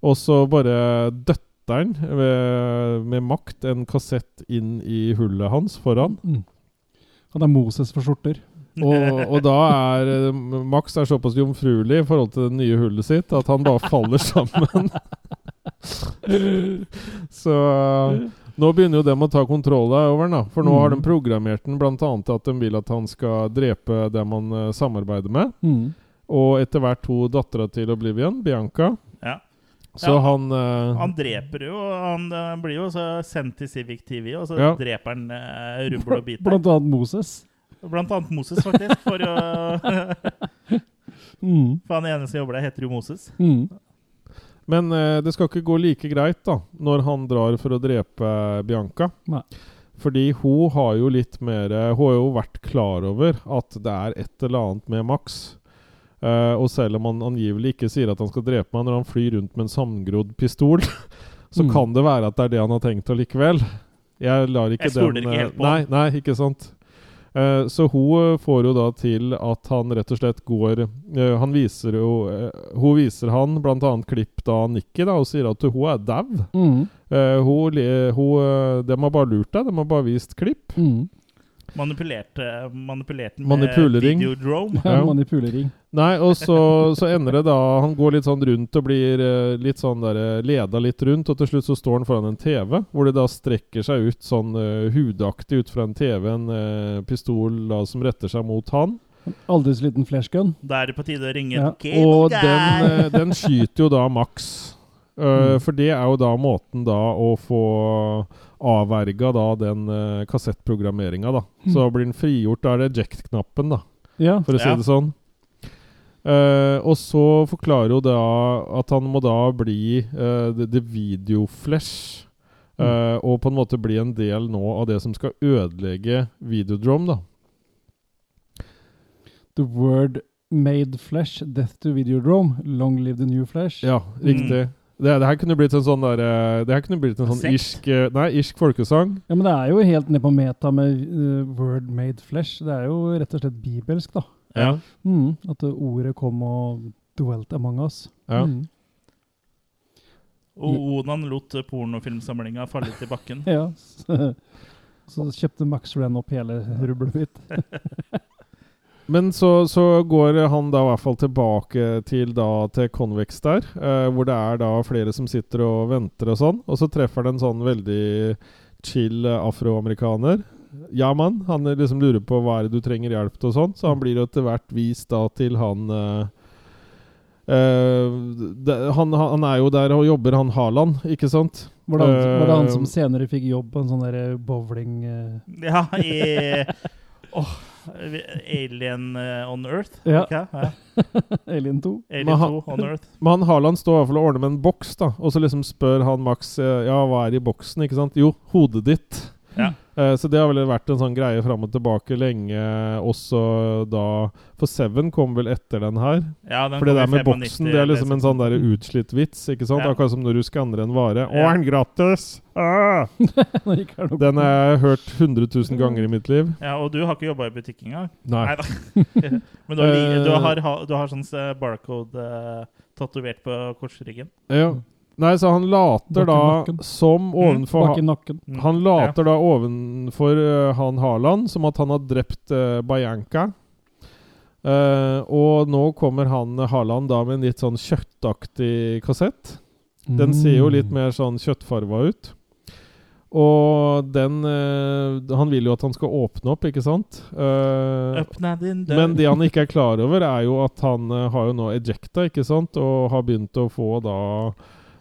[SPEAKER 3] og så bare døtter han med, med makt en kassett inn i hullet hans foran.
[SPEAKER 2] Mm. Han er Moses for skjorter. [LAUGHS]
[SPEAKER 3] Og, og da er eh, Max er såpass jomfruelig i forhold til det nye hullet sitt at han bare faller sammen. [LAUGHS] Så eh, nå begynner jo dem å ta kontroll over den, da. For nå har de
[SPEAKER 2] Mm.
[SPEAKER 3] programmert den bl.a. til at de vil at han skal drepe dem han eh, samarbeider med.
[SPEAKER 2] Mm.
[SPEAKER 3] Og etter hvert hun dattera til Oblivion, Bianca.
[SPEAKER 1] Ja.
[SPEAKER 3] Så
[SPEAKER 1] Ja.
[SPEAKER 3] han eh,
[SPEAKER 1] [LAUGHS] Han dreper jo, han eh, blir jo så sendt til Civic TV, og så
[SPEAKER 3] Ja.
[SPEAKER 1] dreper han eh, rubbel og biter.
[SPEAKER 2] Blant annet Moses.
[SPEAKER 1] Blant annet Moses, faktisk. For, å, [LAUGHS]
[SPEAKER 2] Mm.
[SPEAKER 1] for han ene som jobber der, heter jo Moses.
[SPEAKER 2] Mm.
[SPEAKER 3] Men eh, det skal ikke gå like greit da når han drar for å drepe Bianca.
[SPEAKER 2] Nei.
[SPEAKER 3] Fordi hun har jo litt mer Hun har jo vært klar over at det er et eller annet med Max. Eh, og selv om han angivelig ikke sier at han skal drepe meg når han flyr rundt med en sammengrodd pistol, [LAUGHS] så
[SPEAKER 2] Mm.
[SPEAKER 3] kan det være at det er det han har tenkt allikevel. Jeg lar ikke
[SPEAKER 1] Jeg stoler
[SPEAKER 3] den
[SPEAKER 1] ikke
[SPEAKER 3] eh,
[SPEAKER 1] helt på
[SPEAKER 3] Nei, nei, ikke sant. Eh, så hun eh, får jo da til at han rett og slett går eh, Han viser jo eh, Hun viser han bl.a. klipp da Nikki da, og sier at hun er dau.
[SPEAKER 2] Mm.
[SPEAKER 3] Eh, hun, le- hun, eh, de har bare lurt deg. De har bare vist klipp.
[SPEAKER 2] Mm.
[SPEAKER 1] Manipulert, eh, manipulert med
[SPEAKER 3] Manipulering.
[SPEAKER 1] videodrome.
[SPEAKER 2] Ja,
[SPEAKER 3] Ja.
[SPEAKER 2] Manipulering.
[SPEAKER 3] Nei, og så, så ender det da Han går litt sånn rundt og blir eh, litt sånn der, eh, leda litt rundt, og til slutt så står han foran en TV, hvor det da strekker seg ut sånn eh, hudaktig ut fra en TV, en eh, pistol da som retter seg mot han.
[SPEAKER 2] Aldri så liten flashgun.
[SPEAKER 1] Da er det på tide å ringe
[SPEAKER 2] Ja,
[SPEAKER 1] en kid
[SPEAKER 3] Og
[SPEAKER 1] guy.
[SPEAKER 3] den, eh, den skyter jo da Max. Eh, For det er jo da måten da å få avverga da den uh, kassettprogrammeringa, da. Så blir den frigjort. Da er det eject-knappen, da.
[SPEAKER 2] Ja.
[SPEAKER 3] for å si
[SPEAKER 1] Ja.
[SPEAKER 3] det sånn. Eh, og så forklarer jo da at han må da bli eh, the, the video flesh. eh, Og på en måte bli en del nå av det som skal ødelegge Videodrome, da.
[SPEAKER 2] The word made flesh, death to videodrome, long live the new flesh.
[SPEAKER 3] Ja, riktig. Det, det her kunne blitt en sånn der, eh, Det her kunne blitt en sånn
[SPEAKER 1] Sekt.
[SPEAKER 3] irsk eh, Nei, irsk folkesang.
[SPEAKER 2] Ja, men det er jo helt ned på meta med eh, word made flesh. Det er jo rett og slett bibelsk, da.
[SPEAKER 3] Ja.
[SPEAKER 2] Mm. At det ordet kom og dwelt among us.
[SPEAKER 3] Ja.
[SPEAKER 2] Mm. [LAUGHS]
[SPEAKER 1] Og Onan lot pornofilmsamlinga falle til bakken. [LAUGHS]
[SPEAKER 2] ja. Så, så kjøpte Max Ren opp hele rublet mitt.
[SPEAKER 3] Men så, så går han da i hvert fall tilbake til, da, til Convex der, eh, hvor det er da flere som sitter og venter og sånn, og så treffer det en sånn veldig chill eh, afroamerikaner. Ja, mann. Han liksom lurer på hva er det du trenger hjelp til og sånn, så han blir jo etter hvert vist da til han eh, eh, det- han, han er jo der og jobber, han Haaland, ikke sant?
[SPEAKER 2] Var det, han, var det han
[SPEAKER 3] Eh,
[SPEAKER 2] som senere fikk jobb på en sånn der bowling eh, [LAUGHS]
[SPEAKER 1] Ja, i Åh, Alien eh, on Earth?
[SPEAKER 2] Ja.
[SPEAKER 1] Ikke? ja.
[SPEAKER 2] Alien [LAUGHS] 2?
[SPEAKER 1] Alien
[SPEAKER 3] Men han-
[SPEAKER 1] 2 on Earth.
[SPEAKER 3] Men han Haaland står i hvert fall og ordner med en boks, da. Og så liksom spør han Max eh, ja, hva er i boksen. ikke sant? Jo, hodet ditt.
[SPEAKER 1] Ja.
[SPEAKER 3] Eh, Så det har vel vært en sånn greie fram og tilbake lenge, også da For Seven kom vel etter den her?
[SPEAKER 1] Ja, den
[SPEAKER 3] For
[SPEAKER 1] kom i
[SPEAKER 3] det der med
[SPEAKER 1] 95,
[SPEAKER 3] boksen det er liksom en sånn der utslitt vits. ikke sant?
[SPEAKER 1] Ja.
[SPEAKER 3] Akkurat som når du skanner en vare. Å,
[SPEAKER 1] Ja.
[SPEAKER 3] er den gratis?
[SPEAKER 2] [LAUGHS]
[SPEAKER 3] Ah!
[SPEAKER 2] Nå gikk jeg nok-
[SPEAKER 3] Den har jeg hørt 100 000 ganger i mitt liv.
[SPEAKER 1] Ja, og du har ikke jobba i butikk engang?
[SPEAKER 3] Nei.
[SPEAKER 1] Nei da. [LAUGHS] Men du har, li- du har, ha- du har sånn eh, barcode uh, tatovert på korsryggen.
[SPEAKER 3] Ja. Nei, så han later
[SPEAKER 2] Bak i
[SPEAKER 3] da
[SPEAKER 2] nakken.
[SPEAKER 3] som ovenfor
[SPEAKER 2] Bak i nakken.
[SPEAKER 1] Mm.
[SPEAKER 3] Han later da ovenfor eh, han Haaland som at han har drept uh, Bajanka. Eh, og nå kommer han eh, Haaland da med en litt sånn kjøttaktig kassett. Den ser
[SPEAKER 1] Mm.
[SPEAKER 3] jo litt mer sånn kjøttfarva ut. Og den eh, Han vil jo at han skal åpne opp, ikke sant? Eh,
[SPEAKER 1] Åpna din dør.
[SPEAKER 3] men det han ikke er klar over, er jo at han eh, har jo nå ejecta, ikke sant? Og har begynt å få da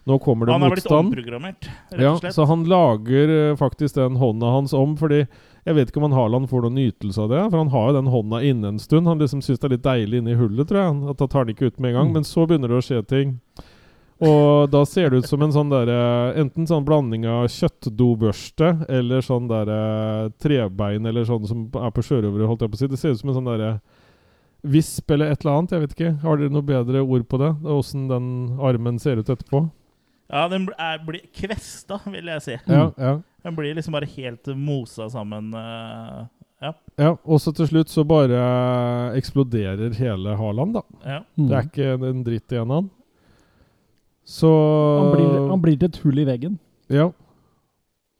[SPEAKER 3] Nå kommer det
[SPEAKER 1] han har blitt
[SPEAKER 3] motstand.
[SPEAKER 1] omprogrammert, rett
[SPEAKER 3] Ja,
[SPEAKER 1] og slett.
[SPEAKER 3] så han lager eh, faktisk den hånda hans om, fordi jeg vet ikke om han Haaland får noen nytelse av det. For han har jo den hånda inne en stund. Han liksom syns det er litt deilig inni hullet, tror jeg. At han tar den ikke ut med en gang.
[SPEAKER 2] Mm.
[SPEAKER 3] Men så begynner det å skje ting. Og da ser det ut som en sånn derre Enten sånn blanding av kjøttdobørste eller sånn derre trebein eller sånn som er på sjørøvere, holdt jeg på å si. Det ser ut som en sånn derre visp eller et eller annet. Jeg vet ikke. Har dere noe bedre ord på det? Åssen den armen ser ut etterpå?
[SPEAKER 1] Ja, den bl- er, blir kvesta, vil jeg si.
[SPEAKER 3] Ja, ja.
[SPEAKER 1] Den blir liksom bare helt mosa sammen. eh,
[SPEAKER 3] Ja, og så til slutt så bare eksploderer hele Haaland, da.
[SPEAKER 1] ja.
[SPEAKER 2] Mm.
[SPEAKER 3] Det er ikke en- en dritt igjen av han. Så
[SPEAKER 2] han, blir, han blir til et hull i veggen.
[SPEAKER 3] Ja.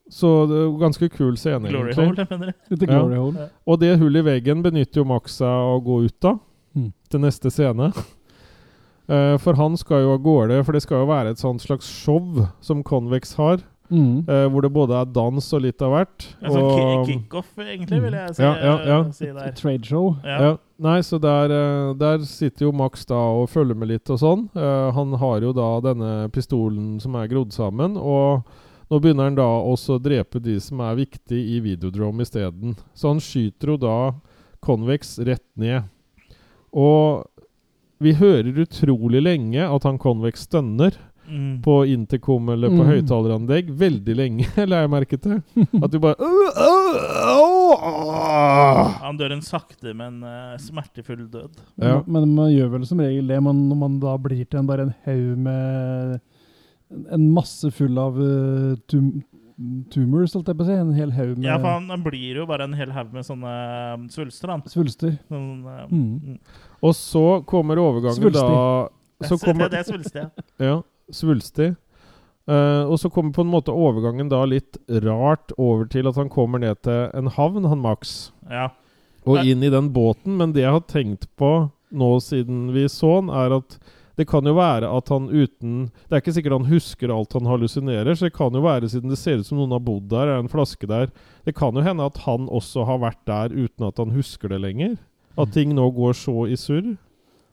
[SPEAKER 3] Så det er jo ganske kul scene,
[SPEAKER 1] Glory
[SPEAKER 3] egentlig.
[SPEAKER 1] hole, mener du?
[SPEAKER 2] Litt
[SPEAKER 3] Ja.
[SPEAKER 2] glory hole.
[SPEAKER 3] Og det hullet i veggen benytter jo Max seg av å gå ut av
[SPEAKER 2] Mm.
[SPEAKER 3] til neste scene. [LAUGHS] Eh, for han skal jo av gårde, for det skal jo være et sånt slags show som Convex har,
[SPEAKER 2] Mm.
[SPEAKER 3] eh, hvor det både er dans og litt av hvert.
[SPEAKER 1] En sånn ki-
[SPEAKER 3] og- um,
[SPEAKER 1] kickoff, egentlig, vil jeg si, eh,
[SPEAKER 3] Ja, ja, ja.
[SPEAKER 1] si der.
[SPEAKER 2] Trade show.
[SPEAKER 1] Ja.
[SPEAKER 3] Ja. Nei, så der, eh, der sitter jo Max da og følger med litt og sånn. Eh, han har jo da denne pistolen som er grodd sammen, og nå begynner han da også å drepe de som er viktige i Videodrome isteden. Så han skyter jo da Convex rett ned. Og vi hører utrolig lenge at han Convex stønner
[SPEAKER 1] Mm.
[SPEAKER 3] på intercom eller på
[SPEAKER 2] Mm.
[SPEAKER 3] høyttaleranlegg veldig lenge, [LAUGHS] la jeg merke til. At du bare «Åh, åh, åh, åh».
[SPEAKER 1] Han dør en sakte, men eh, smertefull død.
[SPEAKER 3] Ja.
[SPEAKER 2] Men man gjør vel som regel det, men når man da blir til en, bare en haug med En masse full av eh, tum tumors, holdt jeg på å si. En hel haug med
[SPEAKER 1] Ja, for han, han blir jo bare en hel haug med sånne um, svulster, han.
[SPEAKER 2] svulster.
[SPEAKER 1] Sånn, eh,
[SPEAKER 2] Mm.
[SPEAKER 3] Og så kommer overgangen
[SPEAKER 2] Svulstig.
[SPEAKER 3] da
[SPEAKER 1] jeg
[SPEAKER 3] så
[SPEAKER 1] ser-
[SPEAKER 3] kommer,
[SPEAKER 1] Det er svulstig, ja.
[SPEAKER 3] ja, Svulstig. Eh, og så kommer på en måte overgangen da litt rart over til at han kommer ned til en havn, han Max.
[SPEAKER 1] ja.
[SPEAKER 3] Og
[SPEAKER 1] Nei.
[SPEAKER 3] inn i den båten. Men det jeg har tenkt på nå siden vi så han, er at det kan jo være at han uten Det er ikke sikkert han husker alt han hallusinerer, så det kan jo være, siden det ser ut som noen har bodd der, er en flaske der Det kan jo hende at han også har vært der uten at han husker det lenger. At ting nå går så i surr.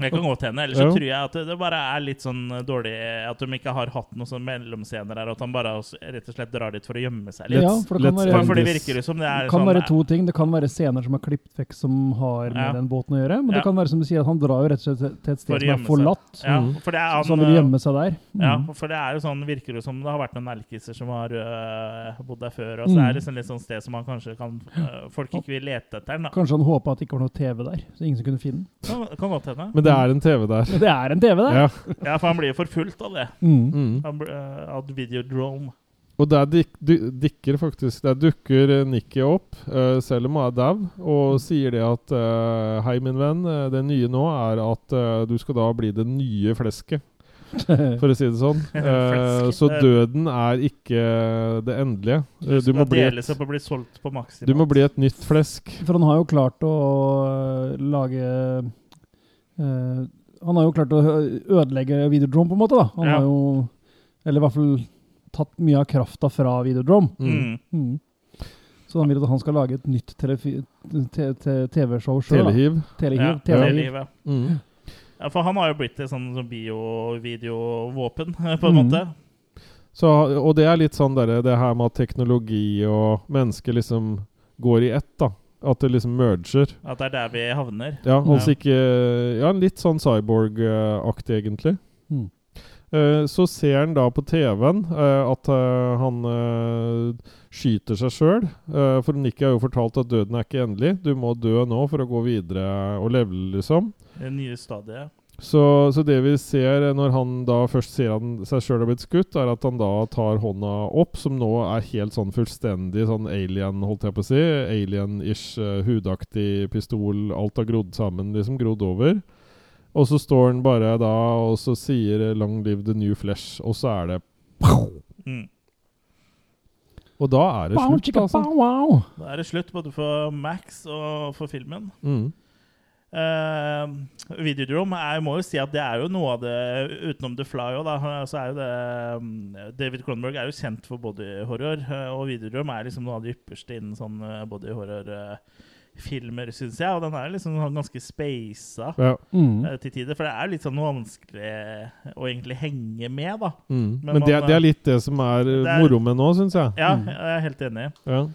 [SPEAKER 1] Det kan godt hende. Ellers så
[SPEAKER 3] Ja.
[SPEAKER 1] tror jeg at det- det bare er litt sånn eh, dårlig eh, At de ikke har hatt noen sånn mellomscener her, og at han bare også, rett og slett drar dit for å gjemme seg litt.
[SPEAKER 2] Ja, for det kan
[SPEAKER 3] let's
[SPEAKER 2] være-
[SPEAKER 1] For, for det
[SPEAKER 3] end this.
[SPEAKER 1] virker jo som det er
[SPEAKER 2] Det kan
[SPEAKER 1] sånn
[SPEAKER 2] være to ting. Det kan være scener som er klippet vekk som har
[SPEAKER 1] Ja.
[SPEAKER 2] med den båten å gjøre. Men
[SPEAKER 1] Ja.
[SPEAKER 2] det kan være som du sier, at han drar jo rett og slett til- til
[SPEAKER 1] For å
[SPEAKER 2] et sted som er
[SPEAKER 1] gjemme seg.
[SPEAKER 2] forlatt.
[SPEAKER 1] ja, for det er han,
[SPEAKER 2] Så han vil gjemme seg der. Mm.
[SPEAKER 1] eh, Ja, for det er jo sånn, virker jo som det har vært noen erkiser som har eh, bodd der før. Og så
[SPEAKER 2] Mm.
[SPEAKER 1] er det liksom litt sånn sted som man kanskje kan eh, folk ikke vil lete etter. den, Da.
[SPEAKER 2] Kanskje han håpa at det ikke var noe TV der, så ingen som kunne finne den.
[SPEAKER 1] Kan, kan godt hende.
[SPEAKER 3] Men det er en TV der.
[SPEAKER 2] Men det er en TV der!
[SPEAKER 3] Ja.
[SPEAKER 1] Ja, for han blir jo forfulgt av det.
[SPEAKER 2] Mm.
[SPEAKER 1] Han, blir, eh, av Videodrome.
[SPEAKER 3] Og der dik, du, dikker faktisk Der dukker eh, Nikki opp, eh, selv om hun er dau, og sier det at eh, Hei, min venn, eh, det nye nå er at eh, du skal da bli det nye flesket, for å si det sånn. Eh, så
[SPEAKER 1] Flesket.
[SPEAKER 3] døden er ikke det endelige. Eh, du, må
[SPEAKER 1] Skal
[SPEAKER 3] bli
[SPEAKER 1] deles
[SPEAKER 3] et,
[SPEAKER 1] opp og bli solgt på maksimalt.
[SPEAKER 3] du må bli et nytt flesk.
[SPEAKER 2] For han har jo klart å øh, lage øh, Han har jo klart å hø- ødelegge Videodrome, på en måte. da. Han
[SPEAKER 1] Ja.
[SPEAKER 2] har jo Eller i hvert fall tatt mye av krafta fra Videodrome.
[SPEAKER 1] Mm.
[SPEAKER 2] Mm. Så han vil at han skal lage et nytt telefi- te- te- TV-show sjøl.
[SPEAKER 3] Telehiv.
[SPEAKER 1] Ja,
[SPEAKER 2] Telehiv.
[SPEAKER 1] det er
[SPEAKER 2] Telehiv.
[SPEAKER 1] livet.
[SPEAKER 3] Mm.
[SPEAKER 1] Ja, for han har jo blitt et sånn sånn bio-videovåpen, [LAUGHS] på en
[SPEAKER 2] Mm.
[SPEAKER 1] måte.
[SPEAKER 3] Så, og det er litt sånn derre Det her med at teknologi og mennesker liksom går i ett, da. At det liksom merger.
[SPEAKER 1] At det er der vi havner.
[SPEAKER 3] Ja, altså
[SPEAKER 1] Ja.
[SPEAKER 3] ikke Ja, litt sånn cyborg-aktig, egentlig.
[SPEAKER 2] Mm.
[SPEAKER 3] Eh, Så ser han da på TV-en eh, at eh, han eh, skyter seg sjøl. For Nikki har jo fortalt at døden er ikke endelig. Du må dø nå for å gå videre og levele, liksom.
[SPEAKER 1] Det nye stadiet.
[SPEAKER 3] Så, så det vi ser eh, når han da først ser han seg sjøl har blitt skutt, er at han da tar hånda opp, som nå er helt sånn fullstendig sånn alien, holdt jeg på å si. Alien-ish, eh, hudaktig pistol. Alt har grodd sammen, liksom. Grodd over. Og så står han bare da og så sier eh, 'Long live the new flesh', og så er det
[SPEAKER 1] Mm.
[SPEAKER 3] Og da er det
[SPEAKER 2] Bow,
[SPEAKER 3] slutt,
[SPEAKER 2] chicka,
[SPEAKER 3] altså.
[SPEAKER 2] bow, wow.
[SPEAKER 1] Da er det slutt både for Max og for filmen.
[SPEAKER 3] Mm.
[SPEAKER 1] Uh, Videodrome er, må jo si at det er jo noe av det Utenom The Fly også, da, så er jo det um, David Cronenberg er jo kjent for bodyhorror, eh, og Videodrome er liksom noe av det ypperste innen sånn bodyhorror-filmer, syns eh, jeg. Og den er liksom sånn ganske speisa
[SPEAKER 3] Ja.
[SPEAKER 2] Mm.
[SPEAKER 1] eh, til tider, for det er litt sånn vanskelig å egentlig henge med, da.
[SPEAKER 3] Mm.
[SPEAKER 1] Men
[SPEAKER 3] Men, det,
[SPEAKER 1] man,
[SPEAKER 3] det er litt det som er, eh,
[SPEAKER 1] det er-
[SPEAKER 3] moro med nå, syns jeg.
[SPEAKER 1] Ja, jeg er helt enig.
[SPEAKER 3] Ja.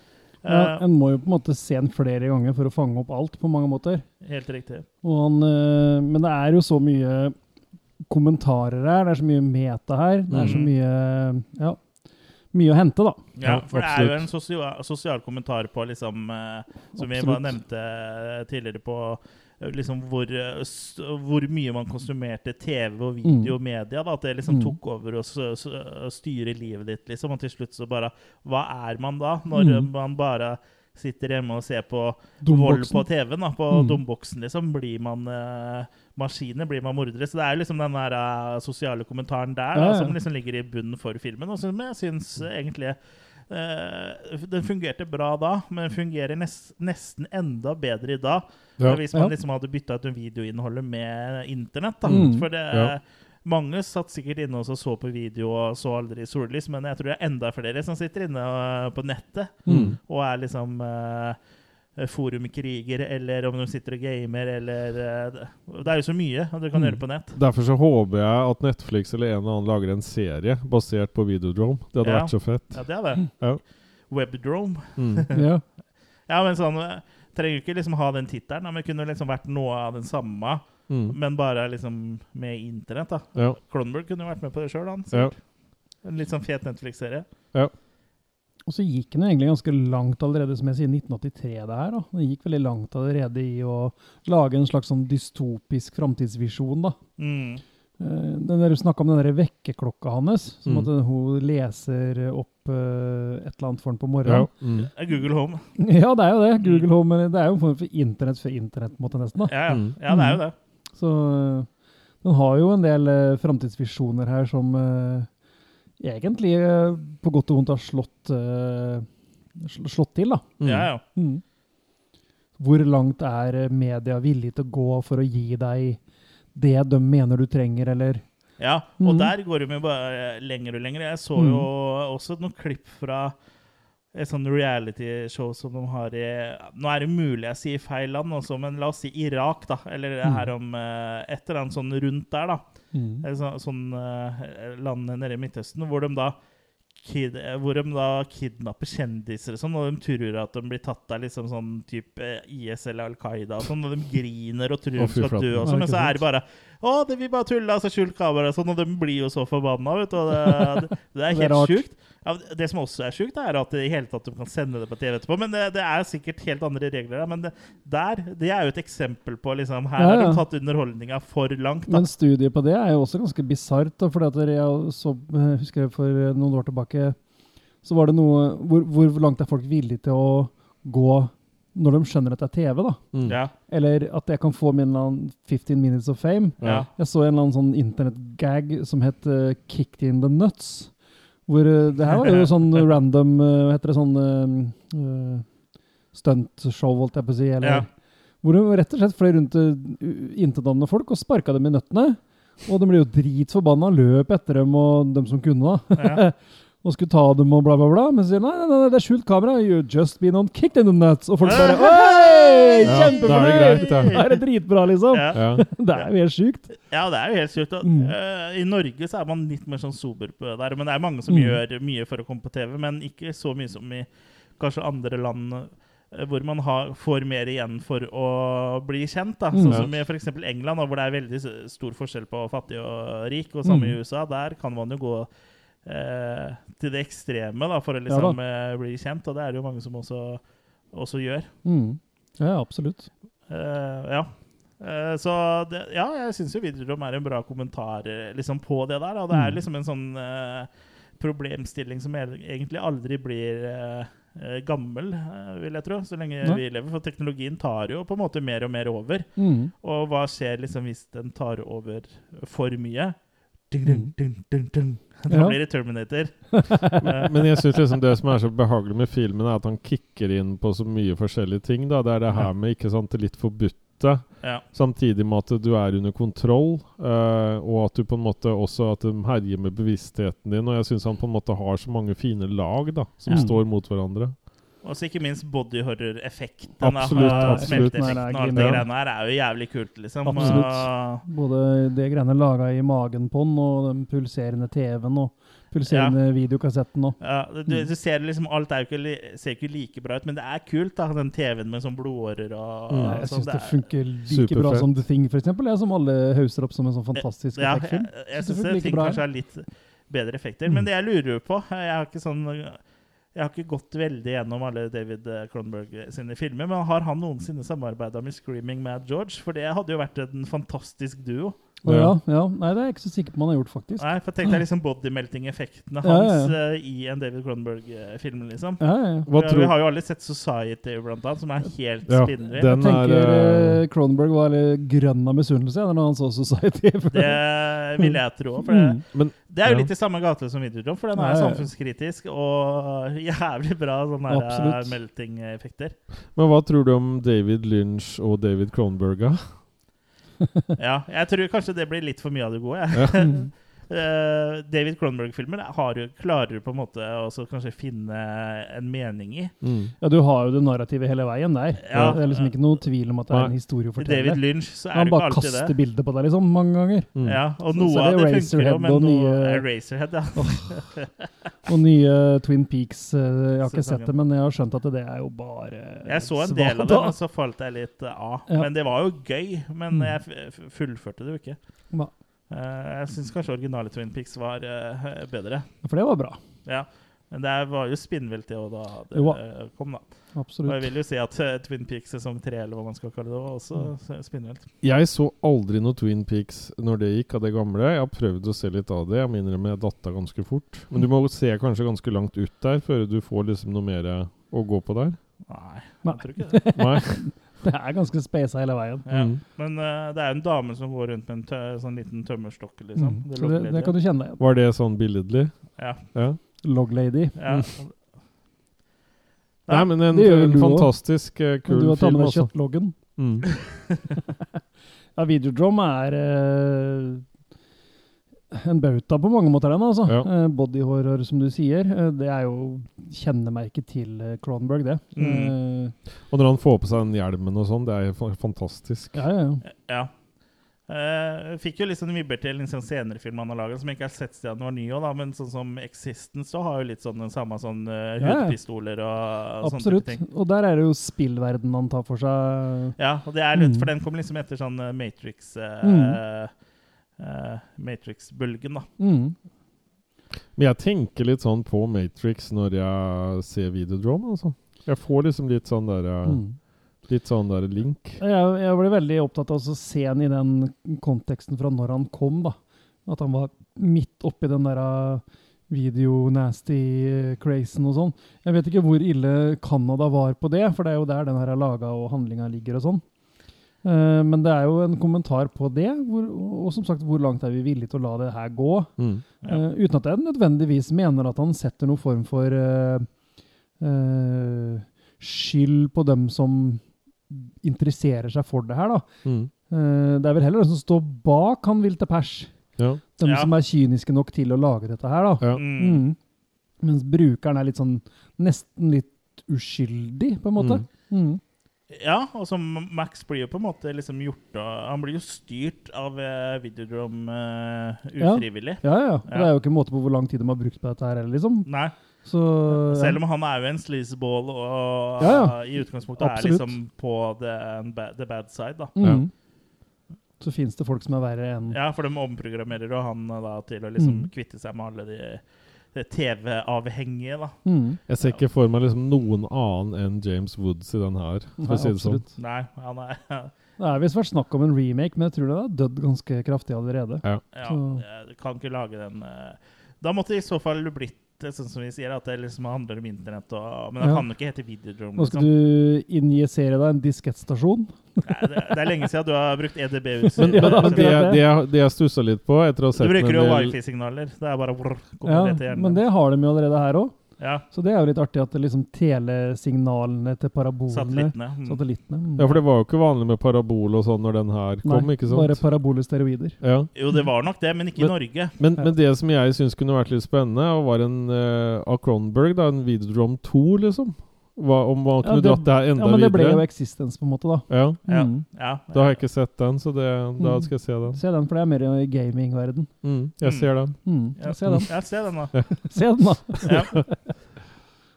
[SPEAKER 2] Ja,
[SPEAKER 1] Eh,
[SPEAKER 2] en må jo på en måte se den flere ganger for å fange opp alt, på mange måter.
[SPEAKER 1] helt riktig.
[SPEAKER 2] Og han, øh, men det er jo så mye kommentarer her, det er så mye meta her. Det er så
[SPEAKER 1] Mhm.
[SPEAKER 2] mye ja, mye å hente, da.
[SPEAKER 1] Ja,
[SPEAKER 3] Mm. Ja,
[SPEAKER 1] for det er jo
[SPEAKER 3] absolutt.
[SPEAKER 1] en sosial, sosial kommentar på liksom eh, Som vi bare
[SPEAKER 2] Absolutt.
[SPEAKER 1] nevnte eh, tidligere på eh, liksom hvor, eh, s- hvor mye man konsumerte TV og video og media. Da, at det liksom
[SPEAKER 2] Mm.
[SPEAKER 1] tok over og s- s- og styrer livet ditt, liksom. Og til slutt så bare Hva er man da, når
[SPEAKER 2] Mm.
[SPEAKER 1] eh, man bare sitter hjemme og ser på vold på
[SPEAKER 2] Dumboksen.
[SPEAKER 1] TV-en, da, på
[SPEAKER 2] Mm.
[SPEAKER 1] dumboksen, liksom. Blir man eh, maskiner, blir man mordere. Så det er jo liksom den der eh, sosiale kommentaren der
[SPEAKER 2] Ja,
[SPEAKER 1] da,
[SPEAKER 2] ja.
[SPEAKER 1] som liksom ligger i bunnen for filmen, og som jeg syns egentlig eh, den fungerte bra da, men fungerer nes nesten enda bedre i dag.
[SPEAKER 3] Ja.
[SPEAKER 1] Hvis man
[SPEAKER 2] Ja.
[SPEAKER 1] liksom hadde bytta ut videoinnholdet med internett. da.
[SPEAKER 2] Mm.
[SPEAKER 1] For det,
[SPEAKER 3] Ja.
[SPEAKER 1] mange satt sikkert inne og så på video og så aldri sollys, men jeg tror det er enda flere som sitter inne eh, på nettet
[SPEAKER 3] Mm.
[SPEAKER 1] og er liksom eh, forumkriger, eller om de sitter og gamer, eller eh, det- Det er jo så mye og du kan
[SPEAKER 3] Mm.
[SPEAKER 1] gjøre på nett.
[SPEAKER 3] Derfor så håper jeg at Netflix eller en eller annen lager en serie basert på Videodrome. Det hadde
[SPEAKER 1] Ja.
[SPEAKER 3] vært så fett.
[SPEAKER 1] Ja, det er det.
[SPEAKER 3] Mm. Ja.
[SPEAKER 1] Webdrome.
[SPEAKER 3] Mm.
[SPEAKER 2] Ja.
[SPEAKER 1] Ja, men sånn eh, Trenger jo ikke liksom ha den tittelen, da, men kunne liksom vært noe av den samme,
[SPEAKER 3] Mm.
[SPEAKER 1] men bare liksom med internett, da.
[SPEAKER 3] Ja.
[SPEAKER 1] Cronberg kunne jo vært med på det sjøl, han.
[SPEAKER 3] Ja.
[SPEAKER 1] sikkert. En litt sånn fet Netflix-serie.
[SPEAKER 2] Og så gikk den jo egentlig ganske langt allerede, som jeg sier, 1983 det her. da. Den gikk veldig langt allerede i å lage en slags sånn dystopisk framtidsvisjon, da.
[SPEAKER 1] Mm.
[SPEAKER 2] Eh, Den der, du snakka om den der vekkerklokka hans, som
[SPEAKER 3] Mm.
[SPEAKER 2] at hun leser opp eh, et eller annet for ham på
[SPEAKER 3] Ja.
[SPEAKER 2] morgenen.
[SPEAKER 3] Mm.
[SPEAKER 1] Ja, Google Home.
[SPEAKER 2] [LAUGHS] Ja, det er jo det.
[SPEAKER 1] Mm.
[SPEAKER 2] Google Home eller det er jo en form for internett for internett, på en måte, nesten. da.
[SPEAKER 1] Ja, ja.
[SPEAKER 3] Mm.
[SPEAKER 1] ja det er jo det.
[SPEAKER 2] Så øh, den har jo en del uh, framtidsvisjoner her som øh, egentlig øh, på godt og vondt har slått, øh, sl- slått til, da.
[SPEAKER 3] Mm.
[SPEAKER 1] Ja, ja.
[SPEAKER 2] Mm. Hvor langt er øh, media villig til å gå for å gi deg det de mener du trenger, eller
[SPEAKER 1] Ja, og
[SPEAKER 2] Mhm.
[SPEAKER 1] der går de jo bare eh, lenger og lenger. Jeg så
[SPEAKER 2] Mhm.
[SPEAKER 1] jo også noen klipp fra et sånn realityshow som de har i Nå er det mulig jeg sier feil land også, men la oss si Irak, da. Eller
[SPEAKER 2] Mhm.
[SPEAKER 1] det her om eh, et eller annet sånn rundt der, da. Et sånt sånn, eh, land nede i Midtøsten hvor de da Kid, eh, hvor de da kidnapper kjendiser og sånn, og de tror at de blir tatt av liksom sånn type eh, IS eller Al Qaida og sånn, og de griner og tror de
[SPEAKER 3] Å, fy
[SPEAKER 1] skal dø
[SPEAKER 3] flaten.
[SPEAKER 1] og
[SPEAKER 2] Ja,
[SPEAKER 1] sånn, men
[SPEAKER 2] ikke
[SPEAKER 1] så
[SPEAKER 2] sant?
[SPEAKER 1] er det bare Å, det vi bare tulla, så skjult kamera og sånn, og de blir jo så forbanna, vet du, og det, det, det er
[SPEAKER 2] Det er
[SPEAKER 1] helt
[SPEAKER 2] rart.
[SPEAKER 1] sjukt. Ja, det som også er sjukt, er at det i hele tatt de kan sende det på TV etterpå, men det, det er sikkert helt andre regler der, men det, der, det er jo et eksempel på liksom Her
[SPEAKER 2] Ja,
[SPEAKER 1] har
[SPEAKER 2] ja.
[SPEAKER 1] de tatt underholdninga for langt, da.
[SPEAKER 2] Men studiet på det er jo også ganske bisart. da, fordi at jeg så, jeg husker jeg for eh, noen år tilbake så var det noe Hvor, hvor langt er folk villige til å gå når de skjønner at det er TV? da?
[SPEAKER 3] Mm.
[SPEAKER 1] Ja,
[SPEAKER 2] Eller at jeg kan få min eller annen 15 minutes of fame.
[SPEAKER 1] ja.
[SPEAKER 2] Jeg så en eller annen sånn internettgag som het eh, 'Kicked in the nuts'. Hvor eh, Det her
[SPEAKER 3] [LAUGHS]
[SPEAKER 2] var jo sånn random eh, Hva heter det? Sånn eh, eh, stuntshow, holdt jeg på å si. Eller,
[SPEAKER 1] Ja.
[SPEAKER 2] Hvor det rett og slett fløy rundt eh, u- intetanende folk og sparka dem i nøttene. Og de ble jo dritforbanna, løp etter dem og dem som kunne, da.
[SPEAKER 1] ja.
[SPEAKER 2] [LAUGHS] Og skulle ta dem og bla, bla, bla. Men så sier de, nei, nei, nei, det er skjult kamera. You just been on kicked in the nuts.
[SPEAKER 3] [LAUGHS]
[SPEAKER 2] Og folk
[SPEAKER 1] [LAUGHS]
[SPEAKER 2] bare Oi!
[SPEAKER 3] Ja, da er det
[SPEAKER 2] Kjempefornøyd!
[SPEAKER 3] greit, ja.
[SPEAKER 2] [LAUGHS] Da er det dritbra, liksom.
[SPEAKER 1] ja.
[SPEAKER 3] Ja.
[SPEAKER 2] Det er jo helt sjukt.
[SPEAKER 1] Ja, det er jo helt sjukt. og,
[SPEAKER 2] Mm.
[SPEAKER 1] eh, I Norge så er man litt mer sånn sober på det der, men det er mange som
[SPEAKER 2] Mm.
[SPEAKER 1] gjør mye for å komme på TV, men ikke så mye som i kanskje andre land eh, hvor man har, får mer igjen for å bli kjent.
[SPEAKER 2] Mm.
[SPEAKER 1] Da. Sånn
[SPEAKER 3] Ja.
[SPEAKER 1] som i f.eks. England, da, hvor det er veldig s- stor forskjell på fattig og rik. Og
[SPEAKER 2] Mm.
[SPEAKER 1] samme i USA. Der kan man jo gå eh, til det ekstreme da, for å
[SPEAKER 2] Ja da.
[SPEAKER 1] liksom, eh, bli kjent, og det er det jo mange som også, også gjør.
[SPEAKER 2] Mm. Ja, absolutt.
[SPEAKER 1] Eh, ja. Eh, så det, ja, jeg syns jo Widerøe er en bra kommentar eh, liksom på det der. Og det
[SPEAKER 2] Mm.
[SPEAKER 1] er liksom en sånn eh, problemstilling som e- egentlig aldri blir eh, eh, gammel, eh, vil jeg tro, så lenge
[SPEAKER 2] Nei.
[SPEAKER 1] vi lever. For teknologien tar jo på en måte mer og mer over.
[SPEAKER 2] [LAUGHS] Mm.
[SPEAKER 1] Og hva skjer liksom hvis den tar over for mye? Ding, ding, ding, ding, ding. Da
[SPEAKER 2] Mm. Ja.
[SPEAKER 1] blir det Terminator.
[SPEAKER 3] Men jeg synes liksom det som er så behagelig med filmen, er at han kicker inn på så mye forskjellige ting. da. Det er det her med ikke sant, det litt forbudte,
[SPEAKER 1] Ja.
[SPEAKER 3] samtidig med at du er under kontroll, eh, og at du på en måte også at de herjer med bevisstheten din. Og jeg syns han på en måte har så mange fine lag da, som
[SPEAKER 2] Ja.
[SPEAKER 3] står mot hverandre.
[SPEAKER 1] Og så ikke minst bodyhorror-effekten.
[SPEAKER 3] Absolutt,
[SPEAKER 1] av
[SPEAKER 3] absolutt.
[SPEAKER 1] smelteeffekten
[SPEAKER 2] Nei, det er
[SPEAKER 1] og alt det
[SPEAKER 2] genialt.
[SPEAKER 1] greiene her er jo jævlig kult, liksom.
[SPEAKER 2] Absolutt. Både det greiene laga i magen på den, og den pulserende TV-en, og pulserende videokassetten og
[SPEAKER 1] Og, ja, du,
[SPEAKER 2] Mm.
[SPEAKER 1] du ser liksom Alt er jo ikke, li- ser ikke like bra ut, men det er kult, da. Den TV-en med sånn blodårer og,
[SPEAKER 3] Mm.
[SPEAKER 1] og
[SPEAKER 2] Jeg
[SPEAKER 1] sånn.
[SPEAKER 2] syns det funker like
[SPEAKER 3] Superfett.
[SPEAKER 2] bra som The Thing, for eksempel, jeg, som alle hauser opp som en sånn fantastisk
[SPEAKER 1] ja, jeg,
[SPEAKER 2] effektfilm.
[SPEAKER 1] jeg
[SPEAKER 2] Synes det
[SPEAKER 1] syns
[SPEAKER 2] funker like
[SPEAKER 1] ting
[SPEAKER 2] bra, Mm.
[SPEAKER 1] kanskje har litt bedre effekter. Men det jeg lurer jo på Jeg har ikke sånn jeg har ikke gått veldig gjennom alle David Cronberg sine filmer, men har han noensinne samarbeida med Screaming Mad George? For det hadde jo vært en fantastisk duo.
[SPEAKER 2] Og ja, ja. Nei, det er jeg ikke så sikker på om han har gjort, faktisk.
[SPEAKER 1] Nei, for
[SPEAKER 2] [LAUGHS]
[SPEAKER 1] tenk deg liksom bodymelting-effektene
[SPEAKER 2] Ja, ja, ja.
[SPEAKER 1] hans eh, i en David Cronberg-film, liksom.
[SPEAKER 2] Ja, ja, ja.
[SPEAKER 3] Hva
[SPEAKER 1] Ja, vi
[SPEAKER 3] tror
[SPEAKER 1] har jo alle sett Society, blant annet, som er helt
[SPEAKER 3] Ja,
[SPEAKER 1] spinnvill.
[SPEAKER 3] den er
[SPEAKER 2] tenker
[SPEAKER 3] eh,
[SPEAKER 2] eh, Cronenberg var eh, grønn av misunnelse ja, når han så Society. for det- [LAUGHS]
[SPEAKER 1] Det vil jeg tro. For det,
[SPEAKER 3] Men
[SPEAKER 1] det er jo
[SPEAKER 3] Ja.
[SPEAKER 1] litt i samme gate som Videodrom, for den er
[SPEAKER 2] Mm. Ja, ja.
[SPEAKER 1] samfunnskritisk og [LAUGHS] jævlig bra sånne her, eh,
[SPEAKER 2] Absolutt.
[SPEAKER 1] melting-effekter.
[SPEAKER 3] Men hva tror du om David Lynch og David Cronberg? da?
[SPEAKER 1] Ja, jeg tror kanskje det blir litt for mye av det gode. Jeg.
[SPEAKER 2] Mm,
[SPEAKER 1] [LAUGHS] Eh, David Cronberg-filmer har jo- klarer på en måte også kanskje finne en mening i.
[SPEAKER 2] Ja, du har jo det narrativet hele veien der.
[SPEAKER 1] Ja.
[SPEAKER 2] Det er liksom ikke noe tvil om at det er en
[SPEAKER 3] Nei.
[SPEAKER 2] historie å
[SPEAKER 1] I David
[SPEAKER 2] fortelle.
[SPEAKER 1] Lynch så er
[SPEAKER 2] Han
[SPEAKER 1] det jo ikke
[SPEAKER 2] bare
[SPEAKER 1] alltid det.
[SPEAKER 2] kaster bilder på deg liksom, mange
[SPEAKER 1] [LAUGHS]
[SPEAKER 2] ganger.
[SPEAKER 3] Mm.
[SPEAKER 1] Ja, og
[SPEAKER 2] Så-
[SPEAKER 1] noe
[SPEAKER 2] så er
[SPEAKER 1] av
[SPEAKER 2] det
[SPEAKER 1] det funker jo,
[SPEAKER 2] Eraserhead
[SPEAKER 1] men
[SPEAKER 2] og
[SPEAKER 1] noe
[SPEAKER 2] nye-
[SPEAKER 1] Eraserhead, ja.
[SPEAKER 2] Og nye Twin Peaks. eh, Jeg har ikke
[SPEAKER 1] Sesongen.
[SPEAKER 2] sett det, men jeg har skjønt at det er jo bare
[SPEAKER 1] Jeg så en del av den, og så falt jeg litt eh, av.
[SPEAKER 2] Ja. Mm.
[SPEAKER 1] Men det var jo gøy. Men jeg f- f- fullførte det jo ikke.
[SPEAKER 2] Hva?
[SPEAKER 1] Eh, jeg syns kanskje originale Twin Pics var eh, bedre.
[SPEAKER 2] For det var bra.
[SPEAKER 1] Ja. Men det var jo spinnvilt, det òg, da det
[SPEAKER 2] Jo.
[SPEAKER 1] eh, kom, da. Og jeg
[SPEAKER 2] Absolutt.
[SPEAKER 1] vil jo si at eh, Twin Peaks sesong tre, eller hva man skal kalle det, var
[SPEAKER 2] Mm.
[SPEAKER 1] også spinnvilt.
[SPEAKER 3] Jeg så aldri noe Twin Peaks når det gikk av det gamle. Jeg har prøvd å se litt av det. Jeg må innrømme jeg datta ganske fort. Men du må
[SPEAKER 2] Mm.
[SPEAKER 3] se kanskje ganske langt ut der før du får liksom noe mer å gå på der.
[SPEAKER 1] Nei,
[SPEAKER 2] Nei.
[SPEAKER 1] jeg tror ikke det.
[SPEAKER 3] Nei.
[SPEAKER 2] [LAUGHS] Det er ganske spesa hele veien.
[SPEAKER 1] [LAUGHS] Ja.
[SPEAKER 3] Mm.
[SPEAKER 1] Men eh, det er jo en dame som går rundt med en tø sånn liten tømmerstokk, liksom.
[SPEAKER 2] Mm.
[SPEAKER 1] Det
[SPEAKER 2] Så det,
[SPEAKER 1] lukter
[SPEAKER 2] det kan
[SPEAKER 1] litt.
[SPEAKER 2] du kjenne deg igjen.
[SPEAKER 3] Var det sånn billedlig?
[SPEAKER 1] Ja.
[SPEAKER 3] Ja.
[SPEAKER 2] Log Lady.
[SPEAKER 1] ja.
[SPEAKER 3] Nei, men en,
[SPEAKER 2] det gjør
[SPEAKER 3] en
[SPEAKER 2] du også.
[SPEAKER 3] fantastisk eh, kul
[SPEAKER 2] Du har tatt
[SPEAKER 3] film,
[SPEAKER 2] med deg
[SPEAKER 3] altså.
[SPEAKER 2] kjøttloggen.
[SPEAKER 3] Mm.
[SPEAKER 2] Ja, Videodrom er eh, en bauta på mange måter, den. altså.
[SPEAKER 3] Ja.
[SPEAKER 2] Eh, body horror, som du sier. eh, det er jo kjennemerket til eh, Cronenberg, det.
[SPEAKER 1] Mm.
[SPEAKER 2] Eh,
[SPEAKER 3] Og når han får på seg den hjelmen og sånn, det er fa- fantastisk.
[SPEAKER 2] ja, ja, ja.
[SPEAKER 1] Ja. Eh, fikk jo litt sånn vibber til liksom senere film han har laget, som jeg ikke har sett siden den var ny. også da, men sånn som Existence da har jo litt sånn den samme sånn eh,
[SPEAKER 2] Ja, ja.
[SPEAKER 1] hudpistoler og sånne type
[SPEAKER 2] Absolutt.
[SPEAKER 1] ting.
[SPEAKER 2] Og der er det jo spillverden han tar for seg.
[SPEAKER 1] Ja, og det er litt,
[SPEAKER 2] Mm.
[SPEAKER 1] for den kom liksom etter sånn eh, Matrix eh,
[SPEAKER 2] Mm.
[SPEAKER 1] eh, Matrix-bølgen, da.
[SPEAKER 2] Mm.
[SPEAKER 3] Men jeg tenker litt sånn på Matrix når jeg ser Videodrome, altså. Jeg får liksom litt sånn der, eh,
[SPEAKER 2] Mm.
[SPEAKER 3] litt sånn der link.
[SPEAKER 2] Jeg, jeg ble veldig opptatt av å se han i den konteksten fra når han kom, da. At han var midt oppi den der uh, video-nasty-crazen og sånn. Jeg vet ikke hvor ille Canada var på det, for det er jo der den her er laga og handlinga ligger og sånn. Eh, men det er jo en kommentar på det, hvor, og, og som sagt, hvor langt er vi villige til å la det her gå?
[SPEAKER 3] Mm.
[SPEAKER 1] Ja.
[SPEAKER 2] Eh, uten at jeg nødvendigvis mener at han setter noen form for eh, eh, skyld på dem som interesserer seg for det her, da.
[SPEAKER 3] Mm.
[SPEAKER 2] Eh, det er vel heller de som står bak han vil til pers.
[SPEAKER 3] Ja.
[SPEAKER 2] De
[SPEAKER 1] Ja.
[SPEAKER 2] som er kyniske nok til å lage dette her, da.
[SPEAKER 3] Ja.
[SPEAKER 1] Mm.
[SPEAKER 2] Mm. Mens brukeren er litt sånn nesten litt uskyldig, på en måte. Mm.
[SPEAKER 1] Ja, og som Max blir jo på en måte liksom gjort av Han blir jo styrt av eh, Videodrome eh,
[SPEAKER 2] Ja.
[SPEAKER 1] ufrivillig.
[SPEAKER 2] Ja, ja. Og Det er jo ikke måte på hvor lang tid de har brukt på dette her heller, liksom.
[SPEAKER 1] Nei,
[SPEAKER 2] Så
[SPEAKER 1] selv om han er jo en sleazeball og
[SPEAKER 2] Ja, ja.
[SPEAKER 1] i utgangspunktet er
[SPEAKER 2] Absolutt.
[SPEAKER 1] liksom på the, um, ba- the bad side, da.
[SPEAKER 2] Mhm. Så fins det folk som er verre enn
[SPEAKER 1] Ja, for de omprogrammerer jo han eh, da til å liksom
[SPEAKER 2] Mm.
[SPEAKER 1] kvitte seg med alle de, de TV-avhengige, da.
[SPEAKER 2] Mhm.
[SPEAKER 3] Jeg ser ikke for meg liksom noen annen enn James Woods i den her. For
[SPEAKER 2] Nei,
[SPEAKER 3] å si det sånn.
[SPEAKER 2] absolutt.
[SPEAKER 1] Nei, han er [LAUGHS]
[SPEAKER 2] Det er visst vært snakk om en remake, men jeg tror den har dødd ganske kraftig allerede.
[SPEAKER 1] Ja,
[SPEAKER 2] Så-
[SPEAKER 1] jeg kan ikke lage den eh, Da måtte det i så fall blitt eh, sånn som vi sier, at det liksom handler om internett og Men det
[SPEAKER 2] Ja.
[SPEAKER 1] kan jo ikke hete Videodrome. liksom.
[SPEAKER 2] Nå skal du injisere deg en diskettstasjon.
[SPEAKER 1] Nei, det, det er lenge siden du har brukt E
[SPEAKER 3] Men
[SPEAKER 1] EDB-utstyr.
[SPEAKER 2] Ja, da,
[SPEAKER 3] det, det,
[SPEAKER 2] akkurat det.
[SPEAKER 3] jeg- det jeg stussa litt på etter å ha
[SPEAKER 1] du
[SPEAKER 3] sett
[SPEAKER 1] bruker jo
[SPEAKER 3] en del
[SPEAKER 1] wifi-signaler. Det er bare brr, kommer
[SPEAKER 2] Ja,
[SPEAKER 1] rett til hjernen.
[SPEAKER 2] men det har de jo allerede her òg.
[SPEAKER 1] Ja,
[SPEAKER 2] Så det er jo litt artig at det liksom telesignalene til parabolene
[SPEAKER 1] Satellittene. Mm.
[SPEAKER 2] Satellittene. mm.
[SPEAKER 3] Ja, for det var jo ikke vanlig med parabol og sånn når den her kom,
[SPEAKER 2] Nei,
[SPEAKER 3] ikke sant?
[SPEAKER 2] bare parabole steroider.
[SPEAKER 3] ja.
[SPEAKER 1] Jo, det var nok det, men ikke i
[SPEAKER 3] Men-
[SPEAKER 1] Norge.
[SPEAKER 3] Men,
[SPEAKER 2] Ja.
[SPEAKER 3] men det som jeg syns kunne vært litt spennende, og var en eh, av Cronberg, da, en Videodrome 2, liksom. Hva, om man
[SPEAKER 2] Ja,
[SPEAKER 3] kunne
[SPEAKER 2] det-
[SPEAKER 3] dratt det her
[SPEAKER 2] Ja,
[SPEAKER 3] enda
[SPEAKER 2] men det ble jo
[SPEAKER 3] videre.
[SPEAKER 2] eksistens, på en måte, da.
[SPEAKER 3] Ja,
[SPEAKER 1] Ja.
[SPEAKER 2] Mm.
[SPEAKER 1] Ja.
[SPEAKER 3] da har jeg ikke sett den, så det, da
[SPEAKER 2] Mm.
[SPEAKER 3] skal jeg se den.
[SPEAKER 2] Se den, for det er mer i gamingverden.
[SPEAKER 3] Mm,
[SPEAKER 1] Mm.
[SPEAKER 3] jeg ser den.
[SPEAKER 2] Mm.
[SPEAKER 1] Ja.
[SPEAKER 2] Se den.
[SPEAKER 1] Ja, se den, da.
[SPEAKER 2] Se den, da!
[SPEAKER 1] Ja.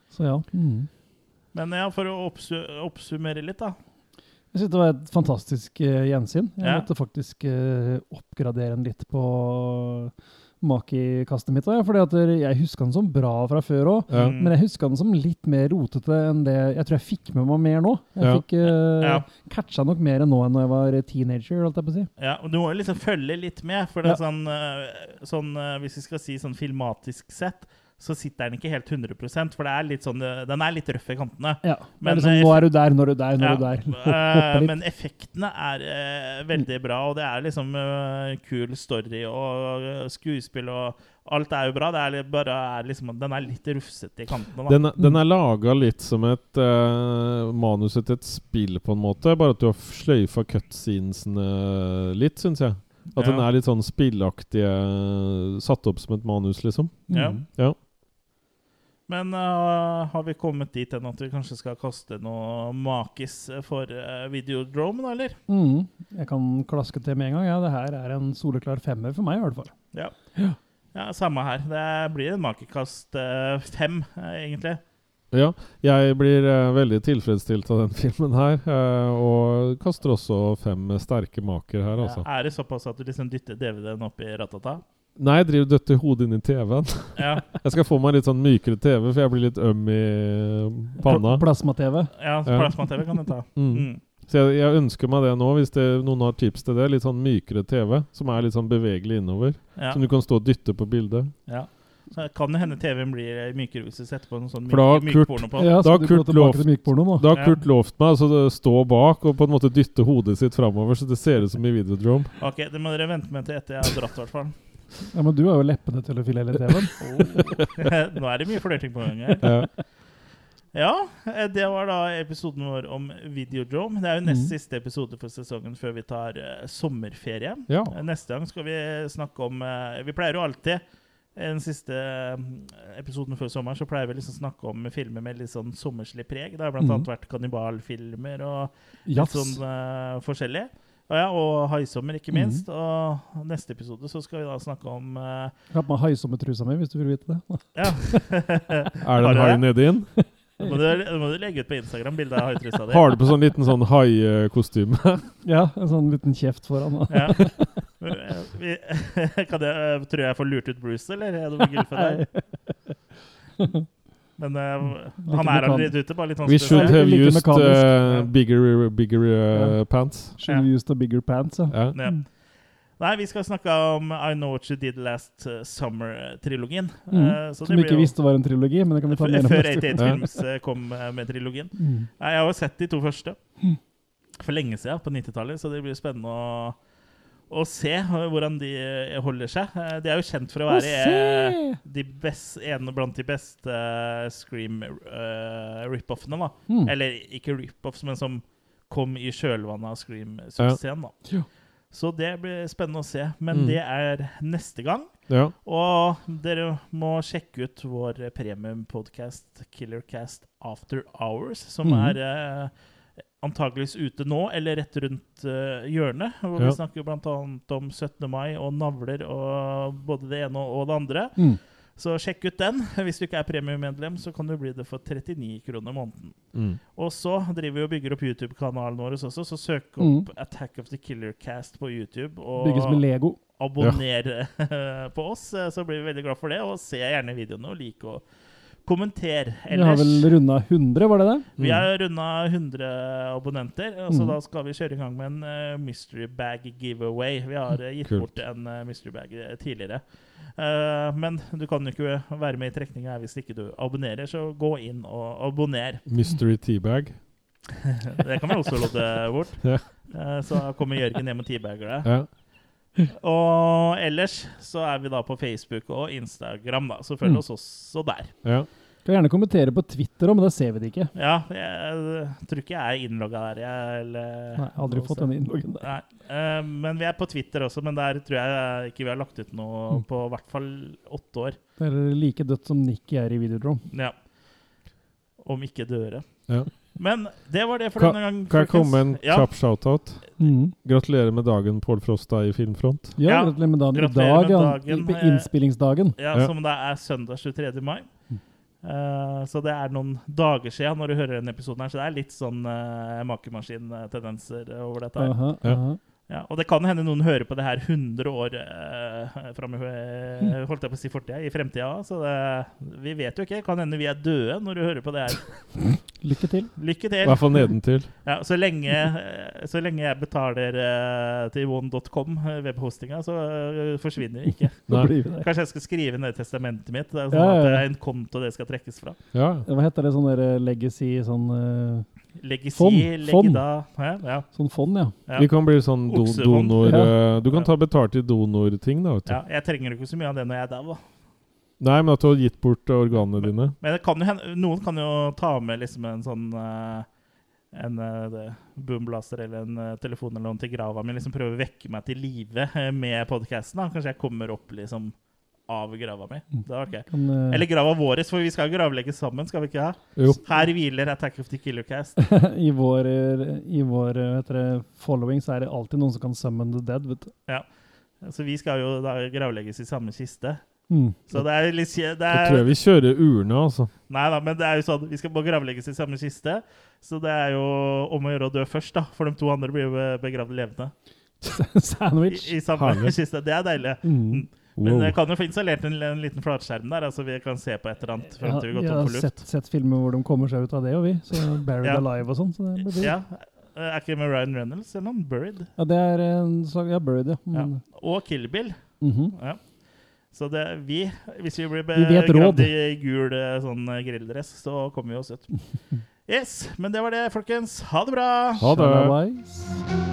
[SPEAKER 2] Så ja. Mm.
[SPEAKER 1] Men ja, for å oppsu oppsummere litt, da.
[SPEAKER 2] Jeg synes det var et fantastisk eh, gjensyn. Jeg
[SPEAKER 1] Ja.
[SPEAKER 2] måtte faktisk eh, oppgradere den litt på Maki-kastet mitt. da, ja, Fordi at eh, jeg husker den som bra fra før òg.
[SPEAKER 3] Ja.
[SPEAKER 1] Mm.
[SPEAKER 2] Men jeg husker den som litt mer rotete enn det Jeg tror jeg fikk med meg mer nå. Jeg
[SPEAKER 3] Ja.
[SPEAKER 2] fikk eh,
[SPEAKER 1] Ja.
[SPEAKER 2] catcha nok mer nå enn da jeg var teenager. holdt jeg på å si.
[SPEAKER 1] Ja, og Du må jo liksom følge litt med. For det er sånn, eh, sånn eh, Hvis vi skal si sånn filmatisk sett, så sitter den ikke helt 100 For det er litt sånn, eh, den er litt røff i kantene.
[SPEAKER 2] Ja,
[SPEAKER 1] Men,
[SPEAKER 2] men liksom,
[SPEAKER 1] eh,
[SPEAKER 2] Nå er du der, nå er du der, nå er du
[SPEAKER 1] Ja,
[SPEAKER 2] der.
[SPEAKER 1] [LAUGHS]
[SPEAKER 2] Hopp-
[SPEAKER 1] eh,
[SPEAKER 2] Hoppe litt.
[SPEAKER 1] men effektene er eh, veldig bra, og det er liksom eh, kul story og eh, skuespill og alt er jo bra. Det er li- bare er liksom, den er litt rufsete i kantene, da.
[SPEAKER 3] Den, er- den er laga litt som et eh, manuset til et spill, på en måte. Bare at du har sløyfa cutscenesene eh, litt, syns jeg. At den
[SPEAKER 1] Ja.
[SPEAKER 3] er litt sånn spillaktig, eh, satt opp som et manus, liksom.
[SPEAKER 1] ja.
[SPEAKER 2] [LAUGHS] Mm.
[SPEAKER 3] Ja.
[SPEAKER 1] Men eh, har vi kommet dit enn at vi kanskje skal kaste noe makis for eh, Videodrome, da, eller?
[SPEAKER 2] Mm. Jeg kan klaske til med en gang. Ja, det her er en soleklar femmer for meg, i hvert fall.
[SPEAKER 1] Ja. ja. Samme her. Det blir en makekast eh, fem, eh, egentlig.
[SPEAKER 3] ja. Jeg blir eh, veldig tilfredsstilt av den [LAUGHS] filmen her, eh, og kaster også fem sterke maker her, altså.
[SPEAKER 1] Er det såpass at du liksom dytter DVD-en opp i ratata?
[SPEAKER 3] Nei, jeg driver og døtter hodet inn i TV-en.
[SPEAKER 1] Ja.
[SPEAKER 3] Jeg skal få meg litt sånn mykere TV, for jeg blir litt øm i eh, panna.
[SPEAKER 2] Pl- Plasma-TV.
[SPEAKER 1] Ja,
[SPEAKER 3] [LAUGHS] Ja.
[SPEAKER 1] plasma-TV kan du ta.
[SPEAKER 3] Mm.
[SPEAKER 1] Mm.
[SPEAKER 3] Så jeg, jeg ønsker meg det nå, hvis det, noen har tips til det. Litt sånn mykere TV, som er litt sånn bevegelig innover.
[SPEAKER 1] Ja.
[SPEAKER 3] Som du kan stå og dytte på bildet.
[SPEAKER 1] ja. Så kan det hende TV-en blir mykere hvis du setter på noe sånn
[SPEAKER 3] For da
[SPEAKER 1] myk,
[SPEAKER 3] Kurt-
[SPEAKER 1] mykporno på.
[SPEAKER 2] Ja,
[SPEAKER 3] Da
[SPEAKER 2] skal du gå
[SPEAKER 3] Kurt
[SPEAKER 2] tilbake
[SPEAKER 3] lovt-
[SPEAKER 2] til mykporno nå?
[SPEAKER 3] Da har
[SPEAKER 1] Ja.
[SPEAKER 3] Kurt lovt meg altså, å stå bak og på en måte dytte hodet sitt framover, så det ser ut som i Videodrome.
[SPEAKER 1] Ok, det må dere vente med til etter jeg har dratt, i hvert
[SPEAKER 3] [LAUGHS]
[SPEAKER 1] fall.
[SPEAKER 2] Ja, Men du har jo leppene til å
[SPEAKER 1] [LAUGHS]
[SPEAKER 2] fylle hele TV-en.
[SPEAKER 1] Oh. Nå er det mye flørting på gang her.
[SPEAKER 3] Ja.
[SPEAKER 1] Ja, eh, det var da episoden vår om Videodrome. Det er jo nest
[SPEAKER 2] Mm.
[SPEAKER 1] siste episode for sesongen før vi tar eh, sommerferie.
[SPEAKER 3] ja.
[SPEAKER 1] Eh, Neste gang skal vi snakke om eh, Vi pleier jo alltid eh, den siste eh, episoden før sommeren så pleier vi liksom å snakke om filmer med litt sånn sommerslig preg. Det har blant
[SPEAKER 3] Mm.
[SPEAKER 2] Mhm.
[SPEAKER 1] annet vært kannibalfilmer og litt
[SPEAKER 2] Jafs.
[SPEAKER 1] sånn eh, forskjellig. Og, ja, og haisommer, ikke
[SPEAKER 3] Mm.
[SPEAKER 2] Mhm.
[SPEAKER 1] minst. Og neste episode så skal vi da snakke om eh,
[SPEAKER 2] Jeg har på meg haisommertrusa mi, hvis du vil
[SPEAKER 1] [LAUGHS]
[SPEAKER 2] vite det.
[SPEAKER 3] [LAUGHS]
[SPEAKER 1] Ja.
[SPEAKER 3] Er det en
[SPEAKER 1] Har
[SPEAKER 3] hai
[SPEAKER 1] du
[SPEAKER 3] nedi inn?
[SPEAKER 1] Nå må, du, nå må du legge ut på Instagram bilde av haitrusa di.
[SPEAKER 3] Har du på sånn liten sånn haikostyme?
[SPEAKER 2] Ja, En sånn liten kjeft foran. da.
[SPEAKER 1] Ja. Eh, [LAUGHS] Vi, [LAUGHS] kan jeg, eh, tror jeg får lurt ut Bruce, eller? Er det noe gull for deg? [LAUGHS] Men eh, han er
[SPEAKER 2] mekan-
[SPEAKER 1] allerede ute, bare litt sånn
[SPEAKER 3] We
[SPEAKER 1] vanskelig. å
[SPEAKER 3] should
[SPEAKER 1] se.
[SPEAKER 2] Det er
[SPEAKER 3] have
[SPEAKER 2] like
[SPEAKER 3] used
[SPEAKER 2] mekanisk.
[SPEAKER 3] uh,
[SPEAKER 1] Ja.
[SPEAKER 3] bigger, bigger uh, pants.
[SPEAKER 2] Should we use the bigger pants? Ja.
[SPEAKER 3] Ja.
[SPEAKER 1] Ja. Nei, vi skal snakke om I Know What You Did Last eh, Summer-trilogien. Eh,
[SPEAKER 2] Mm.
[SPEAKER 1] så
[SPEAKER 2] Som
[SPEAKER 1] det
[SPEAKER 2] vi ikke
[SPEAKER 1] blir jo-
[SPEAKER 2] visste var en trilogi, men det kan vi ta mer
[SPEAKER 1] F-
[SPEAKER 2] om
[SPEAKER 1] Før
[SPEAKER 2] neste
[SPEAKER 1] 88
[SPEAKER 2] gang.
[SPEAKER 3] Ja.
[SPEAKER 1] Films eh, kom eh, med trilogien.
[SPEAKER 2] Mm.
[SPEAKER 1] Nei, Jeg har jo sett de to første for lenge siden, på 90-tallet, så det blir spennende å, å se eh, hvordan de eh, holder seg. Eh, De er jo kjent for å
[SPEAKER 2] Å
[SPEAKER 1] være eh,
[SPEAKER 2] se!
[SPEAKER 1] de best, en blant de beste eh, Scream-rip-offene, da.
[SPEAKER 2] Mm.
[SPEAKER 1] Eller ikke rip-offs, men som kom i kjølvannet av Scream-suksessen, da.
[SPEAKER 2] Ja.
[SPEAKER 1] Så det blir spennende å se. Men
[SPEAKER 3] Mm.
[SPEAKER 1] det er neste gang.
[SPEAKER 3] Ja.
[SPEAKER 1] Og dere må sjekke ut vår premium-podkast Killercast After Hours, som
[SPEAKER 2] Mhm.
[SPEAKER 1] er eh, antakeligvis ute nå, eller rett rundt eh, hjørnet. Hvor
[SPEAKER 3] Ja.
[SPEAKER 1] Vi snakker bl.a. om 17. mai og navler og både det ene og det andre.
[SPEAKER 2] Mm.
[SPEAKER 1] Så sjekk ut den. [LAUGHS] Hvis du ikke er premiemedlem, så kan du bli det for 39 kroner måneden.
[SPEAKER 3] Mm.
[SPEAKER 1] Og så driver vi og bygger opp YouTube-kanalen vår også, så søk
[SPEAKER 2] Mm.
[SPEAKER 1] opp Attack of the Killer Cast på YouTube.
[SPEAKER 2] Bygges med
[SPEAKER 1] Og
[SPEAKER 2] Lego.
[SPEAKER 1] abonner [LAUGHS] på oss, eh, så blir vi veldig glad for det. Og se gjerne videoene og lik og kommenter.
[SPEAKER 2] Vi har vel runda 100, var det det?
[SPEAKER 1] Vi har runda 100 abonnenter, og
[SPEAKER 2] Mm.
[SPEAKER 1] så da skal vi kjøre i gang med en eh, mystery bag giveaway. Vi har eh, gitt
[SPEAKER 3] Kult.
[SPEAKER 1] bort en eh, mystery bag eh, tidligere. Eh, men du kan jo ikke være med i trekninga her hvis ikke du abonnerer, så gå inn og abonner.
[SPEAKER 3] Mm. Mystery teabag.
[SPEAKER 1] Det kan vi også lodde
[SPEAKER 2] [LAUGHS]
[SPEAKER 1] bort.
[SPEAKER 3] Ja.
[SPEAKER 1] Eh, så kommer Jørgen hjem med teabager deg.
[SPEAKER 3] Ja.
[SPEAKER 1] Og ellers så er vi da på Facebook og Instagram, da. Så følg
[SPEAKER 2] Mm.
[SPEAKER 1] oss også der.
[SPEAKER 3] Ja.
[SPEAKER 2] Kan gjerne kommentere på Twitter òg, men der ser vi det ikke.
[SPEAKER 1] Ja, jeg, eh, tror ikke jeg er innlogga der, jeg. Eller,
[SPEAKER 2] Nei, aldri fått denne innloggen der.
[SPEAKER 1] Nei, eh, men vi er på Twitter også, men der tror jeg ikke vi har lagt ut noe
[SPEAKER 2] Mm.
[SPEAKER 1] på i hvert fall åtte år.
[SPEAKER 2] Det er like dødt som Nikki er i Videodrome.
[SPEAKER 1] Ja. Om ikke døre.
[SPEAKER 3] Ja.
[SPEAKER 1] Men det var det for
[SPEAKER 3] Kan-
[SPEAKER 1] denne gang.
[SPEAKER 3] Kan jeg
[SPEAKER 1] folkens.
[SPEAKER 3] komme med en
[SPEAKER 1] ja,
[SPEAKER 3] kjapp shoutout?
[SPEAKER 2] Mm.
[SPEAKER 3] Gratulerer med dagen, Pål Frosta i Filmfront.
[SPEAKER 2] Ja,
[SPEAKER 1] Ja,
[SPEAKER 2] gratulerer med dagen. I
[SPEAKER 1] gratulerer med
[SPEAKER 2] dag, ja.
[SPEAKER 1] dagen,
[SPEAKER 2] I-
[SPEAKER 1] eh,
[SPEAKER 2] Innspillingsdagen.
[SPEAKER 1] ja,
[SPEAKER 3] Ja. Mm.
[SPEAKER 1] Som det er søndag 23. mai. Eh, så det er noen dager siden når du hører denne episoden, her, så det er litt sånn uh, makemaskin-tendenser over dette. her.
[SPEAKER 2] Aha,
[SPEAKER 3] Ja.
[SPEAKER 2] aha.
[SPEAKER 1] Ja, og det kan hende noen hører på det her 100 år eh, fram i
[SPEAKER 2] Mm.
[SPEAKER 1] eh, holdt jeg på å si fortida, i fremtida. Så det, vi vet jo ikke. Kan hende vi er døde når du hører på det her.
[SPEAKER 2] Lykke til.
[SPEAKER 1] Lykke
[SPEAKER 3] I
[SPEAKER 1] til.
[SPEAKER 3] hvert fall nedentil.
[SPEAKER 1] Ja, så, lenge, eh, så lenge jeg betaler eh, til one.com, eh, webhostinga, så eh, forsvinner vi
[SPEAKER 2] [LAUGHS]
[SPEAKER 1] ikke.
[SPEAKER 2] Da
[SPEAKER 3] Nei.
[SPEAKER 2] blir vi der.
[SPEAKER 1] Kanskje jeg skal skrive ned i testamentet mitt. Det er sånn
[SPEAKER 2] Ja, ja,
[SPEAKER 1] at
[SPEAKER 2] ja.
[SPEAKER 1] det er en konto det skal trekkes fra.
[SPEAKER 3] Ja.
[SPEAKER 2] Hva heter det sånn der eh, legacy sånn, eh, Fond,
[SPEAKER 1] Legisi,
[SPEAKER 2] fond.
[SPEAKER 1] legida Hæ? Ja.
[SPEAKER 2] sånn fond, ja.
[SPEAKER 1] Ja.
[SPEAKER 3] Vi kan bli sånn do
[SPEAKER 1] Oksefond.
[SPEAKER 3] donor...
[SPEAKER 2] Ja.
[SPEAKER 3] eh, Du kan ta betalt i donorting, da. vet du.
[SPEAKER 1] ja, Jeg trenger jo ikke så mye av det når jeg er der, da.
[SPEAKER 3] Nei, men at du har gitt bort organene dine.
[SPEAKER 1] Men det kan jo hende, noen kan jo ta med liksom en sånn eh, en eh, det- boomblaster eller en eh, telefon eller noe til grava mi. Liksom prøve å vekke meg til live eh, med podkasten. Kanskje jeg kommer opp liksom av grava mi.
[SPEAKER 3] Mm.
[SPEAKER 1] Det var ikke
[SPEAKER 2] Kan, eh,
[SPEAKER 1] Eller grava vår, for vi skal jo gravlegge sammen, skal vi ikke ha?
[SPEAKER 3] Jo.
[SPEAKER 1] Her hviler Attack of the Killer Cast.
[SPEAKER 2] [LAUGHS] I vår, eh, i vår eh, hva heter det, following så er det alltid noen som kan summon the dead, vet du.
[SPEAKER 1] Så vi skal jo da gravlegges i samme kiste.
[SPEAKER 2] Mm.
[SPEAKER 1] Så det er litt kje- det
[SPEAKER 3] Da tror
[SPEAKER 1] er,
[SPEAKER 3] jeg vi kjører urne, altså.
[SPEAKER 1] Nei da, men det er jo sånn vi skal bare gravlegges i samme kiste. Så det er jo om å gjøre å dø først, da. For de to andre blir jo be- begravd levende.
[SPEAKER 2] [LAUGHS] Sandwich.
[SPEAKER 1] I, i samme [LAUGHS]
[SPEAKER 3] Herlig.
[SPEAKER 1] kiste. Det er deilig.
[SPEAKER 2] Mm.
[SPEAKER 1] Men
[SPEAKER 3] Wow.
[SPEAKER 1] jeg kan jo få installert en, en liten flatskjerm der, altså vi kan se på et eller annet frem
[SPEAKER 2] Ja,
[SPEAKER 1] til vi
[SPEAKER 2] vi
[SPEAKER 1] går
[SPEAKER 2] har
[SPEAKER 1] tom for
[SPEAKER 2] sett,
[SPEAKER 1] luft.
[SPEAKER 2] sett filmer hvor de kommer seg ut av det, og vi. Så Buried
[SPEAKER 1] Ja.
[SPEAKER 2] Alive og sånn. Så det blir
[SPEAKER 1] Ja. Eh, Er ikke det med Ryan Reynolds eller noen? Buried?
[SPEAKER 2] Ja, det er en sak Ja, Buried, ja.
[SPEAKER 1] Ja.
[SPEAKER 2] Mm.
[SPEAKER 1] Og Kill Bill.
[SPEAKER 2] Mhm.
[SPEAKER 1] Ja. Så det, vi, hvis vi blir
[SPEAKER 2] Vi vet råd.
[SPEAKER 1] begravd i gul eh, sånn eh, grilldress, så
[SPEAKER 2] [LAUGHS]
[SPEAKER 1] kommer vi oss ut. Yes, men det var det, folkens. Ha det bra!
[SPEAKER 3] Ha det.
[SPEAKER 2] Shalabais.